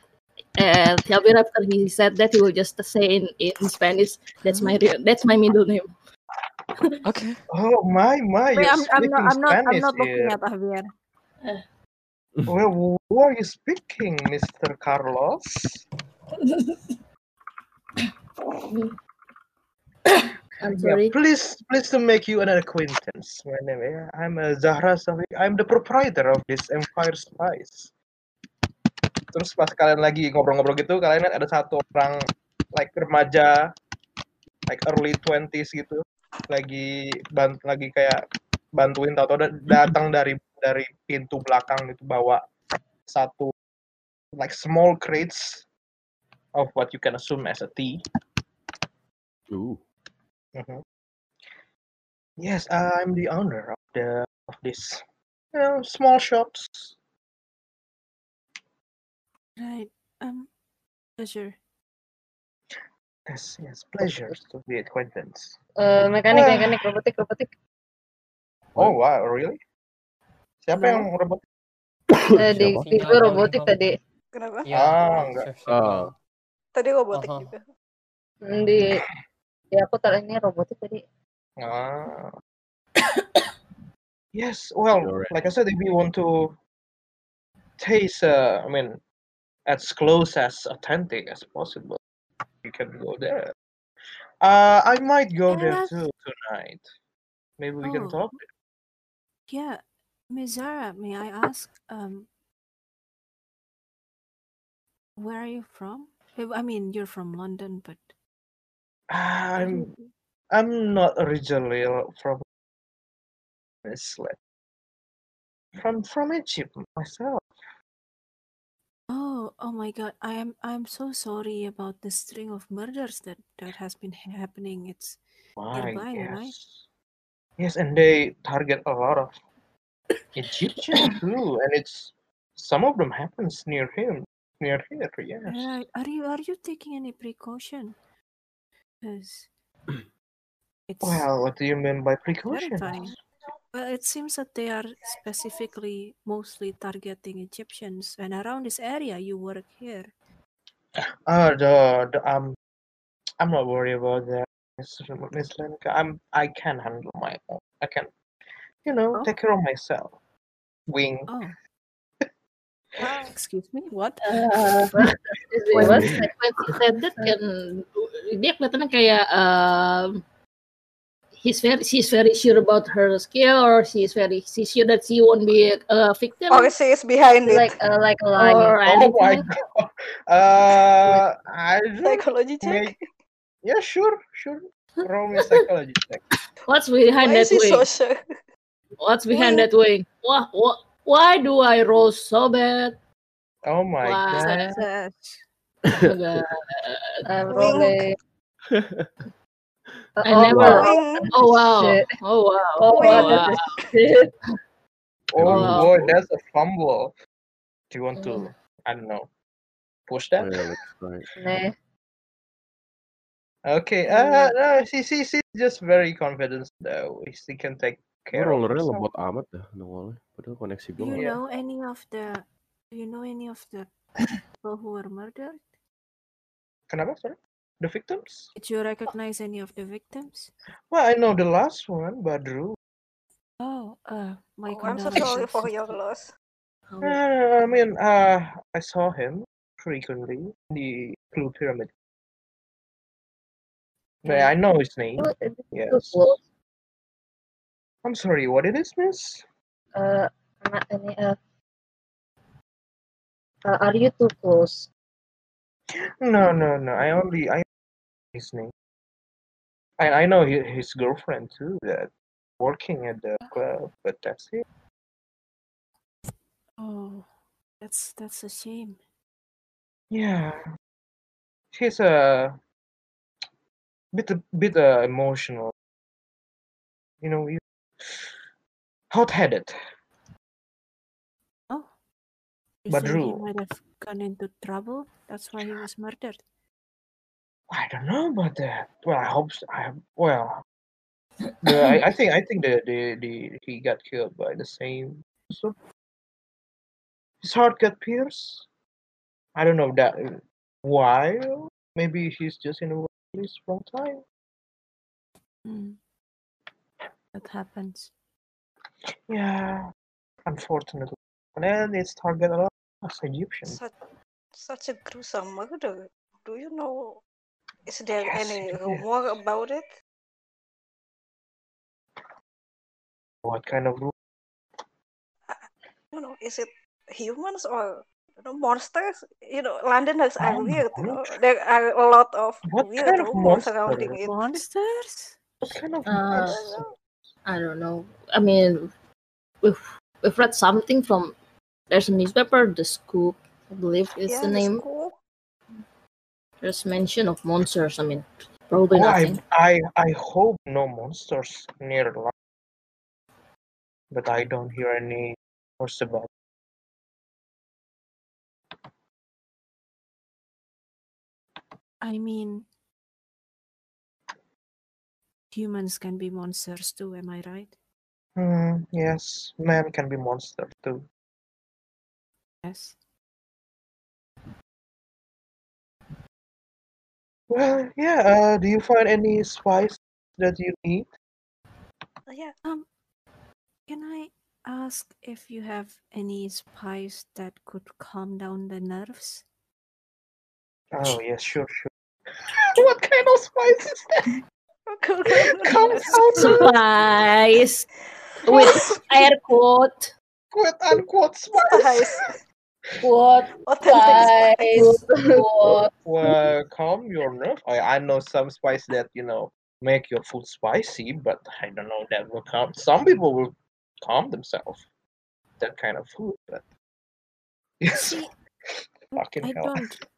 Speaker 3: uh, Javier after he said that, he will just say in, in Spanish, "That's my real, that's my middle name."
Speaker 11: Okay.
Speaker 1: oh my my,
Speaker 6: Wait,
Speaker 1: you're
Speaker 6: I'm, I'm not.
Speaker 1: speaking
Speaker 6: I'm not. I'm
Speaker 1: Spanish
Speaker 6: not looking
Speaker 1: here.
Speaker 6: at Javier.
Speaker 1: Well, who are you speaking, Mr. Carlos?
Speaker 3: I'm
Speaker 1: Yeah,
Speaker 3: sorry.
Speaker 1: please, please to make you an acquaintance. My name is I'm uh, Zahra Safi. I'm the proprietor of this Empire Spice. Terus pas kalian lagi ngobrol-ngobrol gitu, kalian lihat ada satu orang like remaja, like early 20s gitu, lagi ban lagi kayak bantuin atau datang dari dari pintu belakang itu bawa satu like small crates of what you can assume as a tea.
Speaker 8: Ooh.
Speaker 1: Mhm. Yes, I'm the owner of the of this you know, small shops.
Speaker 6: Right. Um. Pleasure.
Speaker 1: Yes, yes, pleasure to be acquaintance.
Speaker 14: Eh, mekanik,
Speaker 1: Wah.
Speaker 14: mekanik, robotik, robotik.
Speaker 1: Oh wow, really? Siapa
Speaker 6: No.
Speaker 1: yang robot?
Speaker 14: Eh, di,
Speaker 8: Siapa?
Speaker 14: di
Speaker 11: Final
Speaker 14: gua
Speaker 11: paling
Speaker 14: robotik
Speaker 11: kalau-
Speaker 14: tadi.
Speaker 4: Kenapa?
Speaker 11: Ya,
Speaker 1: Ah, enggak.
Speaker 11: sure, sure,
Speaker 8: Ah,
Speaker 11: final.
Speaker 4: Tadi robotik
Speaker 11: Aha.
Speaker 4: juga.
Speaker 14: Hmm, Di, di aku taruh ini robotik tadi. Eh,
Speaker 1: Ah. Yes, well,
Speaker 8: you're right.
Speaker 1: like I said, if you want to taste, uh, I mean, as close as authentic as possible, you can go there. Uh, I might
Speaker 6: Can
Speaker 1: go
Speaker 6: I
Speaker 1: there
Speaker 6: ask-
Speaker 1: too tonight. Maybe we
Speaker 6: Oh.
Speaker 1: can talk.
Speaker 6: Yeah, Ms. Zara, may I ask, um, where are you from? Eh, I I mean, you're from London, but where do
Speaker 1: Ah, I'm
Speaker 6: you do?
Speaker 1: I'm not originally from Iceland. From from Egypt myself.
Speaker 6: Oh, oh my God! I am I'm so sorry about the string of murders that that has been happening. It's
Speaker 1: My
Speaker 6: nearby, right?
Speaker 1: yes. Yes, and they target a lot of Egyptian too, and it's some of them happens near him, near here. Yes.
Speaker 6: Right? Are you are you taking any precaution? Because it's
Speaker 1: Well, what do you mean by precautions?
Speaker 6: terrifying.
Speaker 7: Well, Uh, it seems that they are specifically mostly targeting Egyptians, and around this area, you work here.
Speaker 1: Oh,
Speaker 17: Uh, the, the, um, I'm not worried about that, Miss, Miss Lenka. I'm I can handle my own. I can, you know,
Speaker 3: Oh.
Speaker 17: take care of myself. Wing.
Speaker 7: Oh. Ah, Excuse me, what?
Speaker 3: Uh, Wait, what? When he said that kan dia kelihatannya kayak um, he's very she's very sure about her skill or she's very she's sure that she won't be a, a victim.
Speaker 4: Or Oh, she is behind it.
Speaker 3: like uh, like lying.
Speaker 4: Or
Speaker 3: anything
Speaker 4: Oh my
Speaker 3: like that.
Speaker 1: Uh, I
Speaker 4: psychology check.
Speaker 1: Yeah, sure, sure. Roll me psychology check.
Speaker 3: What's behind
Speaker 4: Why
Speaker 3: that
Speaker 4: is he
Speaker 3: wing?
Speaker 4: so sure?
Speaker 3: What's behind that wing? Why, why, why do I roll so bad?
Speaker 1: Oh my
Speaker 3: Why?
Speaker 1: god.
Speaker 7: uh,
Speaker 3: Oh my God.
Speaker 14: I'm rolling. Eh,
Speaker 3: I never.
Speaker 14: wow.
Speaker 3: Oh wow.
Speaker 14: Shit.
Speaker 3: Oh wow.
Speaker 14: Oh, what
Speaker 3: wow.
Speaker 14: the shit?
Speaker 1: Oh
Speaker 3: Wow.
Speaker 1: boy, that's a fumble. Do you want
Speaker 3: Mm.
Speaker 1: to? I don't know. Push that.
Speaker 14: Nah.
Speaker 1: Okay. Uh, no, she, she, she's just very confident though. She can take
Speaker 8: Gue
Speaker 1: care of
Speaker 8: rollernya
Speaker 1: herself.
Speaker 8: lemot amat dah nongolnya. Padahal koneksi
Speaker 7: Do
Speaker 8: gue
Speaker 7: you
Speaker 8: nggak
Speaker 7: know any of the? Do you know any of the people who were murdered?
Speaker 1: Kenapa, sorry? The victims?
Speaker 7: Did you recognize any of the victims?
Speaker 1: Well, I know the last one, Badru.
Speaker 7: Oh, uh, my
Speaker 4: Oh, I'm so sorry for your loss.
Speaker 1: Uh, I mean, uh, I saw him frequently in the Blue Pyramid. But I know his name.
Speaker 14: Oh, uh,
Speaker 1: Yes.
Speaker 14: Wolf.
Speaker 1: I'm sorry, what it is, miss?
Speaker 14: Uh, anak ini uh, uh, are you too close?
Speaker 1: No, no, no. I only I his name. I I know hi- his girlfriend too. That working at the club, but that's it.
Speaker 7: Oh, that's that's a shame.
Speaker 1: Yeah, she's a bit a bit uh, emotional. You know, you hot-headed.
Speaker 7: Oh, you
Speaker 1: But
Speaker 7: think he
Speaker 1: Drew-
Speaker 7: might have gone into trouble? That's why he was murdered.
Speaker 1: I don't know about that. Well, I hope so. I well, the, I, I think I think the, the the he got killed by the same. So his heart got pierced. I don't know that uh, why. Maybe he's just in a place wrong time.
Speaker 7: Mm. That happens.
Speaker 1: Yeah, unfortunately, and then it's target a lot of Egyptians.
Speaker 4: Such, such a gruesome murder. Do you know? Is there
Speaker 1: Yes,
Speaker 4: any
Speaker 1: it is.
Speaker 4: rumor about it?
Speaker 1: What kind of room?
Speaker 4: You know, is it humans or you know, monsters? You know, London is
Speaker 1: Oh my
Speaker 4: are weird. You
Speaker 1: God.
Speaker 4: know, there are a lot of
Speaker 1: What
Speaker 4: weird
Speaker 1: kind of
Speaker 4: rumors
Speaker 1: monster?
Speaker 4: surrounding it.
Speaker 7: Monsters?
Speaker 1: What kind of
Speaker 3: Uh,
Speaker 1: monster?
Speaker 3: I don't know. I mean, we've we've read something from there's a newspaper, The Scoop, I believe is
Speaker 4: Yeah,
Speaker 3: the
Speaker 4: the
Speaker 3: name.
Speaker 4: school.
Speaker 3: There's mention of monsters. I mean, probably
Speaker 1: Oh, I,
Speaker 3: nothing.
Speaker 1: I I hope no monsters near the line, but I don't hear any horse about.
Speaker 7: I mean, humans can be monsters too. Am I right?
Speaker 1: Hmm, yes, man can be monster too.
Speaker 7: Yes.
Speaker 1: Well, yeah. Uh, do you find any spice that you need?
Speaker 4: Yeah.
Speaker 7: Um, can I ask if you have any spice that could calm down the nerves?
Speaker 1: Oh yes, sure, sure. what kind of spice is that? Come out
Speaker 3: Surprise! With air quote,
Speaker 1: with unquote spice.
Speaker 3: quote,
Speaker 4: Authentic
Speaker 3: spice, quote.
Speaker 1: Well, calm your nerve. I, I know some spice that you know make your food spicy, but I don't know that will calm. Some people will calm themselves. That kind of food, but yes,
Speaker 7: See,
Speaker 1: fucking
Speaker 7: I
Speaker 1: hell.
Speaker 7: don't.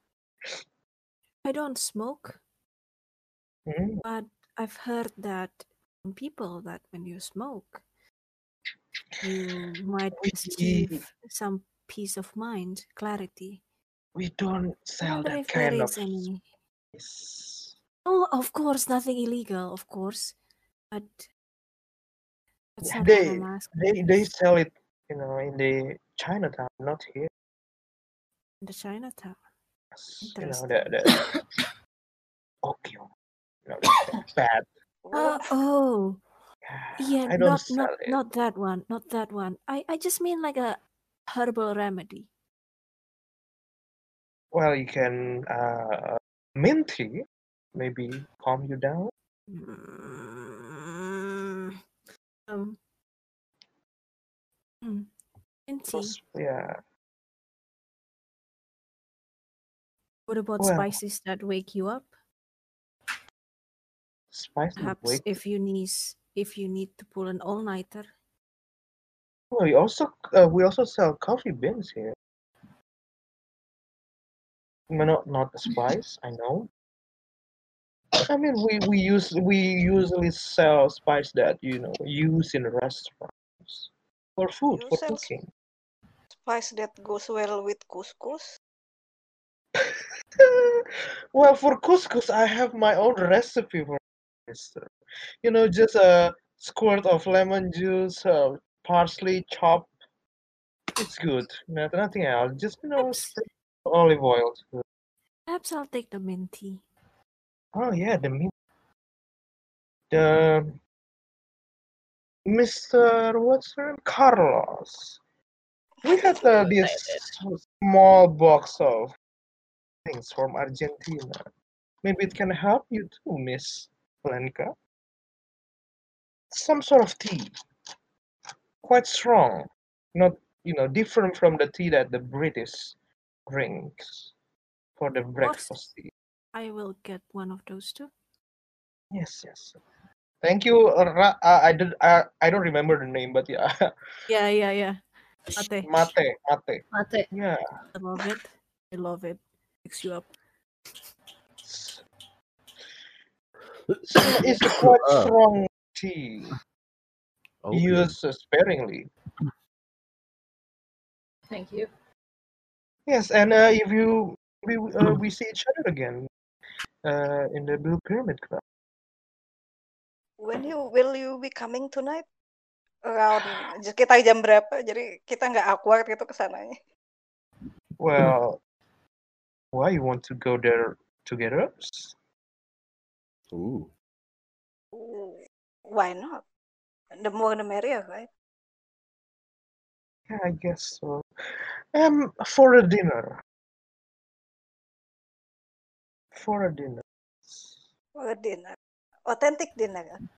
Speaker 7: I don't smoke,
Speaker 1: Mm.
Speaker 7: but I've heard that from people that when you smoke, you might achieve some peace of mind, clarity.
Speaker 1: We don't
Speaker 7: I
Speaker 1: sell
Speaker 7: wonder
Speaker 1: that
Speaker 7: if there
Speaker 1: kind of
Speaker 7: is any.
Speaker 1: spice.
Speaker 7: Oh, of course, nothing illegal, of course. But
Speaker 6: It's not
Speaker 1: they,
Speaker 6: on a mask.
Speaker 1: they they sell it, you know, in the Chinatown, not here.
Speaker 6: in the Chinatown.
Speaker 1: You know,
Speaker 6: Interesting.
Speaker 1: the the Tokyo, you know, the bad.
Speaker 6: Uh, oh. Yeah,
Speaker 1: I don't
Speaker 6: not
Speaker 1: sell
Speaker 6: not
Speaker 1: it.
Speaker 6: not that one, not that one. I I just mean like a herbal remedy.
Speaker 1: Well, you can uh, mint tea, maybe calm you down.
Speaker 6: Mm, Um. mm, Mint tea.
Speaker 1: Those- yeah.
Speaker 6: What about
Speaker 1: Well.
Speaker 6: spices that wake you up?
Speaker 1: Spicy
Speaker 6: Perhaps
Speaker 1: wake.
Speaker 6: if you need if you need to pull an all nighter.
Speaker 1: Well, we also uh, we also sell coffee beans here. I mean, not not the spice, I know. I mean, we we use we usually sell spice that you know use in restaurants for food
Speaker 4: You
Speaker 1: for
Speaker 4: sell
Speaker 1: cooking.
Speaker 4: Spice that goes well with couscous.
Speaker 1: Well, for couscous, I have my own recipe for this. You know, just a squirt of lemon juice, uh, parsley chopped. It's good. Not, nothing else. Just you know, sprinkle olive oil. too.
Speaker 6: Perhaps I'll take the mint tea.
Speaker 1: Oh yeah, the meat. The Mr. What's her name? Carlos. We got uh, this small box of things from Argentina. Maybe it can help you too, Miss Blanca. Some sort of tea, quite strong, not you know different from the tea that the British drinks for the breakfast tea.
Speaker 6: I will get one of those too.
Speaker 1: Yes, yes. Thank you. uh, Ra- uh, I did. I, I don't remember the name, but yeah,
Speaker 6: Yeah, yeah, yeah. Mate.
Speaker 1: mate, mate.
Speaker 3: Mate.
Speaker 1: Yeah.
Speaker 6: I love it. I love it. Picks you up.
Speaker 1: So it's a quite
Speaker 5: Ah.
Speaker 1: strong tea.
Speaker 8: Oh,
Speaker 5: Okay.
Speaker 1: Use sparingly.
Speaker 3: Thank you.
Speaker 1: Yes, and uh, if you we uh, we see each other again uh, in the Blue Pyramid Club.
Speaker 4: When you will you be coming tonight? Around j- kita jam berapa? Jadi kita nggak awkward gitu kesananya.
Speaker 1: Well, why you want to go there together?
Speaker 8: Ooh.
Speaker 4: Why not? The more the merrier, right?
Speaker 1: Yeah, I guess so. Um, for a dinner. For a dinner.
Speaker 4: For a dinner, authentic dinner.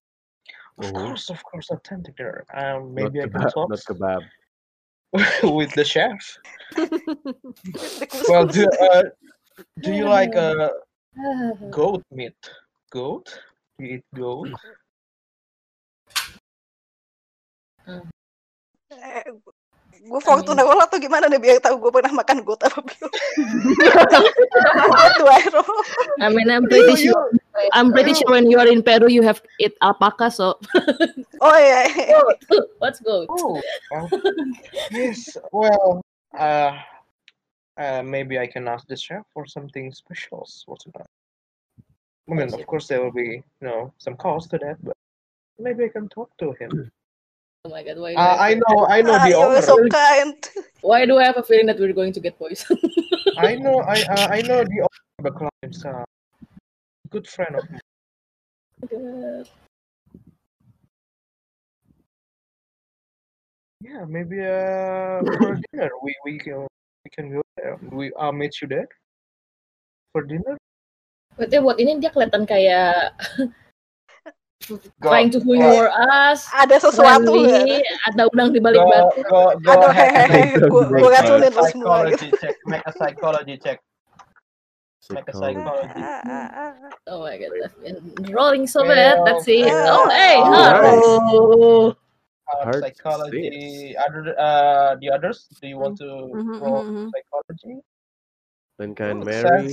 Speaker 1: Of
Speaker 8: Oh.
Speaker 1: course, of course, authentic dinner. Um,
Speaker 8: Not
Speaker 1: maybe I can
Speaker 8: kebab,
Speaker 1: talk
Speaker 8: not kebab.
Speaker 1: with the chef.
Speaker 4: The
Speaker 1: Well, do uh, do you like uh,
Speaker 3: Ah.
Speaker 1: goat meat? Goat? Do you eat goat?
Speaker 4: Gue Fortuna Roll atau gimana nih biar tahu gue pernah makan gue apa belum? What do I roll?
Speaker 3: I mean, I'm pretty sure. I'm pretty sure when you are in Peru, you have eat alpaca. So
Speaker 4: Oh yeah.
Speaker 3: let's go.
Speaker 1: Oh, well, yes. Well, uh, uh, maybe I can ask the chef for something special for tonight. I mean, of course, there will be you know some cost to that, but maybe I can talk to him.
Speaker 3: Oh my god, why? do
Speaker 1: Uh, I
Speaker 3: have-
Speaker 1: know, I
Speaker 4: Ah,
Speaker 1: know the owner.
Speaker 3: Why do I have a feeling that we're going to get poisoned?
Speaker 1: I know, I uh, I know the owner of the club himself. Good friend of mine.
Speaker 3: God.
Speaker 1: Yeah, maybe uh for dinner we we can we can go there. We I'll meet you there for dinner.
Speaker 3: Berarti buat ini dia kelihatan kayak
Speaker 1: Go-
Speaker 3: trying to humor us.
Speaker 4: Ada sesuatu ya.
Speaker 3: friendly, ada udang di balik
Speaker 1: Go-
Speaker 3: batu.
Speaker 1: go- go Aduh, ahead and hehehe, make- gua- make gua a racunin lu semua
Speaker 4: gitu.
Speaker 15: psychology check, make a psychology check. Make a psychology.
Speaker 3: Oh my god, I've been rolling so bad. Let's see.
Speaker 15: Fail.
Speaker 3: Oh hey,
Speaker 15: Alright.
Speaker 3: oh.
Speaker 15: Uh,
Speaker 8: Hard
Speaker 15: psychology. Other uh, the others. Do you want to
Speaker 6: Mm-hmm,
Speaker 3: Mhm,
Speaker 15: roll
Speaker 3: mhm, mhm.
Speaker 15: psychology?
Speaker 8: Then
Speaker 15: Ooh,
Speaker 8: can marry.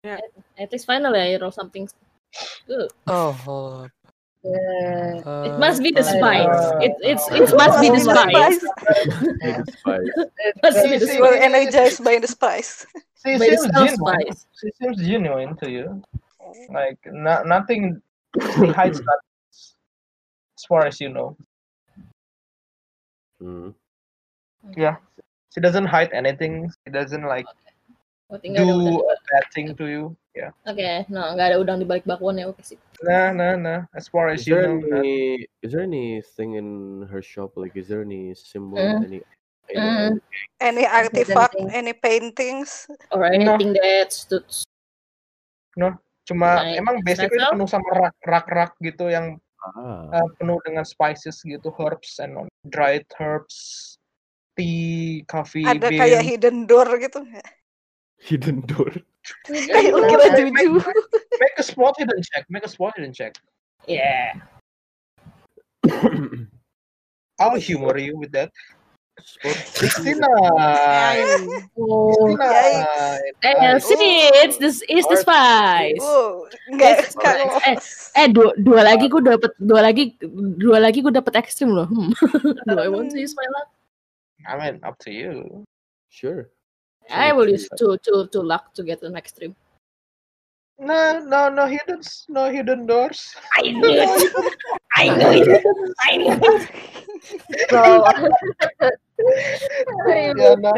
Speaker 3: Yeah. At least finally I roll something good.
Speaker 11: Oh, hold up.
Speaker 3: it must be the
Speaker 11: Uh,
Speaker 3: spice. It it's it
Speaker 11: uh,
Speaker 3: must be the
Speaker 4: Must be the
Speaker 3: spice.
Speaker 8: Be the spice.
Speaker 3: It must be the
Speaker 4: You were
Speaker 3: spice.
Speaker 4: energized by the spice.
Speaker 1: She
Speaker 3: By the
Speaker 1: seems
Speaker 3: smell of
Speaker 1: genuine.
Speaker 3: spice.
Speaker 1: She seems genuine to you. Like no, nothing she hides that as far as you know.
Speaker 8: Hmm.
Speaker 1: Yeah. She doesn't hide anything. She doesn't like
Speaker 3: Oh, tinggal ada
Speaker 1: do
Speaker 3: udang.
Speaker 1: a bad thing to you. Yeah.
Speaker 3: Oke, no, nggak ada udang di balik bakwan ya, oke sih.
Speaker 1: Nah, nah, nah. As far as
Speaker 8: Is
Speaker 1: you
Speaker 8: there
Speaker 1: know. nah.
Speaker 8: any is there anything in her shop? Like is there any symbol,
Speaker 4: Mm.
Speaker 8: any
Speaker 4: Mm. Any artifact, any paintings.
Speaker 3: Or anything that stood
Speaker 1: No, cuma
Speaker 3: Like
Speaker 1: emang basically
Speaker 3: special?
Speaker 1: penuh sama rak- rak-rak gitu yang
Speaker 8: ah.
Speaker 1: uh, penuh dengan spices gitu, herbs and all- dried herbs, tea, coffee,
Speaker 4: Ada
Speaker 1: beans.
Speaker 4: kayak hidden door gitu nggak?
Speaker 8: hidden door?
Speaker 4: Kayak ukiran
Speaker 1: Make-
Speaker 4: juju.
Speaker 1: make- Make a spot hidden check. Make a spot hidden check.
Speaker 3: Yeah.
Speaker 1: I'll humor you with that. Christina.
Speaker 3: Oh. Eh, sih, it's this is the spice.
Speaker 4: Enggak,
Speaker 3: kalau eh, eh dua, dua lagi gue dapet dua lagi dua lagi gue dapet ekstrim loh. Hmm. Do I want to use my luck?
Speaker 1: I mean, up to you.
Speaker 8: Sure.
Speaker 3: I will use two two two luck to get an extreme.
Speaker 1: No, no, no hidden, no hidden doors.
Speaker 3: I knew it. I knew
Speaker 1: it.
Speaker 3: I knew
Speaker 1: it.
Speaker 14: Yeah,
Speaker 1: yeah,
Speaker 3: Ya.
Speaker 1: no,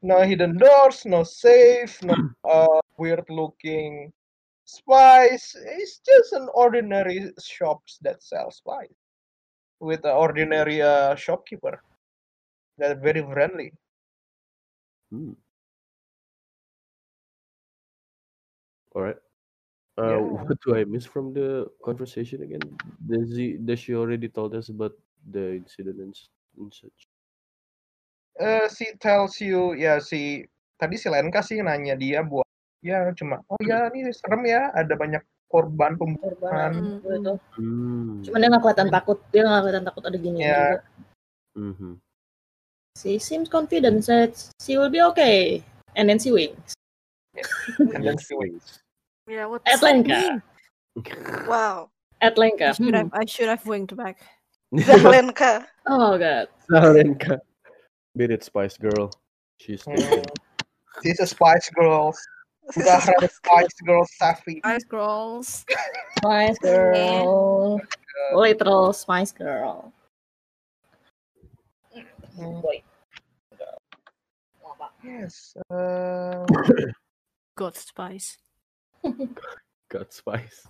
Speaker 1: no hidden doors, no safe, no uh, weird looking spice. It's just an ordinary shops that sell spice with an ordinary uh, shopkeeper. They're very friendly.
Speaker 8: Hmm. All right. Uh,
Speaker 1: Yeah.
Speaker 8: What do I miss from the conversation again? Does he, does she already told us about the incident and, s- and such?
Speaker 1: Eh, she tells you ya si tadi si Lenka sih nanya dia buat ya cuma oh ya ini serem ya ada banyak korban pembunuhan
Speaker 3: Gitu.
Speaker 8: Hmm.
Speaker 3: Cuman dia nggak kelihatan takut, dia nggak kelihatan takut ada
Speaker 1: Ya.
Speaker 3: gini juga.
Speaker 8: Mm-hmm.
Speaker 3: She seems confident that she will be okay. And then she winks.
Speaker 1: and then she
Speaker 8: waits.
Speaker 6: Yeah, what's that
Speaker 3: Atlanka.
Speaker 6: mean? Wow. I
Speaker 1: uh,
Speaker 3: Atlanka.
Speaker 6: should
Speaker 1: mm.
Speaker 6: have
Speaker 3: Hmm.
Speaker 6: I should have winked back.
Speaker 4: Zahlenka.
Speaker 3: Oh god.
Speaker 8: Sarenka. Beat it, Spice Girl. She's
Speaker 1: Hmm.
Speaker 8: taken.
Speaker 1: she's a spice girl
Speaker 4: She's
Speaker 1: udah
Speaker 4: a
Speaker 1: spice, spice girl Safi
Speaker 6: Ice girls.
Speaker 3: Spice Girl. Literal Spice Girl. Wait.
Speaker 1: yes uh,
Speaker 6: God spice.
Speaker 8: Got Spice.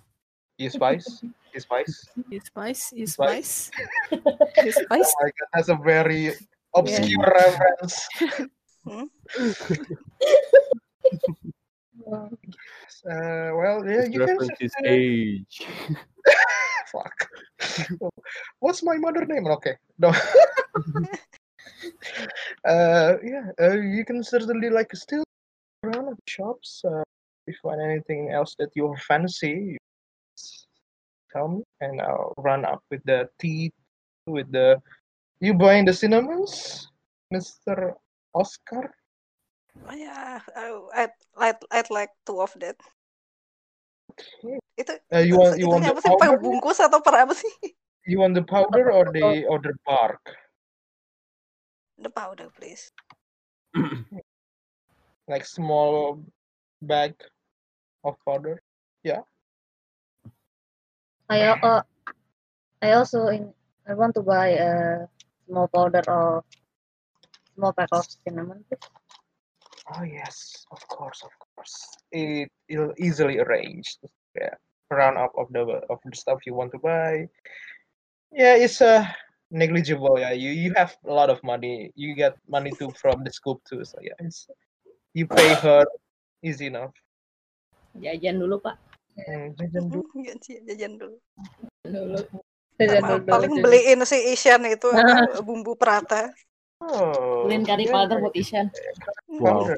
Speaker 1: you spice you spice
Speaker 6: You spice, you
Speaker 1: Spice.
Speaker 6: spice. you
Speaker 1: oh
Speaker 6: spice.
Speaker 1: my god that's a very obscure reference
Speaker 4: Hmm?
Speaker 1: uh, well yeah
Speaker 8: This
Speaker 1: you uh, guys
Speaker 8: reference
Speaker 1: have
Speaker 8: is
Speaker 1: to-
Speaker 8: age.
Speaker 1: Fuck. What's my mother name? Okay. No. uh, yeah, uh, you can certainly like still around at shops. Uh, if you find anything else that you fancy, you tell me, and I'll run up with the tea, with the you buying the cinnamons, Mister Oscar.
Speaker 4: Oh, yeah, I, I'd, I'd, I'd like two of that. Itu
Speaker 1: Uh, you want you want
Speaker 4: itunya
Speaker 1: the
Speaker 4: apa sih? Per
Speaker 1: powder?
Speaker 4: bungkus atau per apa sih?
Speaker 1: You want the powder or the or the bark?
Speaker 4: The powder, please.
Speaker 1: Like small bag of powder. Yeah.
Speaker 14: I uh, I also in, I want to buy a small powder or small pack of cinnamon.
Speaker 1: Oh yes, of course, of course. It it'll easily arranged. Yeah, round up of the of the stuff you want to buy. Yeah, it's uh negligible. Yeah, you you have a lot of money. You get money too from the scoop too. So yeah, it's you pay her easy enough.
Speaker 3: Jajan dulu, Pak.
Speaker 1: Hmm, jajan dulu.
Speaker 4: Jajan, jajan dulu.
Speaker 3: Dulu.
Speaker 14: Iya,
Speaker 4: Sama paling beliin si Isyan itu apa, bumbu prata.
Speaker 1: Oh,
Speaker 3: Beliin kari
Speaker 1: yeah,
Speaker 3: powder
Speaker 1: yeah,
Speaker 3: buat Isyan.
Speaker 8: Wow.
Speaker 1: powder.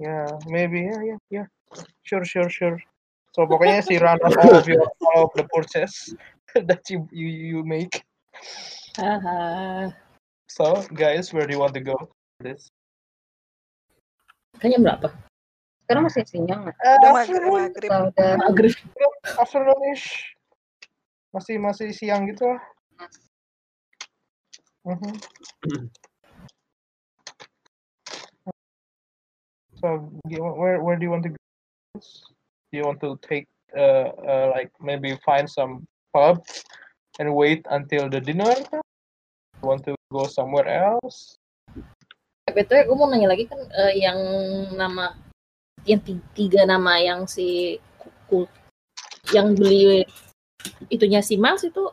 Speaker 1: Yeah, maybe. Yeah, yeah, yeah. Sure, sure, sure. So pokoknya si round up all of your all of the purchase that you you you make.
Speaker 3: Haha.
Speaker 1: So, guys, where do you want to go? for This.
Speaker 3: Kayaknya berapa?
Speaker 14: Sekarang masih sinyal nggak?
Speaker 1: Uh,
Speaker 4: Udah maghrib,
Speaker 1: afternoon,
Speaker 4: maghrib.
Speaker 14: Atau udah
Speaker 3: Maghrib.
Speaker 1: afternoonish. Masih masih siang gitu lah. Mhm. So, do you- where where do you want to go? Do you want to take uh, uh like maybe find some pub and wait until the dinner? Want to go somewhere else?
Speaker 3: Eh, BTW gue mau nanya lagi kan eh, yang nama yang ti- tiga nama yang si kuku yang beli itunya si Miles itu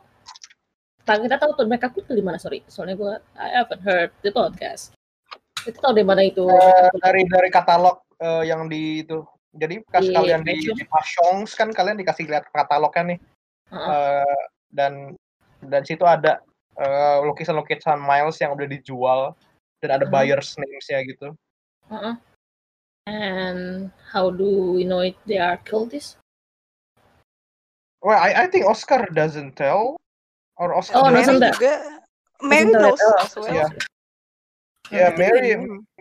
Speaker 3: tak kita tahu tuh mereka kuku di mana sorry soalnya gue I haven't heard the podcast itu tahu di mana itu
Speaker 1: Eh, dari dari katalog eh, yang di itu. Jadi pas
Speaker 3: Di
Speaker 1: kalian di,
Speaker 3: Fashion.
Speaker 1: di Pasyongs kan kalian dikasih lihat katalognya nih.
Speaker 3: Heeh.
Speaker 1: Eh, dan dan situ ada eh, lukisan-lukisan Miles yang udah dijual dan ada
Speaker 3: Heeh.
Speaker 1: buyers names-nya gitu.
Speaker 3: Uh-uh. and how do we know it they are killed this
Speaker 1: Well, I, I think Oscar doesn't tell or Oscar
Speaker 3: Oh,
Speaker 1: doesn't
Speaker 3: doesn't Mary that-
Speaker 4: juga. Mary
Speaker 3: doesn't that-
Speaker 4: knows
Speaker 3: oh,
Speaker 4: as well.
Speaker 1: Yeah. Yeah, Mary,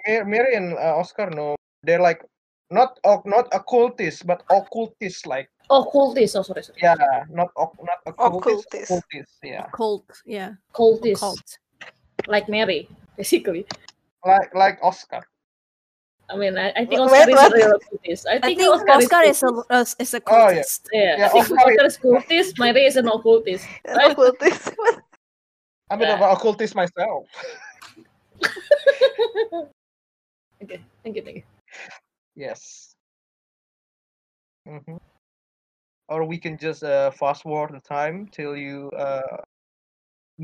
Speaker 1: Mary, Mary and uh, Oscar know they're like not oc- not occultists but occultists like
Speaker 3: occultist oh sorry sorry
Speaker 1: yeah not oc- not occultists
Speaker 3: Occultists.
Speaker 1: occultists yeah
Speaker 7: Cult, yeah.
Speaker 3: cultist
Speaker 7: Occult.
Speaker 3: like Mary basically
Speaker 1: like like Oscar
Speaker 3: I mean I, I think
Speaker 4: Wait,
Speaker 3: Oscar is a
Speaker 4: what?
Speaker 3: real occultist I
Speaker 7: I
Speaker 3: think,
Speaker 7: think
Speaker 3: Oscar,
Speaker 7: Oscar
Speaker 3: is,
Speaker 7: is a
Speaker 3: cultist.
Speaker 7: uh, is a
Speaker 1: Oh, yeah.
Speaker 7: cultist.
Speaker 3: yeah,
Speaker 1: Yeah,
Speaker 3: I think
Speaker 1: Oscar-
Speaker 3: Oscar is cultist Mary is an occultist right
Speaker 4: Occultist.
Speaker 1: I'm an occultist myself
Speaker 3: okay thank you thank you
Speaker 1: yes hmm or we can just uh, fast forward the time till you uh,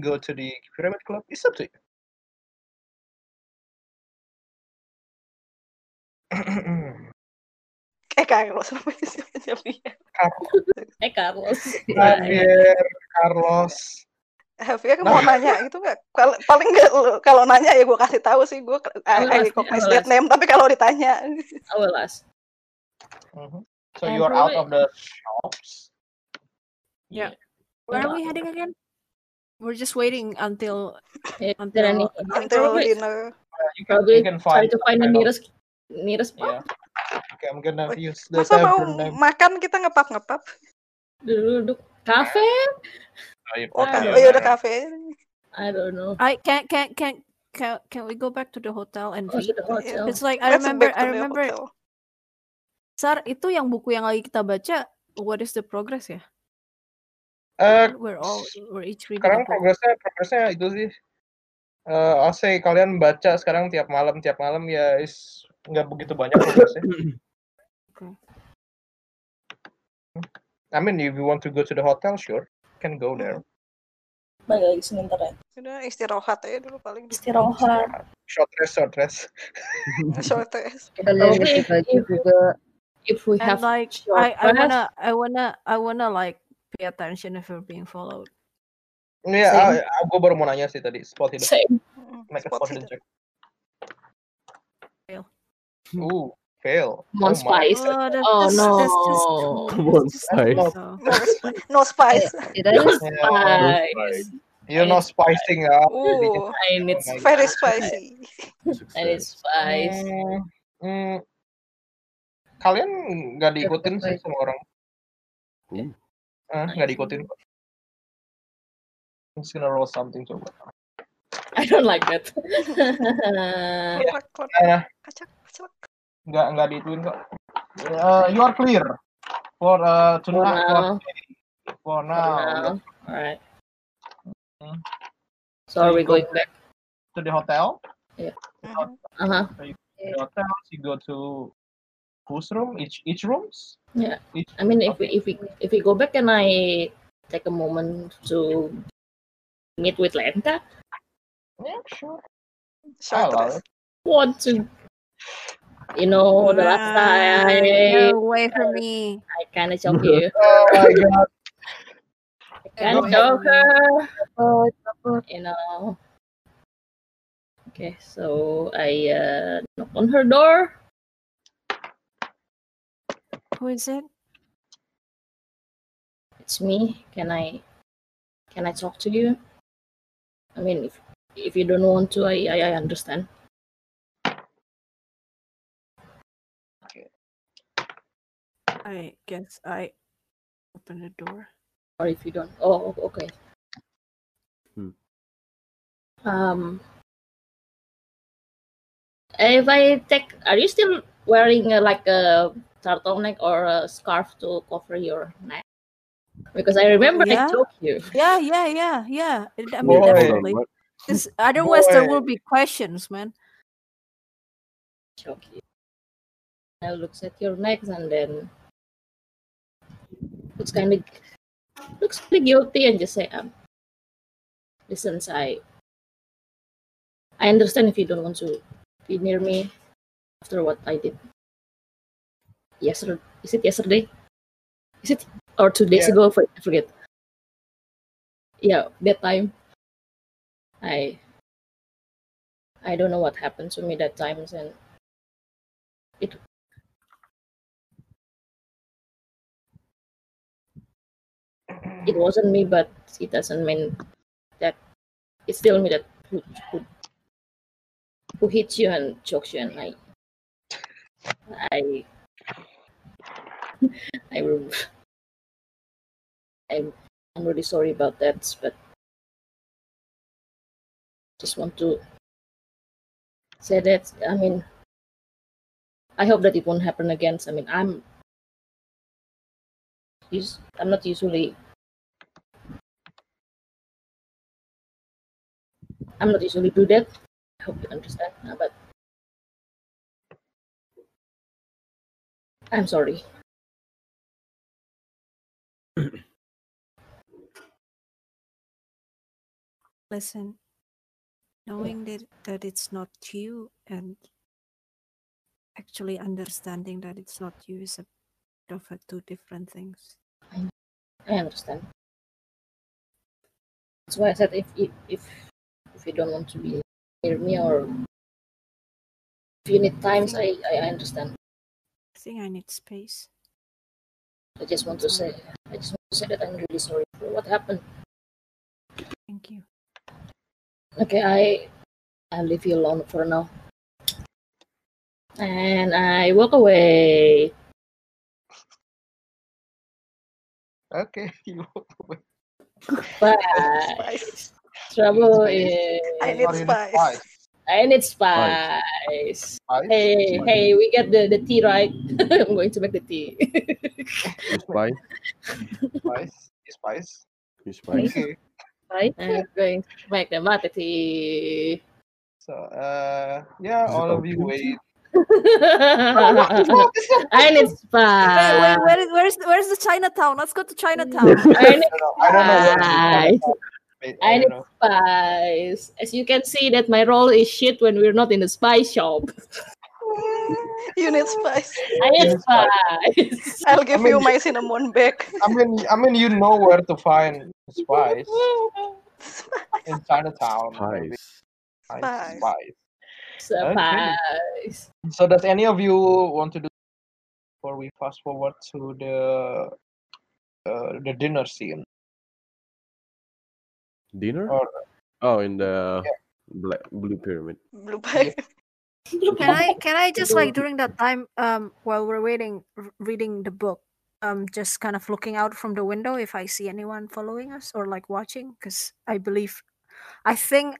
Speaker 1: go to the pyramid club it's up to you
Speaker 4: Eh Carlos apa sih Javier?
Speaker 3: eh Carlos
Speaker 1: Javier Carlos
Speaker 4: Javier
Speaker 1: Nah.
Speaker 4: mau nanya gitu nggak? Kalau paling nggak lu- kalau nanya ya gue kasih tahu sih eh, gue I, I
Speaker 3: Awas,
Speaker 4: recognize
Speaker 3: awas.
Speaker 4: that name tapi kalau ditanya
Speaker 3: I will ask
Speaker 1: Mhm. so
Speaker 3: And
Speaker 1: you're out
Speaker 3: probably-
Speaker 1: of the shops
Speaker 7: Yeah. Where are we heading again? We're just waiting until
Speaker 3: Yeah,
Speaker 7: until
Speaker 3: Eh, any-
Speaker 4: until dinner.
Speaker 1: you can,
Speaker 3: probably
Speaker 1: you can
Speaker 3: try
Speaker 1: find
Speaker 3: to find the
Speaker 1: kind of-
Speaker 3: nearest nearest
Speaker 1: yeah
Speaker 3: pub
Speaker 1: okay I'm gonna use the
Speaker 4: Masa mau
Speaker 1: tavern name
Speaker 4: makan kita ngepap ngepap?
Speaker 3: dulu duduk kafe
Speaker 4: Oh, ka-
Speaker 1: iya,
Speaker 3: Yeah.
Speaker 4: oh ya udah kafe.
Speaker 3: I don't know
Speaker 7: I can can can can can we go back to the hotel and
Speaker 3: Oh, to
Speaker 7: read?
Speaker 3: the hotel.
Speaker 7: It's like I
Speaker 4: Let's
Speaker 7: remember
Speaker 4: back to
Speaker 7: I
Speaker 4: the
Speaker 7: remember
Speaker 4: hotel.
Speaker 7: Sar itu yang buku yang lagi kita baca What is the progress ya?
Speaker 1: Eh,
Speaker 7: Kan We're all we're each reading
Speaker 1: sekarang
Speaker 7: a book.
Speaker 1: progresnya progresnya itu sih eh AC kalian baca sekarang tiap malam tiap malam ya is nggak begitu banyak progresnya
Speaker 7: Okay.
Speaker 1: I mean if you want to go to the hotel sure can go
Speaker 3: Hmm.
Speaker 1: there
Speaker 2: Balik lagi sebentar ya.
Speaker 4: Udah istirahat aja dulu paling.
Speaker 2: Istirahat.
Speaker 1: short rest short rest
Speaker 4: Short rest.
Speaker 14: Kalian
Speaker 3: Probably
Speaker 14: isi baju
Speaker 3: if-
Speaker 14: juga.
Speaker 3: if we
Speaker 7: And
Speaker 3: have
Speaker 7: like
Speaker 3: short
Speaker 7: I I
Speaker 3: rest,
Speaker 7: wanna I wanna I wanna like pay attention if we're being followed.
Speaker 1: Iya,
Speaker 3: Same.
Speaker 1: gue baru mau nanya sih tadi spot hidden.
Speaker 3: same.
Speaker 1: Make a
Speaker 4: Spot
Speaker 1: spot hidden check.
Speaker 7: Fail.
Speaker 1: Ooh, fail. Oh
Speaker 3: Come on,
Speaker 1: my.
Speaker 3: spice.
Speaker 7: Oh, that's
Speaker 3: Oh,
Speaker 7: just, that's just
Speaker 3: no.
Speaker 7: that's
Speaker 8: Come on,
Speaker 7: just
Speaker 8: Sai.
Speaker 1: No.
Speaker 7: so.
Speaker 4: No, sp- no spice.
Speaker 14: It
Speaker 3: No
Speaker 14: doesn't
Speaker 1: Yeah,
Speaker 3: spice.
Speaker 1: you're not spicing up. jadinya.
Speaker 4: Oh,
Speaker 3: I need
Speaker 1: Oh my
Speaker 4: very
Speaker 1: God.
Speaker 4: spicy.
Speaker 3: I need spice.
Speaker 1: Hmm, hmm, kalian nggak diikutin sih sama orang.
Speaker 8: Ooh.
Speaker 1: Eh, nggak diikutin. I'm just gonna roll something coba.
Speaker 3: I don't like that.
Speaker 4: Klak klak
Speaker 1: Nah,
Speaker 4: kacak kacak.
Speaker 1: nggak nggak diituin kok. Eh, you are clear for uh,
Speaker 3: For
Speaker 1: tonight for,
Speaker 3: now.
Speaker 1: for
Speaker 3: For
Speaker 1: now.
Speaker 3: now. Alright.
Speaker 1: Hmm.
Speaker 3: So are we going back?
Speaker 1: To the hotel.
Speaker 4: Mhm.
Speaker 3: Uh-huh.
Speaker 1: The hotel. You go to whose room? Each each rooms.
Speaker 3: Yeah.
Speaker 1: Each
Speaker 3: I mean if we if we if we go back can I take a moment to meet with Lenta?
Speaker 1: Yeah, sure. I
Speaker 4: Short
Speaker 1: love it.
Speaker 4: rest.
Speaker 3: Want to you know the last time
Speaker 7: Nah, Get away from me.
Speaker 3: I kinda choke you.
Speaker 1: Oh my god.
Speaker 3: I kinda
Speaker 7: away
Speaker 3: choke
Speaker 7: from me.
Speaker 3: her.
Speaker 14: Oh, takut.
Speaker 3: you know. Okay, so I uh, knock on her door.
Speaker 7: Who is it?
Speaker 3: It's me. Can I can I talk to you? I mean, if if you don't want to, I I, I understand.
Speaker 7: I guess I open the door.
Speaker 3: Or if you don't, oh o- okay.
Speaker 8: Hmm.
Speaker 3: Um, if I take, are you still wearing uh, like a turtleneck or a scarf to cover your neck? Because I remember I told you.
Speaker 7: Yeah, yeah, yeah, yeah. I mean,
Speaker 3: Boy.
Speaker 7: definitely.
Speaker 3: Hold on, what?
Speaker 7: Because otherwise, there
Speaker 3: Boy.
Speaker 7: will be questions, man.
Speaker 3: Choke you. I looks at your necks and then looks kind of looks kind of guilty and just say, um, listen, I I understand if you don't want to be near me after what I did yesterday. Is it yesterday? Is it or two days
Speaker 18: Yeah.
Speaker 3: ago? For- I forget. Yeah, that time. I I don't know what happened to me that time and it it wasn't me, but it doesn't mean that it's still me that who, who, who hits you and chokes you, and I, I, I, rem- I'm, I'm really sorry about that, but just want to say that I mean, I hope that it won't happen again. I mean, I'm, us- I'm not usually I'm not usually do that. I hope you understand. uh, But I'm sorry.
Speaker 7: Listen, knowing that, that it's not you and actually understanding that it's not you is a bit of a two different things.
Speaker 3: I understand. That's why I said if if if, if you don't want to be near me or if you need times, I, I I understand.
Speaker 7: I think I need space.
Speaker 3: I just want to say I just want to say that I'm really sorry for what happened.
Speaker 7: Thank you.
Speaker 3: Okay, I I'll leave you alone for now. And I walk away.
Speaker 1: Okay, you walk away.
Speaker 3: Bye. Trouble is.
Speaker 1: I need spice.
Speaker 3: I need
Speaker 1: Spice.
Speaker 3: spice. Hey,
Speaker 19: Spice.
Speaker 3: hey, we get the, the tea right. I'm going to make the tea.
Speaker 8: You spy.
Speaker 1: Spice. You spice.
Speaker 8: You spy.
Speaker 1: Okay.
Speaker 3: I'm going to make the mate tea.
Speaker 1: So, uh, yeah,
Speaker 8: Is it
Speaker 1: all of you
Speaker 8: okay?
Speaker 1: wait.
Speaker 3: I need
Speaker 7: Wait,
Speaker 3: spice.
Speaker 7: wait, where is where's where's the Chinatown? Let's go to Chinatown.
Speaker 3: I need
Speaker 1: I don't know what is
Speaker 3: spice.
Speaker 1: Wait, I
Speaker 3: I
Speaker 1: don't
Speaker 3: need
Speaker 1: know.
Speaker 3: spice. As you can see, that my role is shit when we're not in the spice shop.
Speaker 4: You need spice.
Speaker 3: I need
Speaker 1: Yes, but-
Speaker 3: spice.
Speaker 4: I'll give
Speaker 1: I mean,
Speaker 4: you my cinnamon back.
Speaker 1: I mean, I mean, you know where to find spice in Chinatown. Spice,
Speaker 4: Spice.
Speaker 1: spice, spice. Okay.
Speaker 3: Spice.
Speaker 1: So, does any of you want to do before we fast forward to the uh, the dinner scene?
Speaker 8: Dinner?
Speaker 1: Or
Speaker 8: Oh, in the bla- blue pyramid.
Speaker 4: Blue
Speaker 1: pie.
Speaker 7: Can I can I just like during that time um while we're waiting r- reading the book um just kind of looking out from the window if I see anyone following us or like watching because I believe I think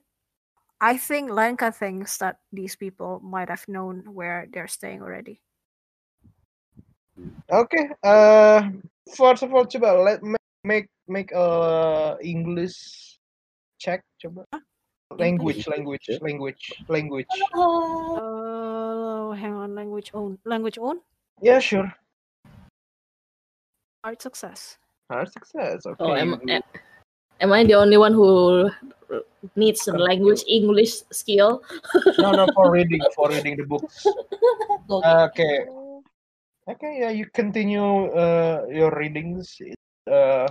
Speaker 7: I think Lenka thinks that these people might have known where they're staying already.
Speaker 1: Okay. Uh, first of all, coba let me make make a English check coba. Language, language, language, language.
Speaker 7: Oh, hang on, language own, language own.
Speaker 1: Yeah, sure.
Speaker 7: Art success.
Speaker 1: Hard success. Okay.
Speaker 3: Oh, am,
Speaker 1: you-
Speaker 3: am, am I the only one who needs a language English skill?
Speaker 1: No, no, for reading, for reading the books. Uh, Okay. Okay, yeah, you continue uh, your readings. It, Uh,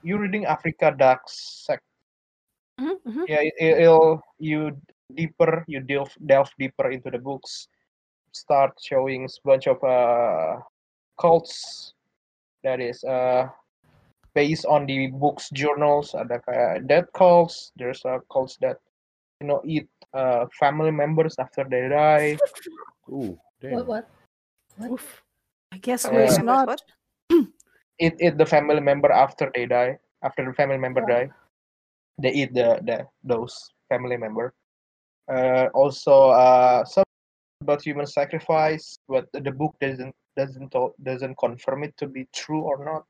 Speaker 1: you reading Africa Dark Sect.
Speaker 7: Mm-hmm,
Speaker 1: Yeah, it, it'll you deeper, you delve delve deeper into the books. Start showing a bunch of uh, cults that is uh, based on the books journals. Ada kayak death cults. There's uh, cults that you know eat uh, family members after they die.
Speaker 8: Ooh,
Speaker 3: What? What? what?
Speaker 7: I guess
Speaker 1: Uh,
Speaker 7: who is
Speaker 1: What-
Speaker 7: not?
Speaker 1: eat eat the family member after they die after the family member die they eat the, the those family member uh, also uh, some about human sacrifice but the book doesn't doesn't to- doesn't confirm it to be true or not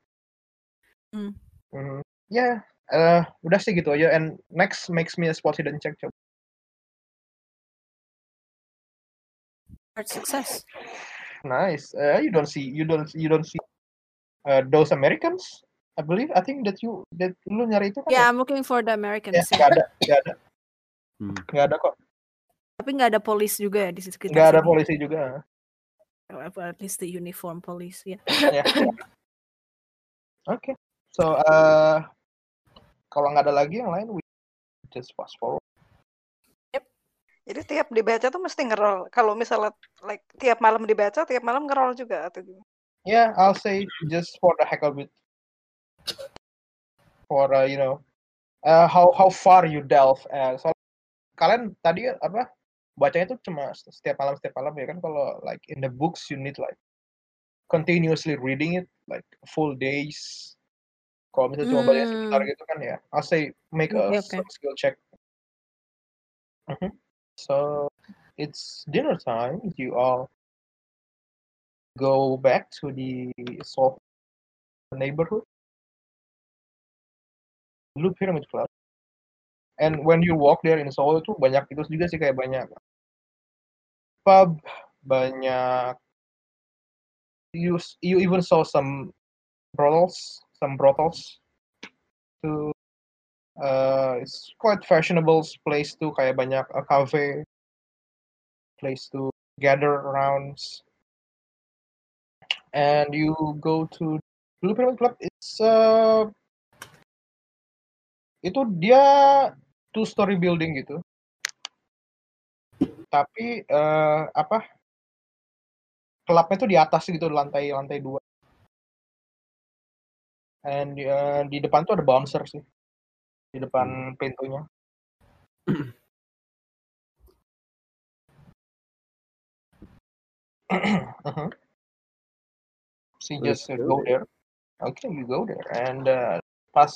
Speaker 7: Hmm.
Speaker 1: Mhm. Ya, eh, udah sih gitu aja. And next makes me a spot hidden check coba.
Speaker 7: Hard success.
Speaker 1: Nice. Uh, you don't see. You don't. You don't see. Uh, those Americans. I believe. I think that you. That lu nyari itu kan.
Speaker 7: Yeah, I'm looking for the Americans.
Speaker 1: Gak ada. Gak ada.
Speaker 8: Hmm.
Speaker 1: Gak ada kok.
Speaker 7: Tapi nggak ada polis juga ya di sekitar
Speaker 1: Gak ada
Speaker 7: sini.
Speaker 1: polisi juga.
Speaker 7: Or uh, at least the uniform police, ya.
Speaker 1: Ya. Oke. So, uh, kalau nggak ada lagi yang lain, we just fast forward.
Speaker 4: Jadi tiap dibaca tuh mesti ngerol. Kalau misalnya like tiap malam dibaca, tiap malam ngerol juga atau gimana?
Speaker 1: Yeah, I'll say just for the heck of it. For uh, you know, uh, how how far you delve. Uh, so kalian tadi apa bacanya tuh cuma setiap malam setiap malam ya kan kalau like in the books you need like continuously reading it like full days. Kalau misalnya cuma baca sebentar
Speaker 7: Hmm.
Speaker 1: gitu kan ya. I'll say make
Speaker 7: Oke,
Speaker 1: a
Speaker 7: oke.
Speaker 1: some skill check. Mhm. So it's dinner time. You all go back to the soft neighborhood. Blue Pyramid Club. And when you walk there in Seoul tuh banyak itu juga sih kayak banyak pub, banyak you s- you even saw some brothels, some brothels. To uh, it's quite fashionable place tuh kayak banyak a cafe, place to gather around. And you go to Blue Pyramid Club. It's uh, itu dia two story building gitu tapi eh, apa klubnya tuh di atas gitu lantai lantai dua and eh, di depan tuh ada bouncer sih di
Speaker 8: Hmm.
Speaker 1: depan pintunya Mhm. so you
Speaker 8: Let's
Speaker 1: just uh, go
Speaker 8: go there.
Speaker 1: there okay you go there and eh, pas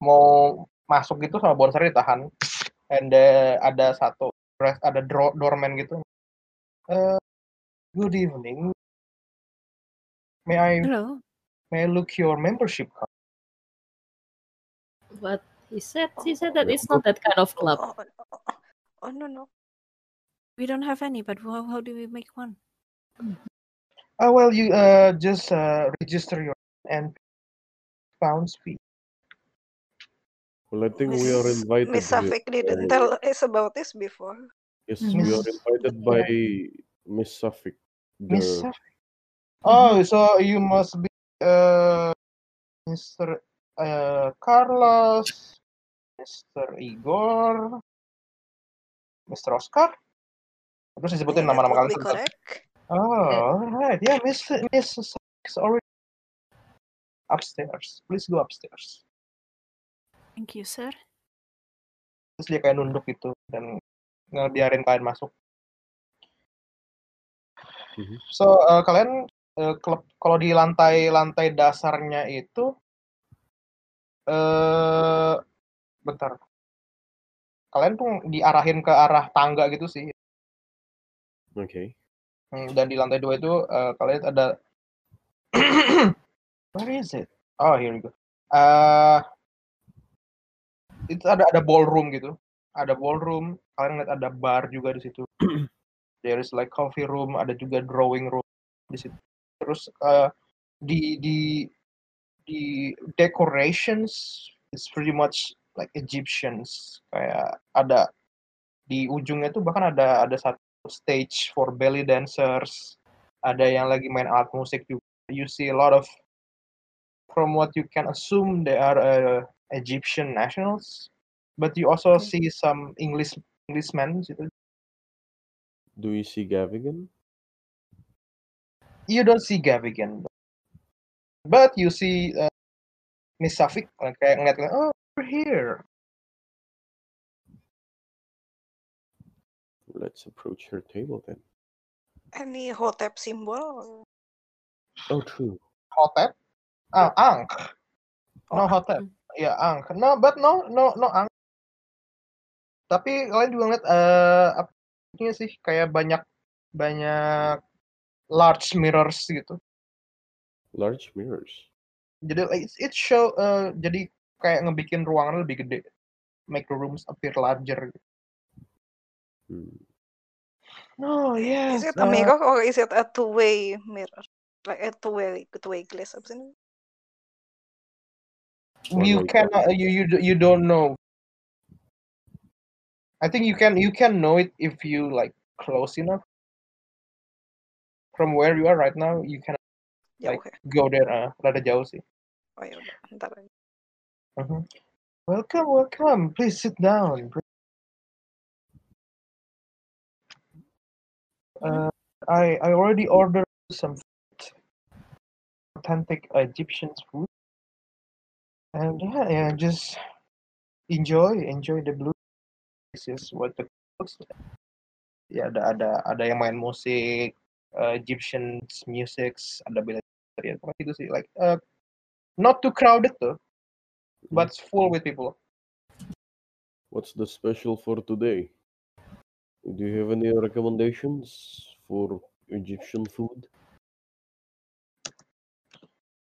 Speaker 1: mau masuk gitu sama bouncer ditahan and eh, ada satu ada dro- doorman gitu Eh, good evening may I
Speaker 7: Hello.
Speaker 1: may I look your membership card
Speaker 3: But he said he said that it's not that kind of club.
Speaker 4: Oh no no.
Speaker 7: We don't have any, but how, how do we make one?
Speaker 1: Oh well, you uh just uh register your and pounds fee.
Speaker 8: Well, I think we are
Speaker 4: Miss-
Speaker 8: invited
Speaker 4: Miss
Speaker 8: here
Speaker 4: Safik didn't
Speaker 8: by-
Speaker 4: tell us about this before.
Speaker 8: yes,
Speaker 1: Mhm.
Speaker 8: we
Speaker 1: Miss-
Speaker 8: are invited by Miss Suffolk.
Speaker 1: Miss
Speaker 8: the-
Speaker 1: Safik. Oh, so you must be uh Mr. Uh Carlos, Mr. Igor, Mr. Oscar. Terus disebutin
Speaker 4: Yeah, that
Speaker 1: nama-nama kalian
Speaker 4: would be
Speaker 1: sebentar.
Speaker 4: Iya, correct.
Speaker 1: Oh, alright. Yeah, Miss Miss Safik is already upstairs. Please go upstairs.
Speaker 7: Thank you, sir.
Speaker 1: Terus dia kayak nunduk gitu dan ngebiarin kalian masuk.
Speaker 8: Mhm.
Speaker 1: So uh, kalian uh, klub kalau di lantai lantai dasarnya itu eh bentar. Kalian tuh diarahin ke arah tangga gitu sih.
Speaker 8: Okay.
Speaker 1: Hmm, Dan di lantai dua itu eh, kalian ada Where is it? Oh, here you go. Eh itu ada ada ballroom gitu. Ada ballroom, kalian lihat ada bar juga di situ. There is like coffee room, ada juga drawing room di situ. Terus eh, di di the decorations is pretty much like Egyptians kayak ada di ujungnya tuh bahkan ada ada satu stage for belly dancers ada yang lagi main alat musik juga you see a lot of from what you can assume they are uh, Egyptian nationals but you also see some English Englishmen gitu
Speaker 8: Do you see Gavigan?
Speaker 1: you don't see Gavigan but you see uh, Miss Safik kayak ngeliat oh we're here
Speaker 8: Let's approach her table then.
Speaker 4: Any hotep symbol?
Speaker 8: Oh, true.
Speaker 1: hotep ah ang no hotep ya ang no but no no no ang tapi kalian juga ngeliat eh apa ini sih kayak banyak banyak large mirrors gitu
Speaker 8: Large mirrors.
Speaker 1: jadi like, it's it show eh, jadi kayak ngebikin ruangan lebih gede make the rooms appear larger gitu.
Speaker 8: Hmm.
Speaker 1: Oh yeah.
Speaker 4: Is it
Speaker 1: uh,
Speaker 4: a mirror or is it a two-way mirror? Like a two-way two-way glass apa sih?
Speaker 1: you cannot you, you you don't know i think you can you can know it if you like close enough from where you are right now you cannot like go there uh, rada jauh sih
Speaker 4: Oh ya udah, ntar aja.
Speaker 1: Mhm. welcome welcome please sit down uh, i i already ordered some food. authentic egyptian food and yeah, yeah just enjoy enjoy the blue this is what the looks like. ya ada ada ada yang main musik uh, Egyptian music ada bela ya pokoknya itu sih like uh, not too crowded though but full with people
Speaker 8: What's the special for today? Do you have any recommendations for Egyptian food?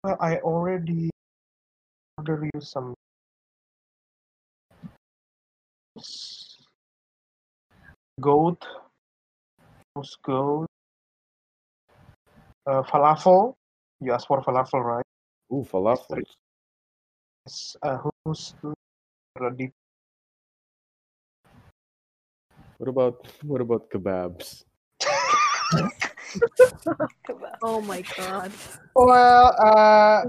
Speaker 1: Well, I already ordered you some goat roast goat uh, falafel you asked for falafel right
Speaker 8: Ooh, falafel.
Speaker 1: it's uh, hummus uh, deep
Speaker 8: What about what about kebabs?
Speaker 7: Oh my god.
Speaker 1: Well, uh,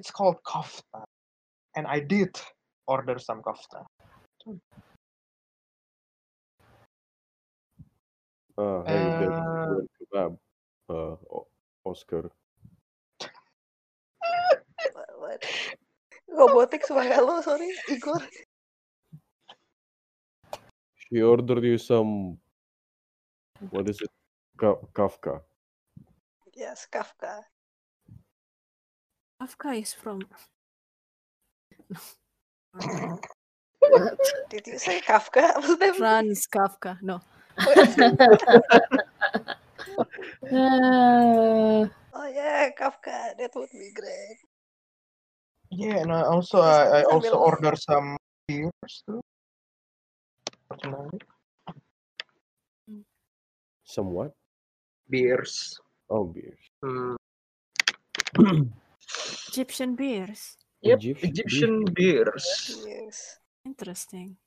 Speaker 1: it's called kofta, and I did order some kofta.
Speaker 8: Uh, hey, there-
Speaker 1: Uh,
Speaker 8: there kebab, uh, O- Oscar.
Speaker 4: Robotik suara lo, sorry, Igor.
Speaker 8: She ordered you some. What is it? Ka- Kafka.
Speaker 4: Yes, Kafka.
Speaker 7: Kafka is from.
Speaker 4: Did you say Kafka?
Speaker 7: Franz Kafka. No.
Speaker 3: Uh,
Speaker 4: Oh yeah, Kafka. That would be great.
Speaker 1: Yeah, and I also
Speaker 4: Terus
Speaker 1: I, I
Speaker 4: sambil-
Speaker 1: also order some beers too. for tonight.
Speaker 8: Some what?
Speaker 1: Beers.
Speaker 8: Oh, beers.
Speaker 15: Hmm.
Speaker 7: Egyptian beers.
Speaker 15: Yep, Egyptian Egyptian beers.
Speaker 4: Yes.
Speaker 7: Interesting.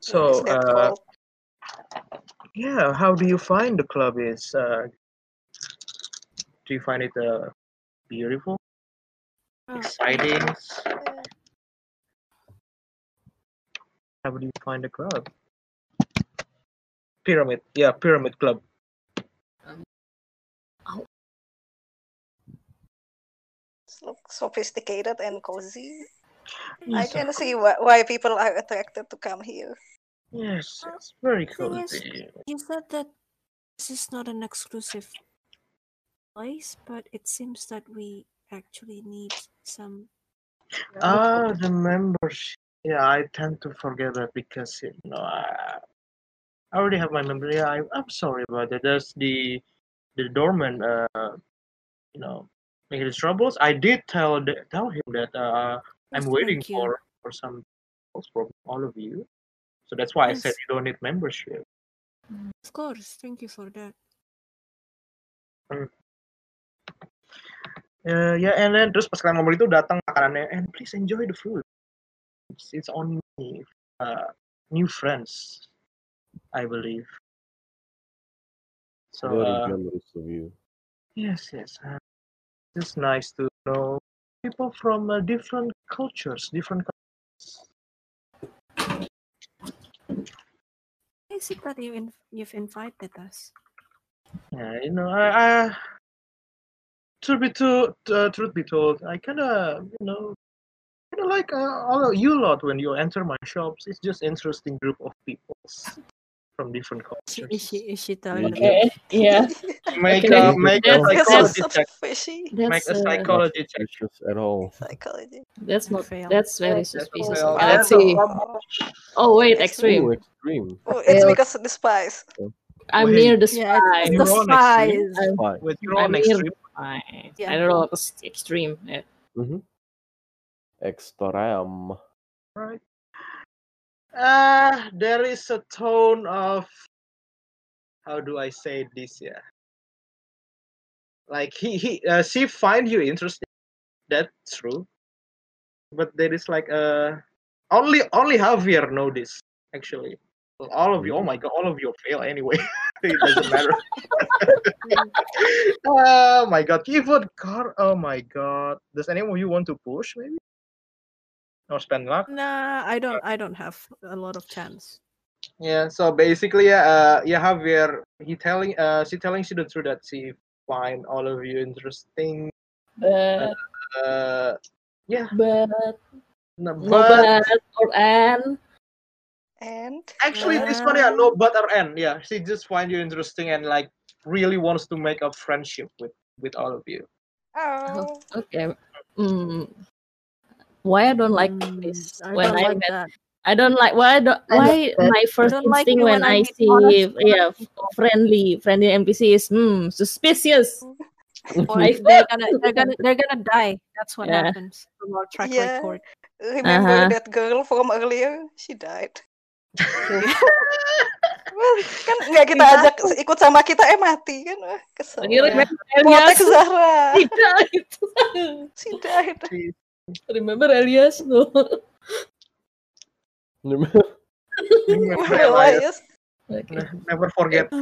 Speaker 15: So,
Speaker 4: that
Speaker 15: uh, yeah, how do you find the club is? Uh, do you find it uh, beautiful,
Speaker 7: Uh,
Speaker 15: exciting? How do you find the club? Pyramid, yeah, pyramid club.
Speaker 4: It's look sophisticated and cozy. I
Speaker 15: Yes,
Speaker 4: can
Speaker 15: of
Speaker 4: see why, why people are attracted to come here.
Speaker 15: Yes, it's very
Speaker 7: Thing is,
Speaker 15: cozy.
Speaker 7: you said that this is not an exclusive place, but it seems that we actually need some.
Speaker 1: Oh.
Speaker 15: Ah, the membership. Yeah, I tend to forget that because you know I, I already have my membership. Yeah, I, I'm sorry about that. There's the the doorman. Uh, you know, making his troubles. I did tell the, tell him that uh,
Speaker 7: Yes,
Speaker 15: I'm waiting
Speaker 7: thank you.
Speaker 15: for for some calls from all of you. So that's why I said
Speaker 7: Yes.
Speaker 15: you don't need membership.
Speaker 7: Of course, thank you for that.
Speaker 15: Uh, yeah, and then terus pas kalian ngomong itu datang makanannya and please enjoy the food. It's, it's on me. Uh, new friends, I believe. So
Speaker 8: Very
Speaker 15: uh,
Speaker 8: generous of you.
Speaker 15: yes, yes. Uh, it's nice to know people from uh, different cultures, different.
Speaker 7: I see that you in- you've invited us.
Speaker 15: Yeah, you know, I, I truth be told, uh, truth be told, I kind of, you know, kind of like uh, all of you lot when you enter my shops. It's just interesting group of people from different
Speaker 7: She,
Speaker 15: cultures.
Speaker 7: is she is she telling the
Speaker 8: Okay,
Speaker 7: truth? Yeah.
Speaker 15: Make a make a psychology check. Make
Speaker 3: That's,
Speaker 15: a
Speaker 3: uh,
Speaker 15: psychology check.
Speaker 8: Just at all.
Speaker 4: Psychology.
Speaker 3: That's not. That's very suspicious.
Speaker 4: fail.
Speaker 3: Okay, let's
Speaker 4: That's a
Speaker 3: see.
Speaker 4: fail.
Speaker 3: Oh wait,
Speaker 4: That's
Speaker 8: Ooh,
Speaker 3: extreme.
Speaker 8: extreme.
Speaker 4: Oh, it's because of the spies.
Speaker 3: I'm
Speaker 15: Wait,
Speaker 3: near the
Speaker 7: Yeah, it's
Speaker 3: spies.
Speaker 15: With your own extreme,
Speaker 3: I'm,
Speaker 15: with your
Speaker 3: I'm
Speaker 15: own
Speaker 3: near.
Speaker 15: extreme,
Speaker 3: I, I
Speaker 7: Yeah.
Speaker 3: don't know, it was extreme. Yeah.
Speaker 8: Mhm. Extreme.
Speaker 1: Right. Uh, there is a tone of how do I say this? Yeah, like he he uh, she find you interesting. That's true. But there is like a only only Javier know this actually. All of you, oh my god, all of you fail anyway. it doesn't matter. oh my god, keyboard card. Oh my god. Does anyone of you want to push maybe? Or spend luck?
Speaker 7: Nah, I don't. I don't have a lot of chance.
Speaker 1: Yeah, so basically, yeah, uh, yeah, Javier, he telling, uh, she telling she the truth that she find all of you interesting.
Speaker 3: But,
Speaker 1: Uh, yeah.
Speaker 3: But,
Speaker 1: no,
Speaker 3: no
Speaker 1: but,
Speaker 3: but uh, or and.
Speaker 4: And
Speaker 1: actually, this one, yeah, no, but or and, yeah, she just find you interesting and like really wants to make a friendship with with all of you.
Speaker 4: Oh.
Speaker 3: Okay. Mm. Why I don't like this
Speaker 7: Hmm, Mm, I
Speaker 3: when
Speaker 7: don't
Speaker 3: I
Speaker 7: like
Speaker 3: met.
Speaker 7: that.
Speaker 3: I don't like why I don't,
Speaker 7: I don't
Speaker 3: why
Speaker 7: like
Speaker 3: my
Speaker 7: that.
Speaker 3: first
Speaker 7: Don't like
Speaker 3: instinct
Speaker 7: me
Speaker 3: when,
Speaker 7: when I
Speaker 3: I,
Speaker 7: meet
Speaker 3: see
Speaker 7: honest,
Speaker 3: yeah friendly friendly NPC is hmm suspicious.
Speaker 7: Oh, Or
Speaker 3: I felt
Speaker 7: they're gonna, they're gonna, they're gonna die. That's what
Speaker 3: Yeah.
Speaker 7: happens from our track
Speaker 4: Yeah.
Speaker 7: record.
Speaker 4: Remember
Speaker 3: Uh-huh.
Speaker 4: that girl from earlier? She died. Well, kan nggak kita
Speaker 7: Iya.
Speaker 4: ajak ikut sama kita eh mati kan Wah, kesel
Speaker 3: You remember
Speaker 4: potek
Speaker 3: Elias?
Speaker 4: Zahra
Speaker 3: He died.
Speaker 4: she died
Speaker 11: Iya.
Speaker 3: remember Elias? No.
Speaker 1: Remember
Speaker 4: Remember
Speaker 1: Elias.
Speaker 4: Elias
Speaker 3: Okay.
Speaker 1: Never forget.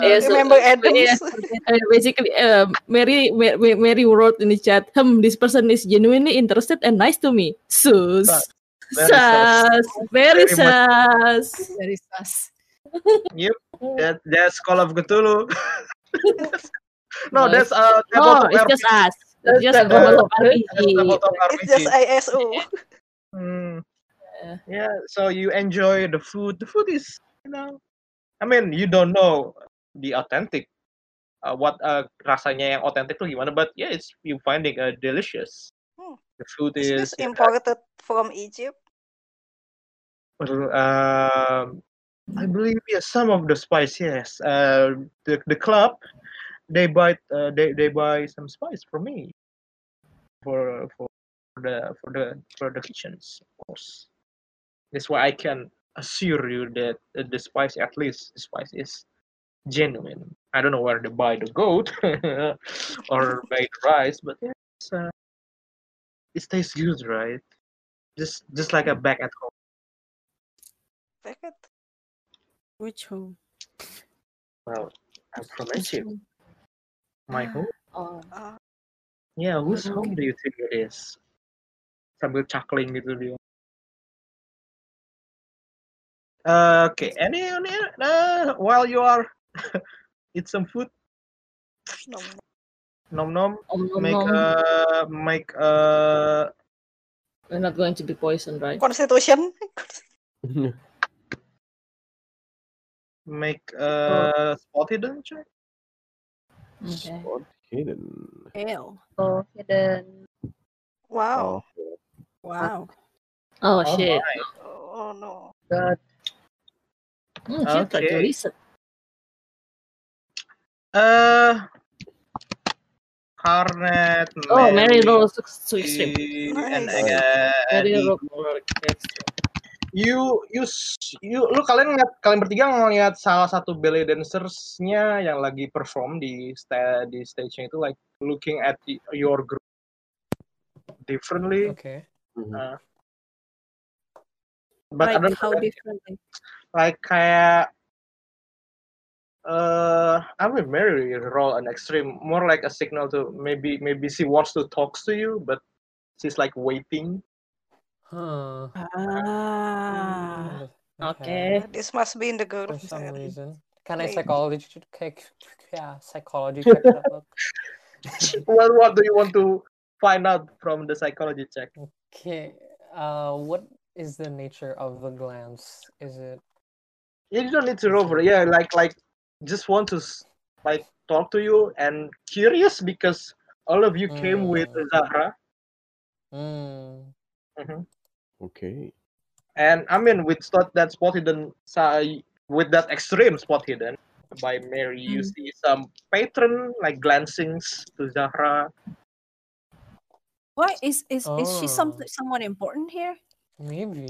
Speaker 3: Yeah, so,
Speaker 4: remember
Speaker 3: uh, yeah,
Speaker 4: Adams
Speaker 3: uh, basically, uh, Mary, Ma- Ma- Mary wrote in the chat, hmm, this person is genuinely interested and nice to me. Sus.
Speaker 1: Sus. Very sus. Very
Speaker 3: Sus. Very
Speaker 1: much.
Speaker 3: sus.
Speaker 7: Very sus.
Speaker 1: Yep. That that's Call of Cthulhu. no,
Speaker 3: No,
Speaker 1: that's uh tabletop
Speaker 3: No, Oh, it's
Speaker 1: RPG.
Speaker 3: just us.
Speaker 1: That's
Speaker 3: Oh, It's just
Speaker 1: tab- uh,
Speaker 3: tabletop
Speaker 1: that's
Speaker 3: RPG.
Speaker 1: tabletop
Speaker 4: it's
Speaker 1: RPG.
Speaker 4: just
Speaker 11: Iya,
Speaker 4: ISO
Speaker 1: Mm,
Speaker 3: Yeah.
Speaker 1: yeah, so you enjoy the food. The food is, you know, I mean, you don't know the authentic, uh, what uh, rasanya yang authentic tuh gimana, but yeah, it's you finding uh, delicious.
Speaker 4: Hmm.
Speaker 1: The food is
Speaker 4: is this
Speaker 11: iya,
Speaker 4: imported from Egypt
Speaker 1: um, I believe yeah, some of the spice. Yes, uh, the the club they buy uh, they they buy some spice for me for for the for the for the kitchens. Of course, that's why I can assure you that uh, the spice at least the spice is genuine. I don't know where they buy the goat or buy the rice, but yeah, it's, uh, it tastes good, right? Just just like a back at home.
Speaker 4: Packet.
Speaker 7: Which home?
Speaker 1: Well, I'm from
Speaker 7: Which
Speaker 1: Egypt.
Speaker 7: home?
Speaker 1: My home.
Speaker 3: Oh.
Speaker 4: Ah,
Speaker 1: Yeah, whose home
Speaker 3: Okay.
Speaker 1: do you think it is? Sambil chuckling gitu dia. Uh, okay, any, any uh, while you are eat some food,
Speaker 4: nom nom.
Speaker 1: nom nom,
Speaker 3: Om nom
Speaker 1: make
Speaker 3: nom.
Speaker 1: uh make uh
Speaker 3: We're not going to be poisoned, right?
Speaker 4: Constitution
Speaker 1: make
Speaker 3: Oh.
Speaker 1: uh spot hidden check.
Speaker 3: Okay.
Speaker 8: Spot hidden.
Speaker 7: Hell.
Speaker 14: Oh, hidden.
Speaker 4: wow
Speaker 8: Oh,
Speaker 7: Wow.
Speaker 3: Oh,
Speaker 1: All
Speaker 3: shit.
Speaker 1: right.
Speaker 4: oh no
Speaker 14: God.
Speaker 3: Hmm, shit, try to
Speaker 1: Okay.
Speaker 3: reset.
Speaker 1: Uh, Carnet,
Speaker 3: Oh,
Speaker 1: Mary,
Speaker 3: Mary rolls so extreme.
Speaker 1: and
Speaker 4: nice
Speaker 8: Nice.
Speaker 1: uh,
Speaker 3: Mary
Speaker 1: Andy.
Speaker 3: rolls extreme.
Speaker 1: you you s- you lu kalian ngeliat kalian bertiga ngeliat salah satu belly dancersnya yang lagi perform di sta, di stage-nya itu like looking at the- your group differently
Speaker 11: Okay.
Speaker 8: Mhm.
Speaker 1: uh, but I
Speaker 7: Like
Speaker 1: don't
Speaker 7: how differently?
Speaker 1: like kayak uh I mean Mary roll an extreme more like a signal to maybe maybe she wants to talks to you but she's like waiting
Speaker 11: Huh.
Speaker 7: Ah.
Speaker 11: Mm, Okay.
Speaker 3: Okay.
Speaker 4: Uh, this must be in the girl
Speaker 11: For some reason, can I
Speaker 4: maybe
Speaker 11: psychology check? Yeah, psychology check that look.
Speaker 1: what what do you want to find out from the psychology check
Speaker 11: Okay. Uh, what is the nature of the glance? Is it
Speaker 1: Yeah, you don't need to rover. Yeah, like like just want to s- like talk to you and curious because all of you came with
Speaker 11: Mm.
Speaker 1: Zahra.
Speaker 11: Mm.
Speaker 1: Mhm.
Speaker 8: Okay.
Speaker 1: And I mean with spot that spot hidden sa- with that extreme spot hidden. by Mary. You see some patron like glancings to Zahra.
Speaker 7: What is is is she some
Speaker 11: Oh.
Speaker 7: someone important here?
Speaker 11: Maybe.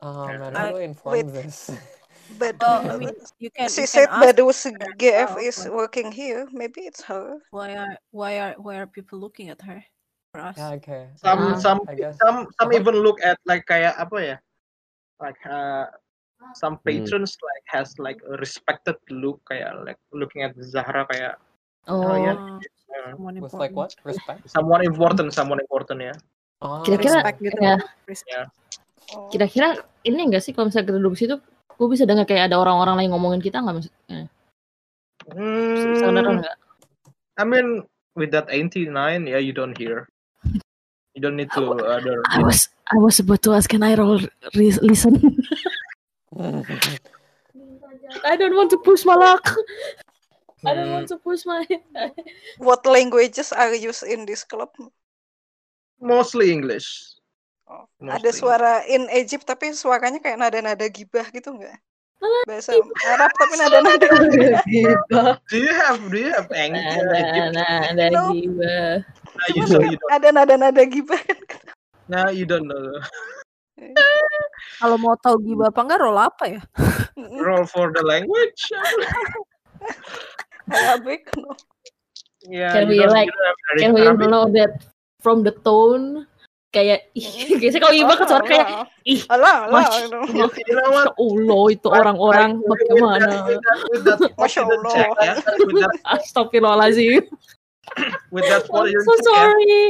Speaker 11: Oh
Speaker 7: I-
Speaker 11: man, how do I
Speaker 7: wait.
Speaker 11: inform this?
Speaker 4: But
Speaker 7: Well, I mean, you
Speaker 4: uh,
Speaker 7: can.
Speaker 4: she
Speaker 7: you
Speaker 4: said
Speaker 7: can ask
Speaker 4: Badu's
Speaker 7: her
Speaker 4: GF
Speaker 7: herself,
Speaker 4: is
Speaker 7: like,
Speaker 4: working here. Maybe it's her.
Speaker 7: Why are why are why are people looking at her? For us?
Speaker 11: yeah, okay.
Speaker 1: Some
Speaker 3: Ah,
Speaker 11: Uh,
Speaker 1: some
Speaker 11: I guess.
Speaker 1: some some
Speaker 11: Uh-huh.
Speaker 1: even look at like kayak apa ya? Like uh, some patrons like has like a respected look kayak like looking at Zahra kayak oh,
Speaker 3: ya.
Speaker 1: yeah.
Speaker 7: Oh,
Speaker 1: yeah.
Speaker 7: someone
Speaker 11: With
Speaker 7: important.
Speaker 11: like what? Respect?
Speaker 1: Someone important, someone important ya.
Speaker 11: Oh.
Speaker 3: Kira-kira
Speaker 7: Respect gitu.
Speaker 3: ya,
Speaker 7: Respect.
Speaker 1: Ya.
Speaker 7: Oh.
Speaker 3: kira-kira ini enggak sih kalau misalnya kita duduk situ, gue bisa dengar kayak ada orang-orang lain ngomongin kita nggak maksudnya? Bisa bisa kedengeran
Speaker 1: Hmm,
Speaker 3: nggak?
Speaker 1: I mean with that 89, yeah, you don't hear. You don't need to other.
Speaker 3: I was I was about to ask, can I roll re- listen?
Speaker 11: Mm,
Speaker 1: Mm.
Speaker 3: I don't want to push my luck. I don't
Speaker 1: Hmm.
Speaker 3: want to push my.
Speaker 4: What languages are used in this club?
Speaker 1: Mostly English.
Speaker 4: Oh,
Speaker 1: Mostly.
Speaker 4: Ada suara in Egypt tapi suaranya kayak nada-nada gibah gitu enggak? Bahasa Arab tapi nada-nada.
Speaker 3: Gitu.
Speaker 1: Do you have do you have ang- uh, Egypt?
Speaker 3: Nah, ada
Speaker 4: No.
Speaker 3: gibah.
Speaker 1: Nah, you,
Speaker 4: Cuman
Speaker 1: so you
Speaker 4: kayak ada nada-nada gibah.
Speaker 1: don't, nah, you don't know.
Speaker 20: Kalau mau tahu gibah apa enggak roll apa
Speaker 3: Uh,
Speaker 20: ya?
Speaker 1: Roll for the language.
Speaker 4: Arabic. No.
Speaker 3: Oh,
Speaker 1: yeah,
Speaker 3: Can
Speaker 1: you
Speaker 3: we
Speaker 1: don't,
Speaker 3: like?
Speaker 1: you don't have Arabic-
Speaker 3: Can we
Speaker 1: Arabic.
Speaker 3: know that from the tone? Kayak ih, biasanya kalau gibah kan suara kayak ih,
Speaker 4: Allah,
Speaker 3: masya
Speaker 4: Allah.
Speaker 3: Allah,
Speaker 1: You know what?
Speaker 3: masya Allah itu orang-orang bagaimana?
Speaker 1: With that, with that, with
Speaker 4: Masya
Speaker 1: that, with that check,
Speaker 4: Allah.
Speaker 1: ya. With that,
Speaker 3: Astagfirullahaladzim.
Speaker 1: with that spot,
Speaker 3: I'm
Speaker 1: you
Speaker 3: so
Speaker 1: check, ya.
Speaker 3: sorry.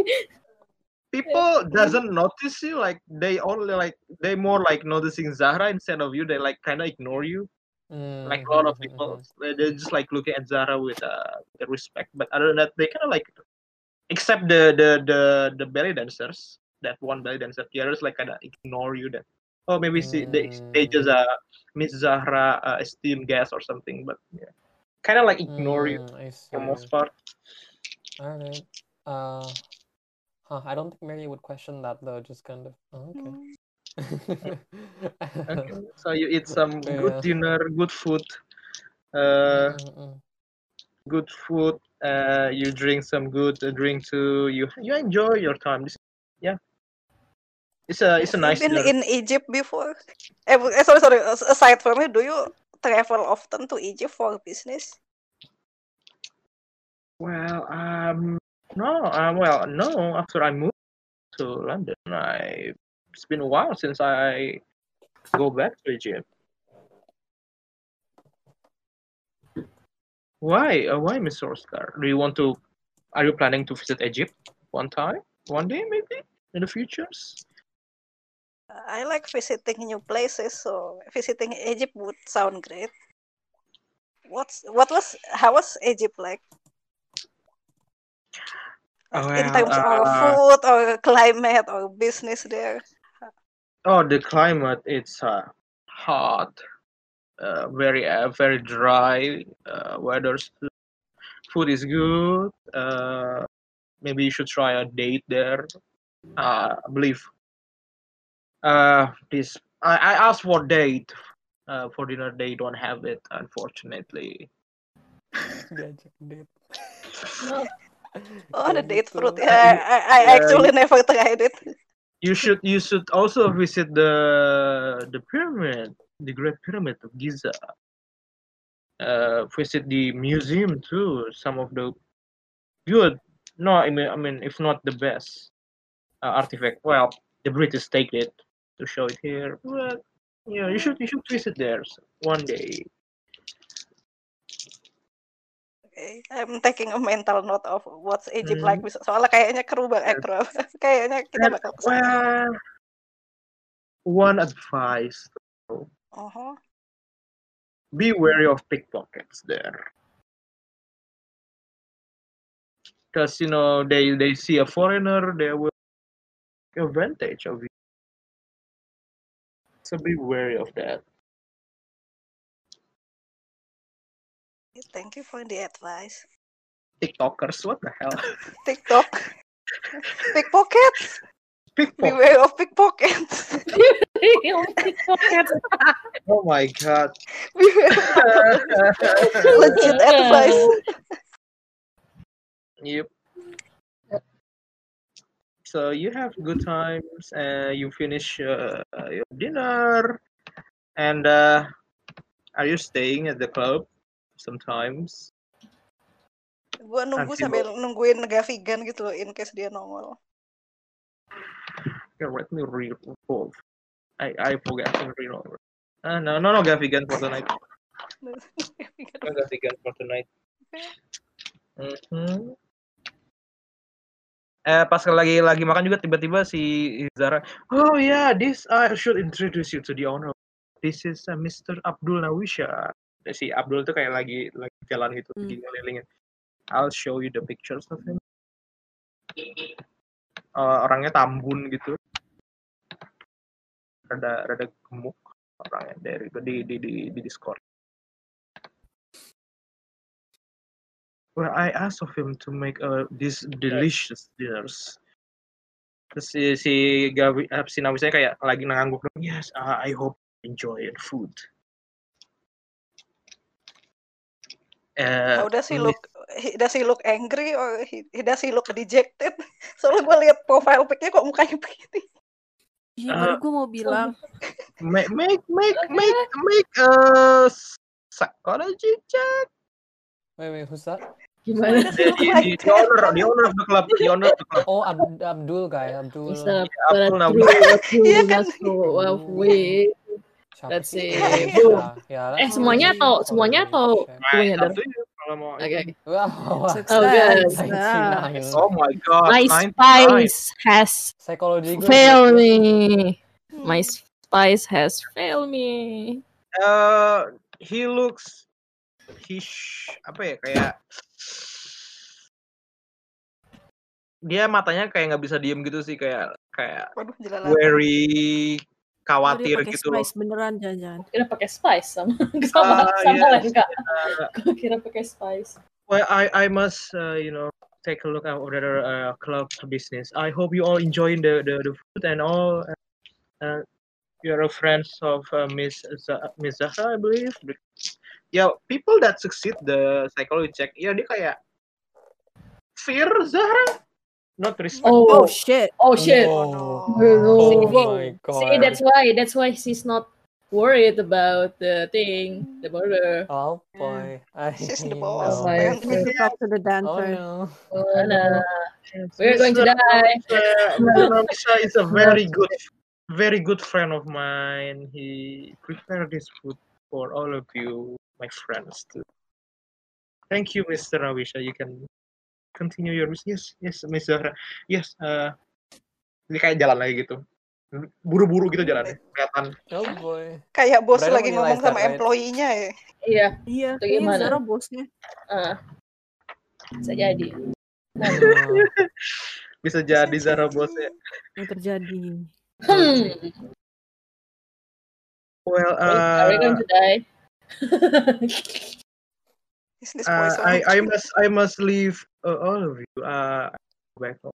Speaker 1: People doesn't notice you. Like they only like they more like noticing Zahra instead of you. They like kind of ignore you.
Speaker 11: mm,
Speaker 1: Like a lot of
Speaker 11: Mm-hmm,
Speaker 1: people, they- they're just like looking at Zahra with uh with respect. But other than that, they kind of like, except the the the the belly dancers. That one belly dancer, the others like kind of ignore you. That oh maybe see they they
Speaker 11: Mm.
Speaker 1: just uh Miss Zahra uh, esteem guest or something. But yeah, kind of like ignore you
Speaker 11: Mm, I see.
Speaker 1: for most part.
Speaker 11: Alright. Uh, huh, I don't think Mary would question that though, just kind of, oh, okay.
Speaker 4: Mm.
Speaker 11: Mm,
Speaker 1: Okay, so you eat some good
Speaker 11: Yeah.
Speaker 1: dinner, good food, uh,
Speaker 11: Mm-mm.
Speaker 1: good food. Uh, you drink some good uh, drink too. You you enjoy your time. This, yeah, it's a it's a
Speaker 4: Have
Speaker 1: nice
Speaker 4: you been
Speaker 1: dinner.
Speaker 4: in Egypt before? Eh, bu- eh, sorry, sorry. as- Aside from it, do you travel often to Egypt for business?
Speaker 1: Well, um, no, uh, well, no. After I moved to London, I it's been a while since I go back to Egypt. Why? Uh, why, Mr. Oscar? Do you want to? Are you planning to visit Egypt one time, one day, maybe in the futures?
Speaker 4: I like visiting new places, so visiting Egypt would sound great. What's what was how was Egypt like in
Speaker 1: Oh, Well,
Speaker 4: terms of
Speaker 1: uh,
Speaker 4: food or climate or business there?
Speaker 1: Oh, the climate it's uh, hot, uh, very uh, very dry. Uh, weather's food is good. Uh, maybe you should try a date there. Uh, I believe. Uh, this I, I asked for date. Uh, for dinner they don't have it unfortunately.
Speaker 11: Diajak date.
Speaker 4: Oh, the
Speaker 11: Kayak
Speaker 4: date
Speaker 11: gitu.
Speaker 4: fruit. Yeah, I, I
Speaker 1: Yeah,
Speaker 4: actually never tried it.
Speaker 1: You should you should also visit the the pyramid, the Great Pyramid of Giza. Uh, visit the museum too. Some of the good. No, I mean, I mean, if not the best uh, artifact. Well, the British take it to show it here. But yeah, you should you should visit there s- one day.
Speaker 4: Okay, I'm taking a mental note of what's Egypt like.
Speaker 1: Mhm.
Speaker 4: Soalnya kayaknya keru bang, eh,
Speaker 1: Yes.
Speaker 4: keru apa? kayaknya kita
Speaker 1: And
Speaker 4: bakal kesana.
Speaker 1: well, one advice: though,
Speaker 4: Oh,
Speaker 1: be wary of pickpockets there, because you know they they see a foreigner, they will take advantage of you. So be wary of that.
Speaker 4: thank you for the advice.
Speaker 1: TikTokers, what the hell?
Speaker 4: TikTok, pickpockets. Beware of pickpockets.
Speaker 1: Oh my god.
Speaker 4: Legit advice.
Speaker 1: Yep. So you have good times, and you finish uh, your dinner, and uh, are you staying at the club sometimes?
Speaker 4: Gua nunggu
Speaker 1: Anjing.
Speaker 4: sambil nungguin Gavigan gitu loh in case dia nongol.
Speaker 1: Here, let me re-roll. I I forgot to re-roll. Uh, no, no, no, Gavigan for tonight. No Gavigan for tonight. Mhm. Eh, pas lagi lagi makan juga tiba-tiba si Zara, oh yeah, this I should introduce you to the owner. This is uh, Mr. Abdul Nawisha. Eh, Si Abdul tuh kayak lagi lagi jalan gitu, lagi ngelilingin. I'll show you the pictures of him. Eh, orangnya tambun gitu, rada rada gemuk orangnya dari di di di, di Discord. Well, I asked of him to make uh, these delicious dinners. Terus si, si Gavi, eh, si Nawisanya kayak lagi ngangguk. Yes, uh, I hope you enjoy your food. Eh,
Speaker 4: How does he
Speaker 1: ini-
Speaker 4: look? He, does he look angry or he, he- does he look dejected? Soalnya gue liat profile pic-nya kok mukanya begini.
Speaker 7: Iya, baru
Speaker 1: Eh,
Speaker 7: gue mau bilang.
Speaker 3: oh,
Speaker 1: make make make make make a psychology check.
Speaker 11: Wait, wait, who's that?
Speaker 3: Gimana?
Speaker 1: The, the, the owner, the owner of the club, the owner of the club.
Speaker 11: Oh, Ab- Abdul guy, Abdul.
Speaker 3: It's a
Speaker 1: Abdul
Speaker 3: but
Speaker 1: Nawi.
Speaker 3: through a through that sort of way.
Speaker 11: Siapa
Speaker 3: Let's
Speaker 11: sih?
Speaker 3: say,
Speaker 11: Iya,
Speaker 3: boom.
Speaker 11: ya,
Speaker 3: Eh
Speaker 11: that's
Speaker 3: semuanya
Speaker 11: really
Speaker 3: atau semuanya atau
Speaker 11: check.
Speaker 3: semuanya
Speaker 1: Nah,
Speaker 3: dar?
Speaker 1: up to you kalau mau.
Speaker 3: Oke.
Speaker 11: Wow,
Speaker 3: Oh good.
Speaker 7: Success. Ah.
Speaker 11: 99.
Speaker 1: Oh my god,
Speaker 3: My
Speaker 1: 99.
Speaker 3: spice has
Speaker 11: Psychology gue
Speaker 3: failed me. My spice has failed me.
Speaker 1: Uh, he looks he sh- apa ya kayak dia matanya kayak nggak bisa diem gitu sih kayak kayak
Speaker 4: Waduh,
Speaker 3: Iya.
Speaker 4: jelala.
Speaker 1: very
Speaker 7: Oh, dia
Speaker 1: khawatir
Speaker 7: pakai
Speaker 1: gitu loh.
Speaker 7: spice beneran jangan-jangan.
Speaker 3: Kira pakai spice sama sama
Speaker 1: Ah,
Speaker 3: sama
Speaker 1: yes,
Speaker 3: Lenka.
Speaker 1: yeah.
Speaker 3: Gua Kira pakai spice.
Speaker 1: Well, I I must uh, you know take a look at other uh, club business. I hope you all enjoying the the, the food and all. Uh, uh, you're a friends of uh, Miss Z- Miss Zahra, I believe. Yeah, people that succeed the psychology check, ya dia kayak fear Zahra, not respect.
Speaker 3: Oh,
Speaker 7: Oh, shit.
Speaker 3: oh shit.
Speaker 11: Oh
Speaker 3: Oh,
Speaker 11: my
Speaker 3: See,
Speaker 11: god.
Speaker 3: that's why that's why she's not worried about the thing, the murder.
Speaker 11: Oh boy. I
Speaker 4: She's the
Speaker 11: know.
Speaker 4: boss.
Speaker 3: my
Speaker 4: Bayangin.
Speaker 21: We have to talk to the
Speaker 11: Oh
Speaker 21: dancer.
Speaker 11: no.
Speaker 3: Oh, no. We're going to
Speaker 1: Mr.
Speaker 3: die.
Speaker 1: Nawisa- Mr. Nawisa is a very good, very good friend of mine. He prepared this food for all of you, my friends. Too. Thank you, Mr. Nawisha. You can continue your business. Yes, yes, Miss Zahra. Yes. Uh, ini kayak jalan lagi gitu. Buru-buru gitu jalannya. Kelihatan.
Speaker 11: Oh boy.
Speaker 4: Kayak bos
Speaker 11: But I
Speaker 4: lagi
Speaker 11: don't
Speaker 4: ngomong
Speaker 11: realize
Speaker 4: sama
Speaker 11: that, right?
Speaker 4: employee-nya ya.
Speaker 3: Iya,
Speaker 7: Iya,
Speaker 3: itu
Speaker 7: kayaknya
Speaker 3: gimana?
Speaker 7: Zara bosnya.
Speaker 3: Ah, bisa jadi.
Speaker 11: Hmm.
Speaker 1: Bisa jadi Zahra bosnya.
Speaker 7: Yang terjadi.
Speaker 3: Hmm.
Speaker 1: Well,
Speaker 3: Are we going
Speaker 1: uh,
Speaker 3: to die?
Speaker 4: Is this
Speaker 1: uh,
Speaker 4: poison?
Speaker 1: I, I must, I must leave uh, all of you. Uh, back home.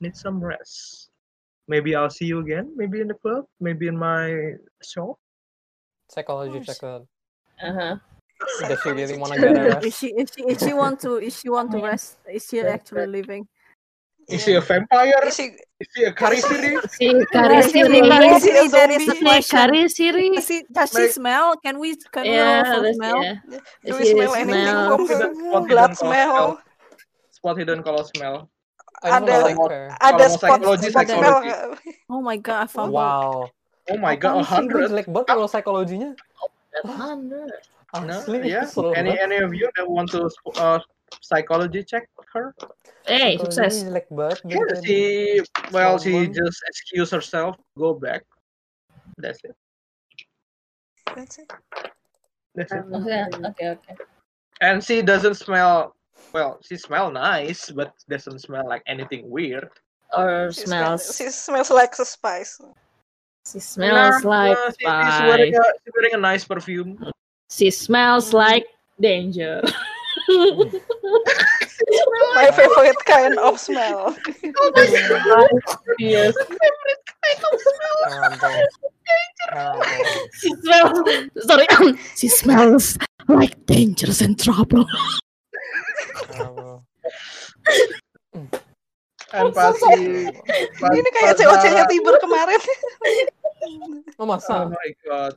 Speaker 1: Need some rest. Maybe I'll see you again. Maybe in the club. Maybe in my shop.
Speaker 11: Psychology check that.
Speaker 3: Uh-huh.
Speaker 11: Does she really want to get
Speaker 7: Is
Speaker 11: arrested?
Speaker 7: she is she is she want to is she want to rest? Is she actually living?
Speaker 1: Is she a vampire?
Speaker 4: Is he-
Speaker 1: Is she a karisiri?
Speaker 3: Si
Speaker 7: Yeah, is she
Speaker 3: Karisiri,
Speaker 4: Is
Speaker 7: Kari
Speaker 4: he a
Speaker 7: Siri? That
Speaker 4: zombie?
Speaker 7: is the
Speaker 3: si
Speaker 7: question.
Speaker 3: Karisiri.
Speaker 7: Is she, does she
Speaker 1: Like-
Speaker 7: smell? Can we can we roll
Speaker 3: Yeah,
Speaker 7: for
Speaker 3: let's
Speaker 7: smell?
Speaker 3: yeah.
Speaker 4: Do
Speaker 3: Is
Speaker 4: we
Speaker 3: it a
Speaker 4: smell anything
Speaker 3: smell?
Speaker 4: from
Speaker 1: Spot
Speaker 4: her?
Speaker 1: hidden, spot hidden
Speaker 4: Blood
Speaker 1: kalau smell.
Speaker 4: smell?
Speaker 1: Spot hidden kalau smell.
Speaker 11: I just want to
Speaker 4: Ada-
Speaker 1: Kalau
Speaker 11: like
Speaker 1: mau
Speaker 11: her.
Speaker 1: kalau
Speaker 4: Ada
Speaker 1: mau
Speaker 4: spot
Speaker 1: psychology,
Speaker 4: spot
Speaker 7: Badan.
Speaker 4: smell
Speaker 1: psychology.
Speaker 4: nggak?
Speaker 7: Oh my god, I found out.
Speaker 11: Wow.
Speaker 1: Oh my god, a
Speaker 7: Apaan sih?
Speaker 11: Gue
Speaker 1: hundred.
Speaker 11: jelek banget
Speaker 1: Ah,
Speaker 11: roll psychologinya.
Speaker 3: That under.
Speaker 1: nah,
Speaker 11: Asli
Speaker 1: yeah.
Speaker 11: slow
Speaker 1: Any
Speaker 11: banget.
Speaker 1: any of you that want to uh, psychology check her?
Speaker 3: Hey,
Speaker 11: Psychologinya
Speaker 3: sukses.
Speaker 11: jelek banget dari
Speaker 1: Oh, Yeah,
Speaker 11: tadi.
Speaker 1: she well, she
Speaker 11: Sombong.
Speaker 1: just excuse herself, go back. That's it.
Speaker 4: That's it.
Speaker 1: That's it.
Speaker 3: Oke, oke, oke.
Speaker 1: And she doesn't smell. Well, she smell nice, but doesn't smell like anything weird.
Speaker 3: Or
Speaker 4: She smells,
Speaker 3: smells.
Speaker 4: she smells like a spice.
Speaker 3: She
Speaker 1: Nah,
Speaker 3: smells like
Speaker 1: nah, uh, she, she's wearing
Speaker 3: spice.
Speaker 1: a she's wearing a nice perfume.
Speaker 3: She smells like danger.
Speaker 4: My favorite kind of smell.
Speaker 1: Oh my god!
Speaker 3: yes.
Speaker 1: Every
Speaker 11: Terrible. Terrible.
Speaker 3: she smells. Sorry, she smells like dangerous and trouble.
Speaker 11: Oh,
Speaker 1: And
Speaker 3: so
Speaker 1: pas si pas-
Speaker 4: Ini kayak
Speaker 1: pas
Speaker 4: COC-nya
Speaker 1: Zara-
Speaker 4: Tibur kemarin.
Speaker 11: Oh,
Speaker 1: Oh my god.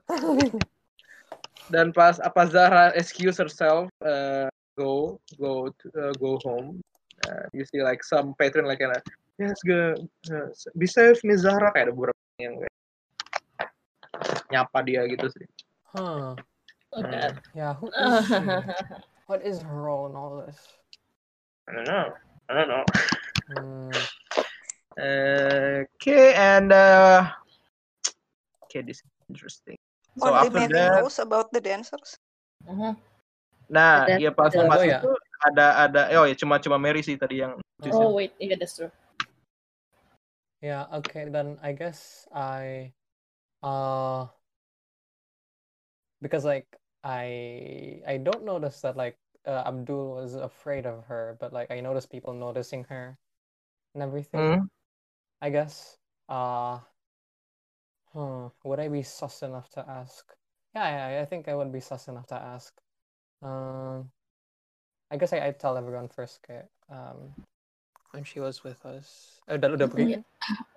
Speaker 1: Dan pas apa Zara excuse herself, uh, go go to- uh, go home. Uh, you see like some patron like uh, yes go uh, be safe Miss Zara kayak ada beberapa yang kayak nyapa dia gitu sih. Hmm.
Speaker 11: Huh.
Speaker 1: Okay.
Speaker 11: Yeah, who is she? what is her role in all this?
Speaker 1: I don't know. I don't know.
Speaker 11: Hmm.
Speaker 1: Okay, and uh, okay, this is interesting. So
Speaker 4: Only
Speaker 1: after
Speaker 4: Mary
Speaker 1: that,
Speaker 4: knows about the dancers.
Speaker 1: nah,
Speaker 4: Ada-
Speaker 1: ya pas
Speaker 4: ada
Speaker 1: mau masuk
Speaker 4: lagu ya?
Speaker 1: tuh ada ada, oh ya cuma cuma Mary sih tadi yang
Speaker 3: Oh wait, yeah, that's true.
Speaker 11: Yeah, okay, then I guess I uh because like I I don't notice that like uh, Abdul was afraid of her, but like I noticed people noticing her and
Speaker 1: Mm.
Speaker 11: everything. I guess uh huh, would I be sus enough to ask? Yeah, yeah, I think I would be sus enough to ask. Um I guess I, I tell everyone first kayak, um when she was with us. Eh, udah udah pergi
Speaker 3: Iya.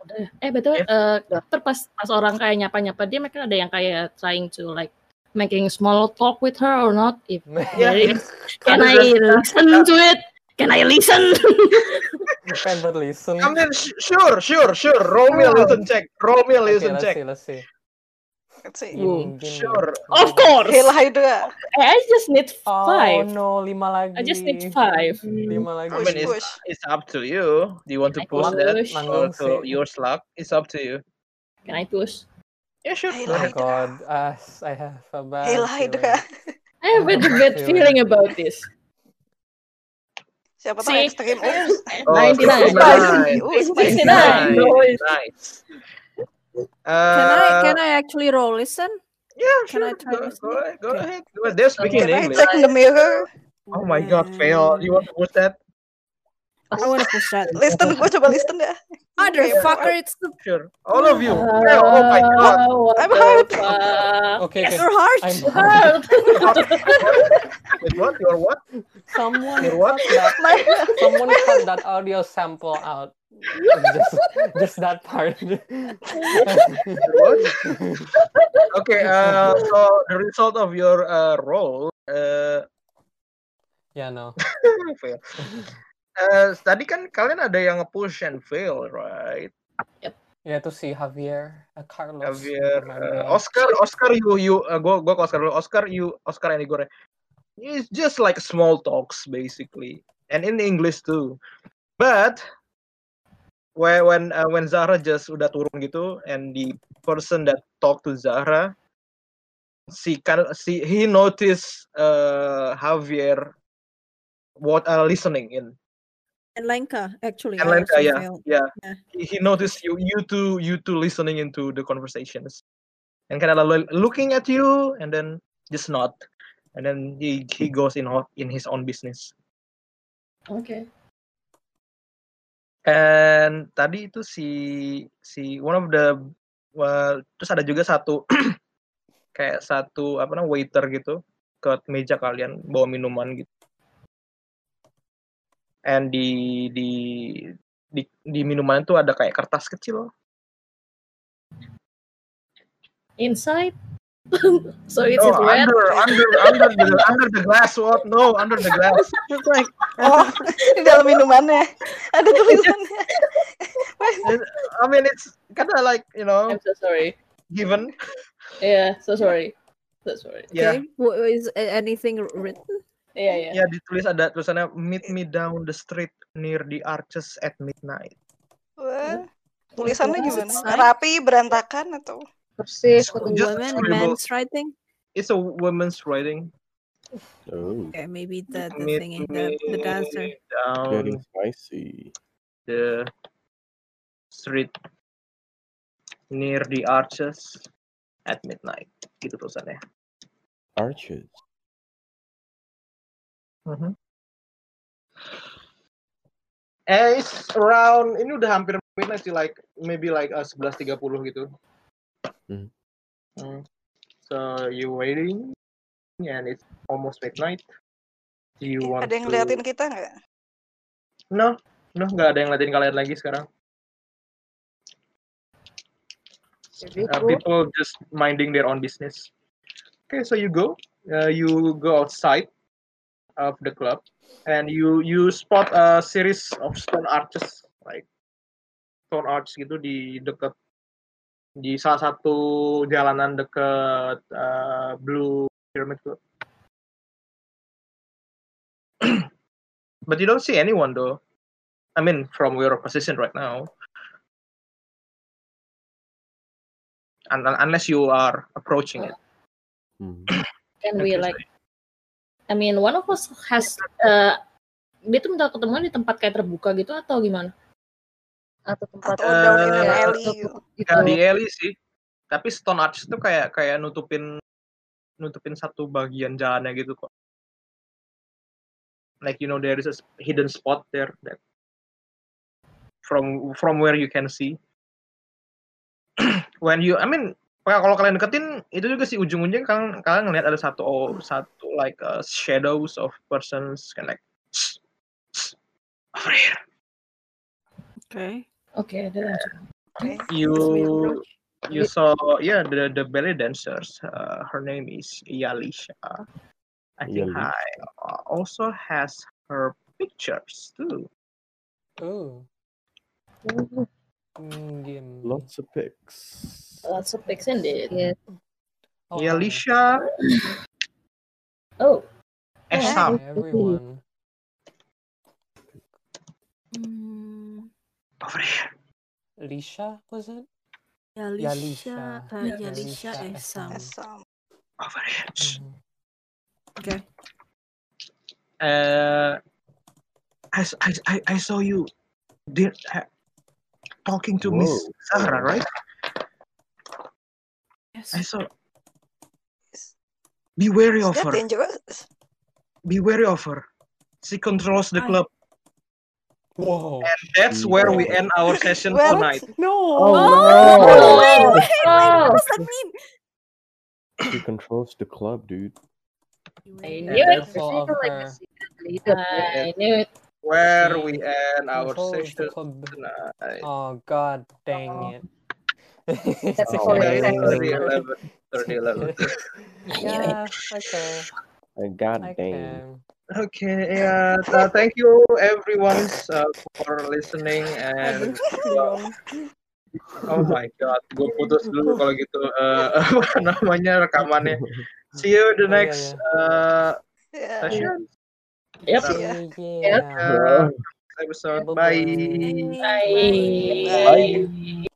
Speaker 3: Udah. Eh betul. Eh ter pas pas orang kayak nyapa nyapa dia, mereka ada yang kayak trying to like making small talk with her or not? If
Speaker 11: Yeah.
Speaker 3: there is- can I listen to it? Can I listen?
Speaker 11: Depend but listen.
Speaker 1: I mean, sh- sure, sure, sure. Roll me a listen check. Roll me a
Speaker 11: Okay,
Speaker 1: listen
Speaker 11: let's
Speaker 1: check.
Speaker 11: see, let's see.
Speaker 4: Let's see.
Speaker 11: Ooh. Gini. Oh,
Speaker 1: Sure.
Speaker 3: Of course.
Speaker 4: Hail Hydra.
Speaker 3: I just need five.
Speaker 11: Oh no, lima lagi.
Speaker 3: I just need five.
Speaker 11: Lima lagi.
Speaker 1: I mean, it's, it's up to you. Do you want to
Speaker 3: I
Speaker 1: push
Speaker 3: push?
Speaker 1: that
Speaker 3: Nanggung
Speaker 1: or to
Speaker 11: sih.
Speaker 1: your slack? It's up to you.
Speaker 3: Can I push?
Speaker 1: Yeah, sure.
Speaker 11: Oh my god, uh, I have a bad
Speaker 4: Hail
Speaker 11: feeling.
Speaker 4: Hydra.
Speaker 3: I have
Speaker 11: Oh,
Speaker 3: a bad feeling about this.
Speaker 4: Siapa tahu
Speaker 3: See,
Speaker 4: extreme. Oops.
Speaker 1: Oh,
Speaker 3: 99.
Speaker 1: 69.
Speaker 4: Oops,
Speaker 3: 69.
Speaker 1: Nice,
Speaker 3: No, it's-
Speaker 1: Nice.
Speaker 7: Can I
Speaker 1: Uh,
Speaker 7: can I actually roll listen?
Speaker 1: Yeah,
Speaker 7: Can I try
Speaker 1: Go,
Speaker 7: listening?
Speaker 1: go ahead. Go
Speaker 7: Okay.
Speaker 1: ahead. Well, they're speaking
Speaker 4: Can
Speaker 1: in
Speaker 4: I
Speaker 1: English.
Speaker 4: check the mirror?
Speaker 1: Oh my god, fail. You want to push that?
Speaker 7: I want to push that.
Speaker 4: Listen, gue coba listen dah.
Speaker 7: Motherfucker, it's the
Speaker 1: Sure. All of you.
Speaker 3: Uh,
Speaker 1: Fail. Oh my god.
Speaker 3: what
Speaker 4: I'm
Speaker 3: the
Speaker 4: hurt.
Speaker 3: fuck?
Speaker 11: Okay,
Speaker 3: Yes.
Speaker 11: okay.
Speaker 7: You're hard.
Speaker 11: I'm
Speaker 3: Hurt.
Speaker 1: Wait, what? You're what?
Speaker 11: Someone
Speaker 1: You're what?
Speaker 11: cut that. Someone cut that audio sample out. Just, just that part.
Speaker 1: You're what? Okay, uh, so the result of your uh, roll uh,
Speaker 11: yeah, no.
Speaker 1: fail. Uh, tadi kan kalian ada yang nge-push and fail, right?
Speaker 11: Yeah, to see Javier, uh, Carlos.
Speaker 1: Javier, uh,
Speaker 11: my bad.
Speaker 1: Oscar, Oscar, you, you, uh, gua, gua ke Oscar dulu. Oscar, you, Oscar and Igor. It's just like small talks basically, and in English too. But when when uh, when Zara just udah turun gitu, and the person that talked to Zara, she kind of, she he noticed uh, Javier what uh, listening in
Speaker 7: And Lenka, actually.
Speaker 1: and
Speaker 7: I
Speaker 1: Lenka,
Speaker 7: also
Speaker 1: yeah,
Speaker 7: failed.
Speaker 1: yeah.
Speaker 7: Yeah.
Speaker 1: He, he noticed you you two you two listening into the conversations and kind of like looking at you and then just nod and then he he goes in ho- in his own business.
Speaker 3: Okay.
Speaker 1: And tadi itu si si one of the well, terus ada juga satu kayak satu apa namanya waiter gitu ke meja kalian bawa minuman gitu. And di di di, di minuman itu ada kayak kertas kecil.
Speaker 3: Inside. so it's
Speaker 1: No,
Speaker 3: it red.
Speaker 1: Oh, under under under the under the glass. What? No, under the glass. It's like
Speaker 4: Oh, di dalam minumannya. Ada tulisannya.
Speaker 1: I mean it's kind of like you know
Speaker 3: I'm so sorry.
Speaker 1: given.
Speaker 3: Yeah, so sorry. So sorry.
Speaker 1: Yeah.
Speaker 7: Okay. Wha- Is a- anything written?
Speaker 3: Yeah, yeah.
Speaker 1: Ya ditulis ada tulisannya Meet me down the street near the arches at midnight.
Speaker 4: Wah, tulisannya
Speaker 7: Is it
Speaker 4: gimana?
Speaker 7: signed?
Speaker 4: Rapi, berantakan atau?
Speaker 14: Persis
Speaker 1: So
Speaker 14: katanya.
Speaker 1: just
Speaker 7: Women,
Speaker 1: scribble.
Speaker 7: men's writing?
Speaker 1: It's a woman's writing.
Speaker 8: Oh,
Speaker 7: Okay, maybe the, the
Speaker 1: Meet
Speaker 7: thingy, the,
Speaker 1: me
Speaker 7: the dancer.
Speaker 8: that
Speaker 1: down
Speaker 8: is spicy.
Speaker 1: the street near the arches at midnight. Gitu tulisannya.
Speaker 8: Arches.
Speaker 1: Mhm. Eh, it's around ini udah hampir midnight sih, like maybe like uh, 11.30 gitu. Mm. So you're waiting, and it's almost midnight. Do you want
Speaker 4: Ada yang
Speaker 1: to-
Speaker 4: ngeliatin kita nggak?
Speaker 1: No, no, nggak ada yang ngeliatin kalian lagi sekarang. Uh, people just minding their own business. Okay, so you go, uh, you go outside of the club, and you you spot a series of stone arches, like stone arch gitu di dekat di salah satu jalanan dekat uh, Blue Pyramid Club. But you don't see anyone though. I mean, from your position right now. Un- un- unless you are approaching it.
Speaker 8: Mm-hmm.
Speaker 3: Can we like I mean one of us has uh, dia tuh minta ketemuan di tempat kayak terbuka gitu atau gimana?
Speaker 14: Atau
Speaker 4: Atau
Speaker 14: tempat
Speaker 4: down in
Speaker 14: Iya,
Speaker 4: an alley gitu.
Speaker 1: Nggak Iya, di alley sih. Tapi Stone Arch itu kayak kayak nutupin nutupin satu bagian jalannya gitu kok. Like you know there is a s- hidden spot there that from from where you can see. When you I mean well, kalau kalian deketin itu juga sih ujung-ujungnya kalian kalian ngelihat ada satu satu like uh, shadows of persons kind like
Speaker 7: Okay.
Speaker 3: Okay, then.
Speaker 1: you you saw yeah the the belly dancers uh, her name is Yalisha I think
Speaker 8: Yali.
Speaker 1: I also has her pictures too
Speaker 11: Oh. Mm, game.
Speaker 8: Lots of pics.
Speaker 3: Lots of pics indeed.
Speaker 11: Oh,
Speaker 1: Yalisha
Speaker 3: Oh.
Speaker 1: Esam
Speaker 11: everyone. Lisha was it?
Speaker 7: Mm, Yalisha, uh,
Speaker 11: Yalisha.
Speaker 7: Yalisha um,
Speaker 11: Yalisha
Speaker 7: Esam.
Speaker 1: okay uh I, s- I, s- I- I saw you did ha- talking to Miss
Speaker 8: Whoa.
Speaker 1: Zahra right I saw be wary of
Speaker 4: Is that
Speaker 1: her
Speaker 4: dangerous?
Speaker 1: be wary of her she controls the
Speaker 4: Why?
Speaker 1: club
Speaker 11: Whoa.
Speaker 1: and that's where we end our session tonight
Speaker 7: No.
Speaker 8: Oh,
Speaker 7: Oh, wait,
Speaker 8: no.
Speaker 7: wait, wait. What
Speaker 8: Oh.
Speaker 7: does that mean?
Speaker 8: She controls the club, dude.
Speaker 3: I
Speaker 11: And
Speaker 3: knew it.
Speaker 11: therefore
Speaker 3: I
Speaker 11: of
Speaker 3: feel like
Speaker 11: her.
Speaker 3: this is gonna lead up. I knew
Speaker 1: Iya.
Speaker 3: it.
Speaker 1: where
Speaker 11: She
Speaker 1: we end our
Speaker 11: controls the
Speaker 1: session
Speaker 11: club.
Speaker 1: tonight.
Speaker 11: Oh god dang it.
Speaker 1: That's
Speaker 8: Oh,
Speaker 1: yeah, it's
Speaker 8: man.
Speaker 1: 30 11. 30 11.
Speaker 11: yeah, okay.
Speaker 8: I got it,
Speaker 11: Okay.
Speaker 8: dang.
Speaker 1: okay, yeah. uh, thank you, everyone, uh, for listening. And uh, oh my god, gue putus dulu kalau gitu. Uh, apa namanya rekamannya. See you the
Speaker 11: Oh, iya,
Speaker 1: next
Speaker 11: iya.
Speaker 1: uh,
Speaker 4: Yeah.
Speaker 1: session.
Speaker 3: Yep.
Speaker 1: See
Speaker 11: ya.
Speaker 1: Uh, episode. Bye.
Speaker 11: Bye-bye.
Speaker 3: Bye.
Speaker 4: Bye.